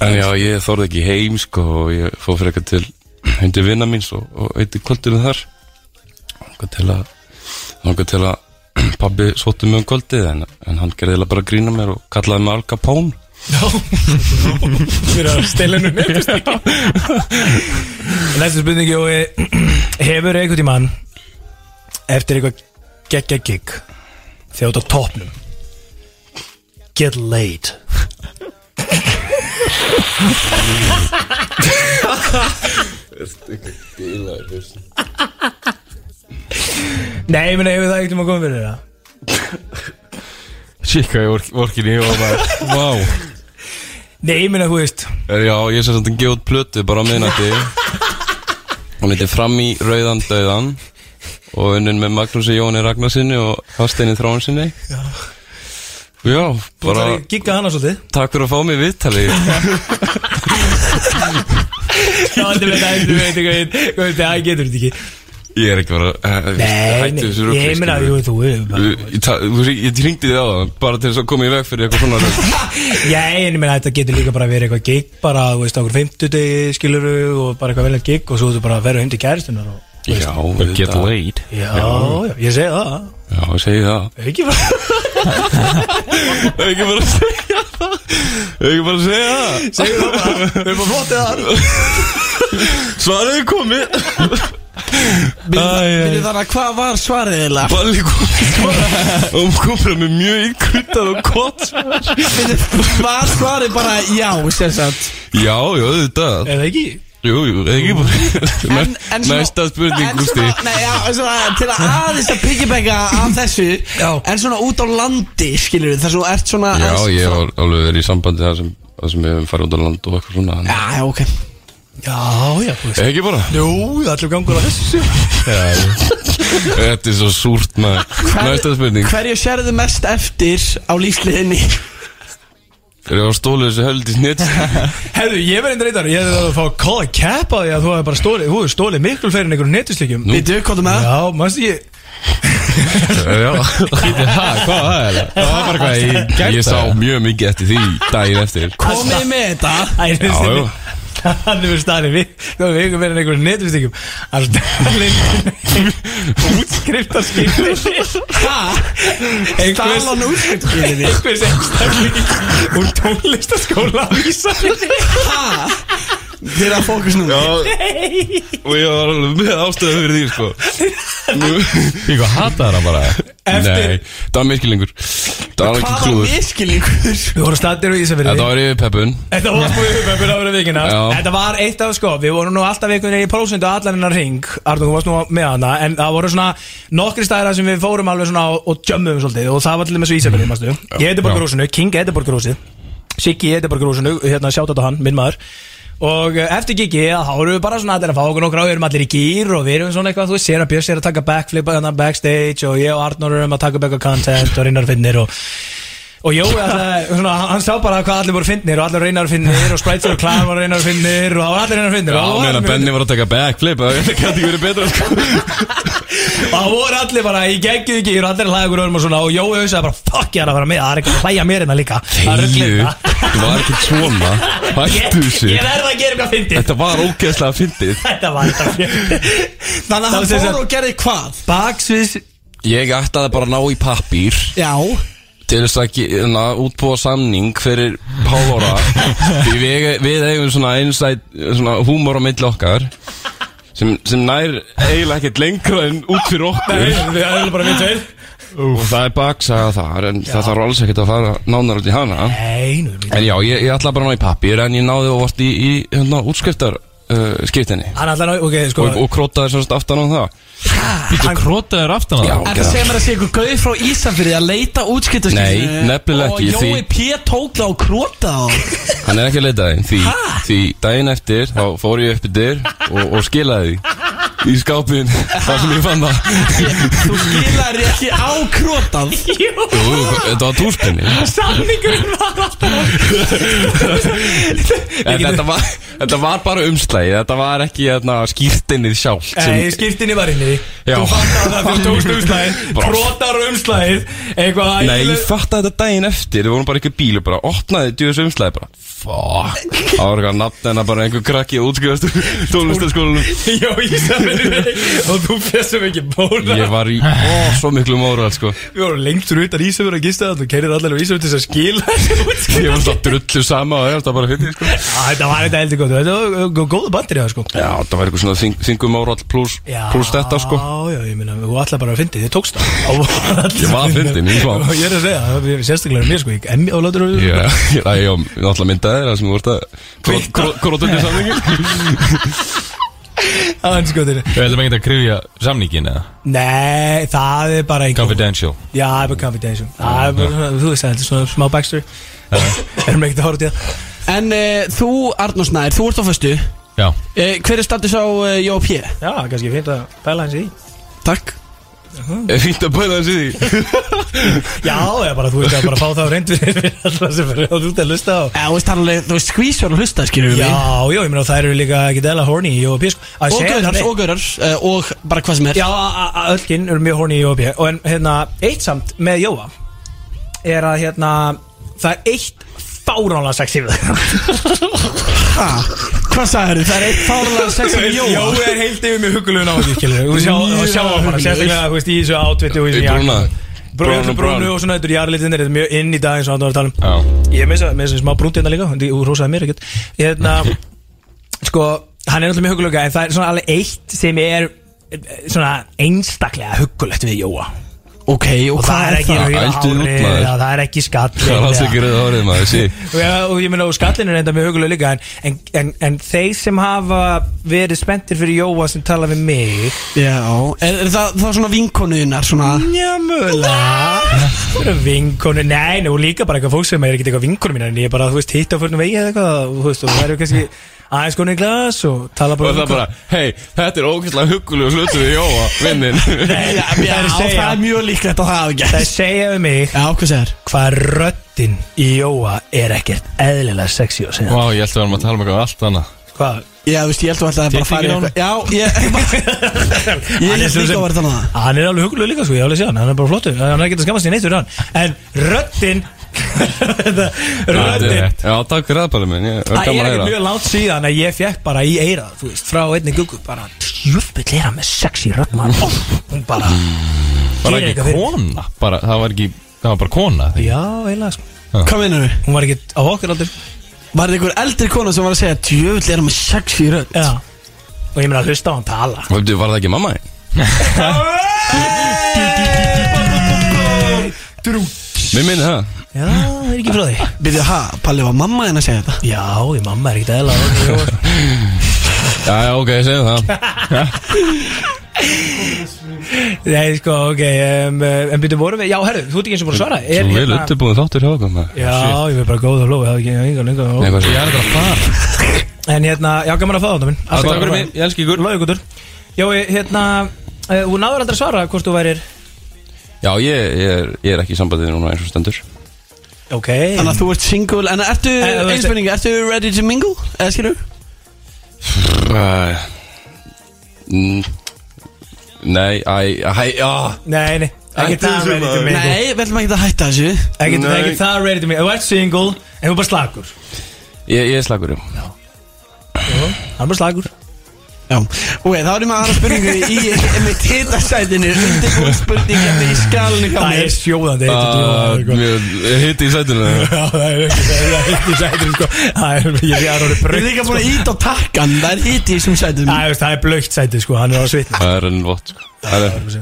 En já, ég þorði ekki heim sko og ég fór fyrir eitthvað til hundi vinna míns og, og eitthvað kvöldinu þar Þannig til að Þannig til að pabbi svotti mig um kvöldið en, en hann gerði eiginlega bara að grína mér og kallaði mig Al Capone
Fyrir að stela einu netustykki Næsta spurningi og hefur einhvern tímann eftir eitthvað geggja gig þegar þú ert á topnum get laid Nei, ég meina hefur það einhvern tímann komið fyrir það
Sikka í ork- orkinni og bara Vá
Nei, ég meina þú veist
Er- Eh, Já, ég sér samt að gefa út plötu bara á miðnætti Hún heitir Fram í rauðan döðan Og unnin með Magnúsi Jóni Ragnarsinni og Hasteini Þráinsinni Já Já, bara
Bara gigga hana svolítið
takk fyrir að fá mig í viðtali
Já, þetta veit að þú veit hvað ég- hvað veit að ég getur þetta ekki
Ég er ekki bara eh,
Nei,
hættu þessu
nei,
rugli,
ég meina
skilur.
jú, þú
Ég- Ég ta- þú veist, ég hringdi þig á það bara til þess að koma í veg fyrir eitthvað svona rugl.
Ég, en ég meina þetta getur líka bara verið eitthvað gig bara, þú veist, okkur 50 degi skiluru og bara eitthvað veljönd gig og svo þú bara að vera heim til kæristunar og
Já,
But get
auðvitað.
laid
Já, já, ég segi það
Já, segi það
Ekki bara,
Ekki bara að segja það Ekki bara að segja það
segi það bara Við erum bara flottið það
Svarið er komið
Byrju þannig að hvað var svarið eiginlega?
Balli kom og hún kom frá með mjög ykkurtar og kott
Var svarið bara já, sem sagt
Já, já, þetta
Eða ekki
Jú, jú, ekki bara
En- en svona-
Næsta spurning,
En
Gusti
svona, nei, já, en svona, til að aðeins að piggybacka af þessu
Já.
En svona út á landi, skilur við, þar sem þú ert svona
Já,
aðeins-
ég var alveg verið í sambandi það sem, það sem ég hefum farið út á land og eitthvað svona en-
Já, já, ok
Já, já, þú veist
Ekki bara
Jú, það er allir gangur á þessu
Þetta er svo súrt maður Næsta spurning
Hverju sérðu mest eftir á lífsliðinni?
Þegar ég var stólið þessu höldi snitt
Herðu, ég verði reyndar, ég hefði að fá að call a cap á því að þú hefði bara stólið, þú hefði stólið miklu fleiri en einhverjum netuslikjum
Býtu, hvað er með það?
Já, mannstu ég
Já
Hæ, hvað það er? Það var bara hvað ég gert
Ég sá mjög mikið eftir því daginn eftir
Komið með þetta
Æ, ég
Já,
finnst
já
þetta Hann hefur staðin við Þá hefur ykkur verið einhverjum netvistykjum Hann staðin Útskriftarskipti
Stala hann úr skiptinni
Einhvers einstaklingi Úr tónlistaskóla á Ísafirði
Þið er að fókus nú
Já Og ég var alveg með ástöðu fyrir því sko Nú-
Ég hvað hata það bara
Nei, það var miskilingur Það var ekki
Hvað var
klúður
miskilingur?
Við vorum staðir á
Þetta
Ísafirði
var yfir peppun
Þetta var búið upp að byrja að vera vikina
Já.
Þetta var eitt af sko Við vorum nú alltaf einhvern veginn í prósundu allan hennar ring Arnur, þú varst nú með hana En það voru svona nokkri staðir sem við fórum alveg svona og- og djömmum svolítið Og það var til dæmis í Ísafjörði, mástu Ég heiti bara grúsinu, King heiti bara grúsið Siggi heiti bara grúsinu, hérna sjátt á hann, minn maður Og eh, eftir gigi, þá erum við bara svona allir að fá okkur nokkra og við erum allir í gýr og við erum svona eitthvað, þú veist, sér að Björns er að taka backflip hérna backstage og ég og Arnur erum að taka back og content og reynar finnir og Og Jói, alltaf, svona, hann- hann sá bara hvað allir voru fyndnir og allir reynar fyndnir og Sprites og Clan var reynar fyndnir og það var allir reynar fyndnir
Já,
og, það voru
meðan
allir
að Benni var að taka backflip Það gæti ekki verið betra sko
og það voru allir bara í geggju ekki og allir að hlæða ykkur öðrum og svona og Jói hugsaði bara fuck ég er að vera með, það er eitthvað að hlæja mér hérna líka Það er ruglið
Þegiðu,
þetta.
þú var ekki svona Hættu þessu
Ég verð að gera eitthvað fyndið
Þetta var ógeðslega fyndið
Þetta var þetta fyndið
Þannig að
Það
hann
var sem
fór
sagt-
og gerði hvað?
Baksviðs
Ég ætlaði bara að ná í pappír
Já
til þess að ge- na, útbúa samning fyrir hálfóra því við, við eigum svona einsætt svona húmor á milli okkar sem, sem nær eiginlega ekkert lengra en út fyrir okkur
Nei, við erum bara við tveir
og það er baksaga þar en það þarf alls ekkert að fara nánar út í hana
Nei, nú
en já, ég, ég ætla bara að ná í pappir en ég náði og vart í, í hérna, útskriftar uh, skiptinni
Hann ætlar að, ok, sko
og, og krótaði semst aftan á það
Býttu krótaður aftan á
Já,
það
Þetta segir mér að sé ykkur gauð frá Ísafyrði að leita útskiptaskipti
Nei, nefnilega ekki,
Og Jói
því-
P. tók það á króta á
Hann er ekki að leita þeim því, því daginn eftir þá fór ég upp yfir og, og skilaði því í skápin þar sem ég fann það
Þú skilar ekki á krótað
Jú, jú, þetta var túspenni
Samningurinn var alltaf
En þetta var, þetta var bara umslægi Þetta var ekki hérna, skýrtinnið sjálf
Nei, skiptinni var inn í
Já.
Þú fattar það fyrir tókst umslæðið
Bara-
Brotar umslæðið Eitthvað að-
Nei, ég fatt að þetta daginn eftir Við vorum bara ekki bíl og bara opnaði djöðs umslæði bara Fuck Það var eitthvað nafn en að bara einhver krakki að útskjöðast tónlistaskólanum
Já, ég sagði Og þú fessum ekki bóla
Ég var í ó, svo miklu móral sko
Við vorum lengt úr utan Ísafjörn að gista það Þú kerir allar á Ísafjörn til þess að skila þessu útskrift.
Ég var alltaf drullu sama og ég var alltaf bara fyrir sko
Já, Þetta var þetta heldur gott Þetta var gó- góð bandri það sko
Já, það var eitthvað svona þingum árall pluss plus þetta sko
Já, já, ég meina, þú ætlaði bara að fyndi, þið tókst það
Ég var fyndinn, ég var.
Ég er að segja, það er sérstaklega mér sko, ég emmi á látur og
Já, já, já, ég náttúrulega myndaði það sem þú vart að Krótunni samlingi
aðeins sko þeirri
Við ætlum ekki að krifja samningin eða
Nei, það er bara einhver
Confidential
Já, það er bara confidential Það er bara, svona, þú veist það, þetta er svona smá backstory Erum ekkert að horfa til það
En uh, þú, Arnór Snær, þú ert á föstu uh,
Já
Hver er status á uh, Jói P?
Já, kannski fint að pæla hans í því.
Takk
Er fínt að bæða þessi því
Já, ég bara, þú veist að bara fá það á reynd fyrir alltaf sem fyrir að þú ert að lusta á
Eh, Þú veist hann alveg, þú veist skvísverð að hlusta, skilur við
Já,
mig
já, ég meina, það eru líka ekki dæla horny í Jóa P sko Að
Og
segja það
gaurars,
neitt.
og gaurars, uh, og bara hvað sem er
Já, a- a- öll kyn eru mjög horny í Jóa P Og en, hérna, eitt samt með Jóa Er að, hérna, það er eitt fáránlega sexy við það
Ha, Hvað sagður Það er eitt fárlega sexið við Jóa
Jói er heilt yfir mig huggulegun á því skilur Þú sjá,
Mjög
þú sjá það bara
huggulegur.
sérstaklega þú veist, í þessu átvitti og í
Í
þessu jakka.
brúna.
Brúnu,
Brúnu,
brúnu, brúnu
brúnu.
og svona Þetta er jarlítinn, þetta er mjög inn í dag eins og andan var að tala
Já.
um Ég er með þess að- með þess að smá brúnt hérna líka en Þú rosaði mér ekkert Hérna, sko, hann er náttúrulega mjög huggulega En það er svona alveg eitt sem er eh, svona einstaklega huggulegt við Jóa
Ok, og
Og
hvað
það er
er
ekki
það?
rauð- Ældu út,
hárið,
maður.
eða það er ekki skall
Það hérna, er alls ekki rauð árið maður, sí
Já, og ég meina og skallinu reynda mjög hugulega líka en, en, en, en þeir sem hafa verið spenntir fyrir Jóa sem tala við mig
Já, er, er það, það er svona vinkonuðinnar svona
Já, mögulega Það eru vinkonu, nei, og líka bara eitthvað fólk sem er ekkert eitthvað vinkonu mín en ég er bara, þú veist, hitt á fórnum vegi eða eitthvað og þú veist, og það eru kannski aðeins konu í glas og tala
Og
bara um
það bara, hei, þetta er ógæslega huggulegu hlutu við Jóa, vinnin
Nei,
Já,
það er að segja,
Eh, það er mjög líklegt að það hafa
það er
gert
að segja við mig
Já, hvað segir?
hvað röddin í Jóa er ekkert eðlilega sexy og segja
Vá, ég held að við varum að tala um eitthvað allt annað
Hvað?
Já, þú veist, ég held að það er bara að fara í
Tittlingin
eitthvað Já, ég Ég
Hann er
held
svo
líka
sem-
að vera þannig að
Hann er alveg hugulega líka sko, ég hef alveg sé hann, hann er bara flottur Hann er ekki að skammast í neitt fyrir hann En röddin Röddin
Já, takk fyrir aðbæli minn, ég er
Það er
gaman að
ekki mjög
heyra
langt síðan að ég fekk bara í eirað Þú veist, frá einni guggu Bara tjöfull er hann með sexy rödd maður. Ó, Hún bara
Bara
gerir
ekki
eitthvað fyrir-
kona bara, Það var ekki, það var bara kona þegar.
Já, eiginlega sko
Hvað meinar við?
Hún var ekki á okkar aldur
Var það einhver eldri kona sem var að segja Djöfull er hann með sexy rödd
Já Og ég meina að hlusta á hann tala
Vöptu, var það ekki mamma þín? Mér minni það
Já, er ekki frá því
Byrðu, ha, Palli var mamma henn að segja þetta
Já, ég mamma er ekkert eðla
Já, já, ok, segjum það
Nei, sko, ok um, uh, En byrju, vorum við Já, herru, þú ert ekki eins og búin að svara Er
Svo vel
hérna-
undirbúin þáttur hjá okkur maður
Já, ég verð bara góð og lóð, ég hafði ekki enga
Nei,
lengur
hvað
Ég
sé
er bara að fara
En hérna, já, gaman að fá þetta minn Alltaf
Takk fyrir
gaman
mig, ég elski ykkur
Lóðu gutur Já, ég, hérna, eh, þú náður aldrei að svara hvort þú værir
Já, ég, ég, er, ég er ekki í sambandið núna eins og stendur
Ok
Þannig að þú ert single En ertu,
Eh, þú veist-
einspurning, ertu ready to mingle? Eða skilur?
Æ, mm, Nei, æ, æ, já
Nei, nei, ekki
Ættu
það
þessu
ready to
maður.
mingle
Nei, við ætlum ekki að hætta þessu
Ekki
Nei.
ekki það ready to mingle Þú ert single, en þú er bara slagur
um. Ég, ég er slagur, já
Hann er bara slagur
Já, ok, þá erum við aðra spurningu í einmitt hitasætinu undirbúin spurning hérna í skalinu hjá
Það
mér
er sjóðandi
Ah,
heitt uh,
Mér hitti í sætinu
Já, það er ekki það er heitt í sætum sko. Það er, ég er að orðið
Ég er
brautt
líka búin að íta á takkan, það er hiti í þessum sætum
Það er, það er blökt sæti sko, hann er á svitna
Það er enn vott sko. Það er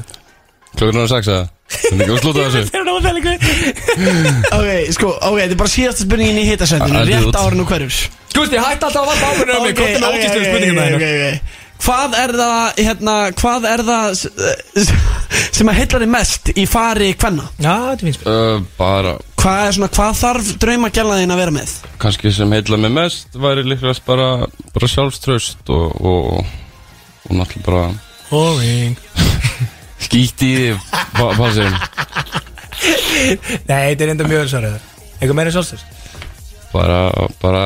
Klokkurinn er sex eða Það er ekki að slúta þessu
Það er náttúrulega vel ykkur
Ok, sko, ok, þetta er bara síðasta spurningin í hitasætinu
Ah, þetta er
Rétt
út.
ára nú hverjus
Sko,
Gústi, hætti alltaf að varpa ábyrðinu um mig Komdu með ógæstum spurningum
hérna.
það
hérna. Hvað er það, hérna, hvað er það s- eh, s- sem að heillar þið mest í fari hvenna?
Já, þetta er mín spurning
Uh, Bara
Hvað er svona, hvað þarf draumagjalaðin að vera með?
kannski sem heila mig mest væri líklegast bara, bara sjálfströst og, og, og, og náttúrulega bara
Boring
skýtt í því pa- passið
Nei, þetta er enda mjög svarið Eitthvað meira sjálfstöð
bara, bara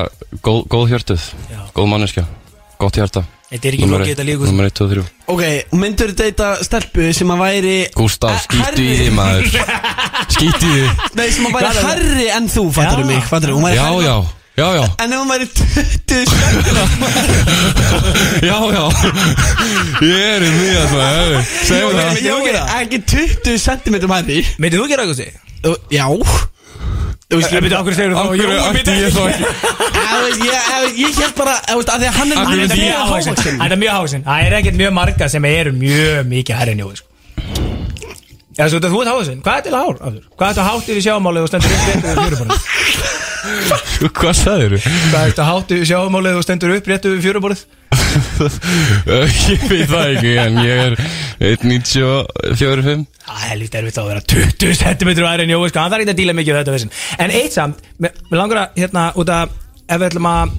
góð, góð hjörtuð góð manneskja, gott hjarta
Þetta er ekki
Númer
lokið,
eitt-
þetta líka
Númer 1, 2, 3
Ok, og myndur þetta stelpu sem að væri
Gústaf,
Eh,
skýtt í
herri.
því maður skýtt í því
Nei, sem að væri
Hvað er það?
herri en þú, fattar
Já.
mig fattar, hún væri
Já,
hærri-
já, já, já
En ef hún væri 20 stelpuna
Já, já Ég er í því að það Segjum það
Ég
Ég
er ekki 20 cm hærri
Meitir þú ekki rækusti?
Þú- Já Þú veist,
Ég
ég-
veit, okkur segir
Af
þú
hverju ætti ég þá ekki
Þú veist, ég- ég- ég held bara þú veist, af Því að hann er
Af
hann
hverju
er
því
mjög
ég
hávaxinn.
Það er mjög hávaxinn Það er ekkert mjög marga sem eru mjög mikið hærri njóði sko. Já, svo þetta þú ert hávaxinn Hvað er til hár? Aftur? Hvað er þetta hátt yfir sjáumálið og stendur upp réttu við fjöruborðið?
Hvað sagðir þú?
Hvað er þetta hátt yfir sjáumálið og stendur upp réttu við fjöruborðið?
Eh, Ég veit það ekki En ég er 1.94.5
Það er lítið erfitt að vera 20 cm hærri njóði sko. Hann þarf ekki að díla mikið við þetta vissin En eitt samt, við langar að hérna út að ef við ætlum að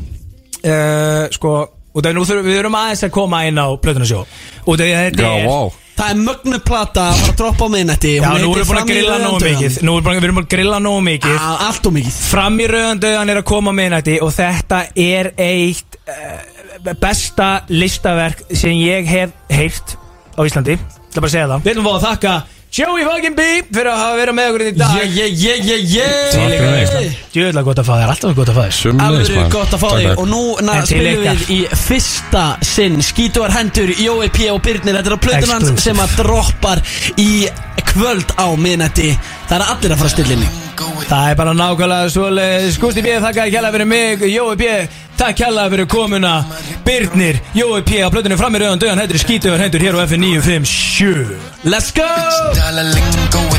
uh, sko, út að nú þurfum við erum aðeins að koma inn á plötunasjó Út að þetta
Já,
er
vá
Það er mögnu plata að fara að droppa á miðnætti
Já, nú erum við búin að grilla nógu mikið Nú erum við búin- við erum búin að grilla nógu mikið
Allt og mikið
Fram í rauðandauðan er að koma minnætti og þetta er eitt uh, besta listaverk sem ég hef heyrt á Íslandi Það bara að segja það Við ætlum að fá að þakka Joey Fucking B fyrir að hafa verið með okkur í dag
Yeah, yeah, yeah,
Takk fyrir mig.
yeah, yeah
Djöðlega gott að fá þér, alltaf gott að fá þér
Sumleis
Alveg gott að fá þig Og núna
En til
spilum
ykkar.
við í fyrsta sinn Skítuar hendur, Jói P. og Birnir Þetta er á plötun hans
Exclusive.
sem að droppar í kvöld á miðnætti Það er allir að fara að stilla inn í
Það er bara nákvæmlega svoleiðis Gústi B, þakka þér kjalla fyrir mig Jói B, takk kjalla fyrir komuna Birnir, Jói P, á plötunum fram í rauðan döðan Hættur í skítuðar hendur hér á FN 957
Let's go!
Dollar lingo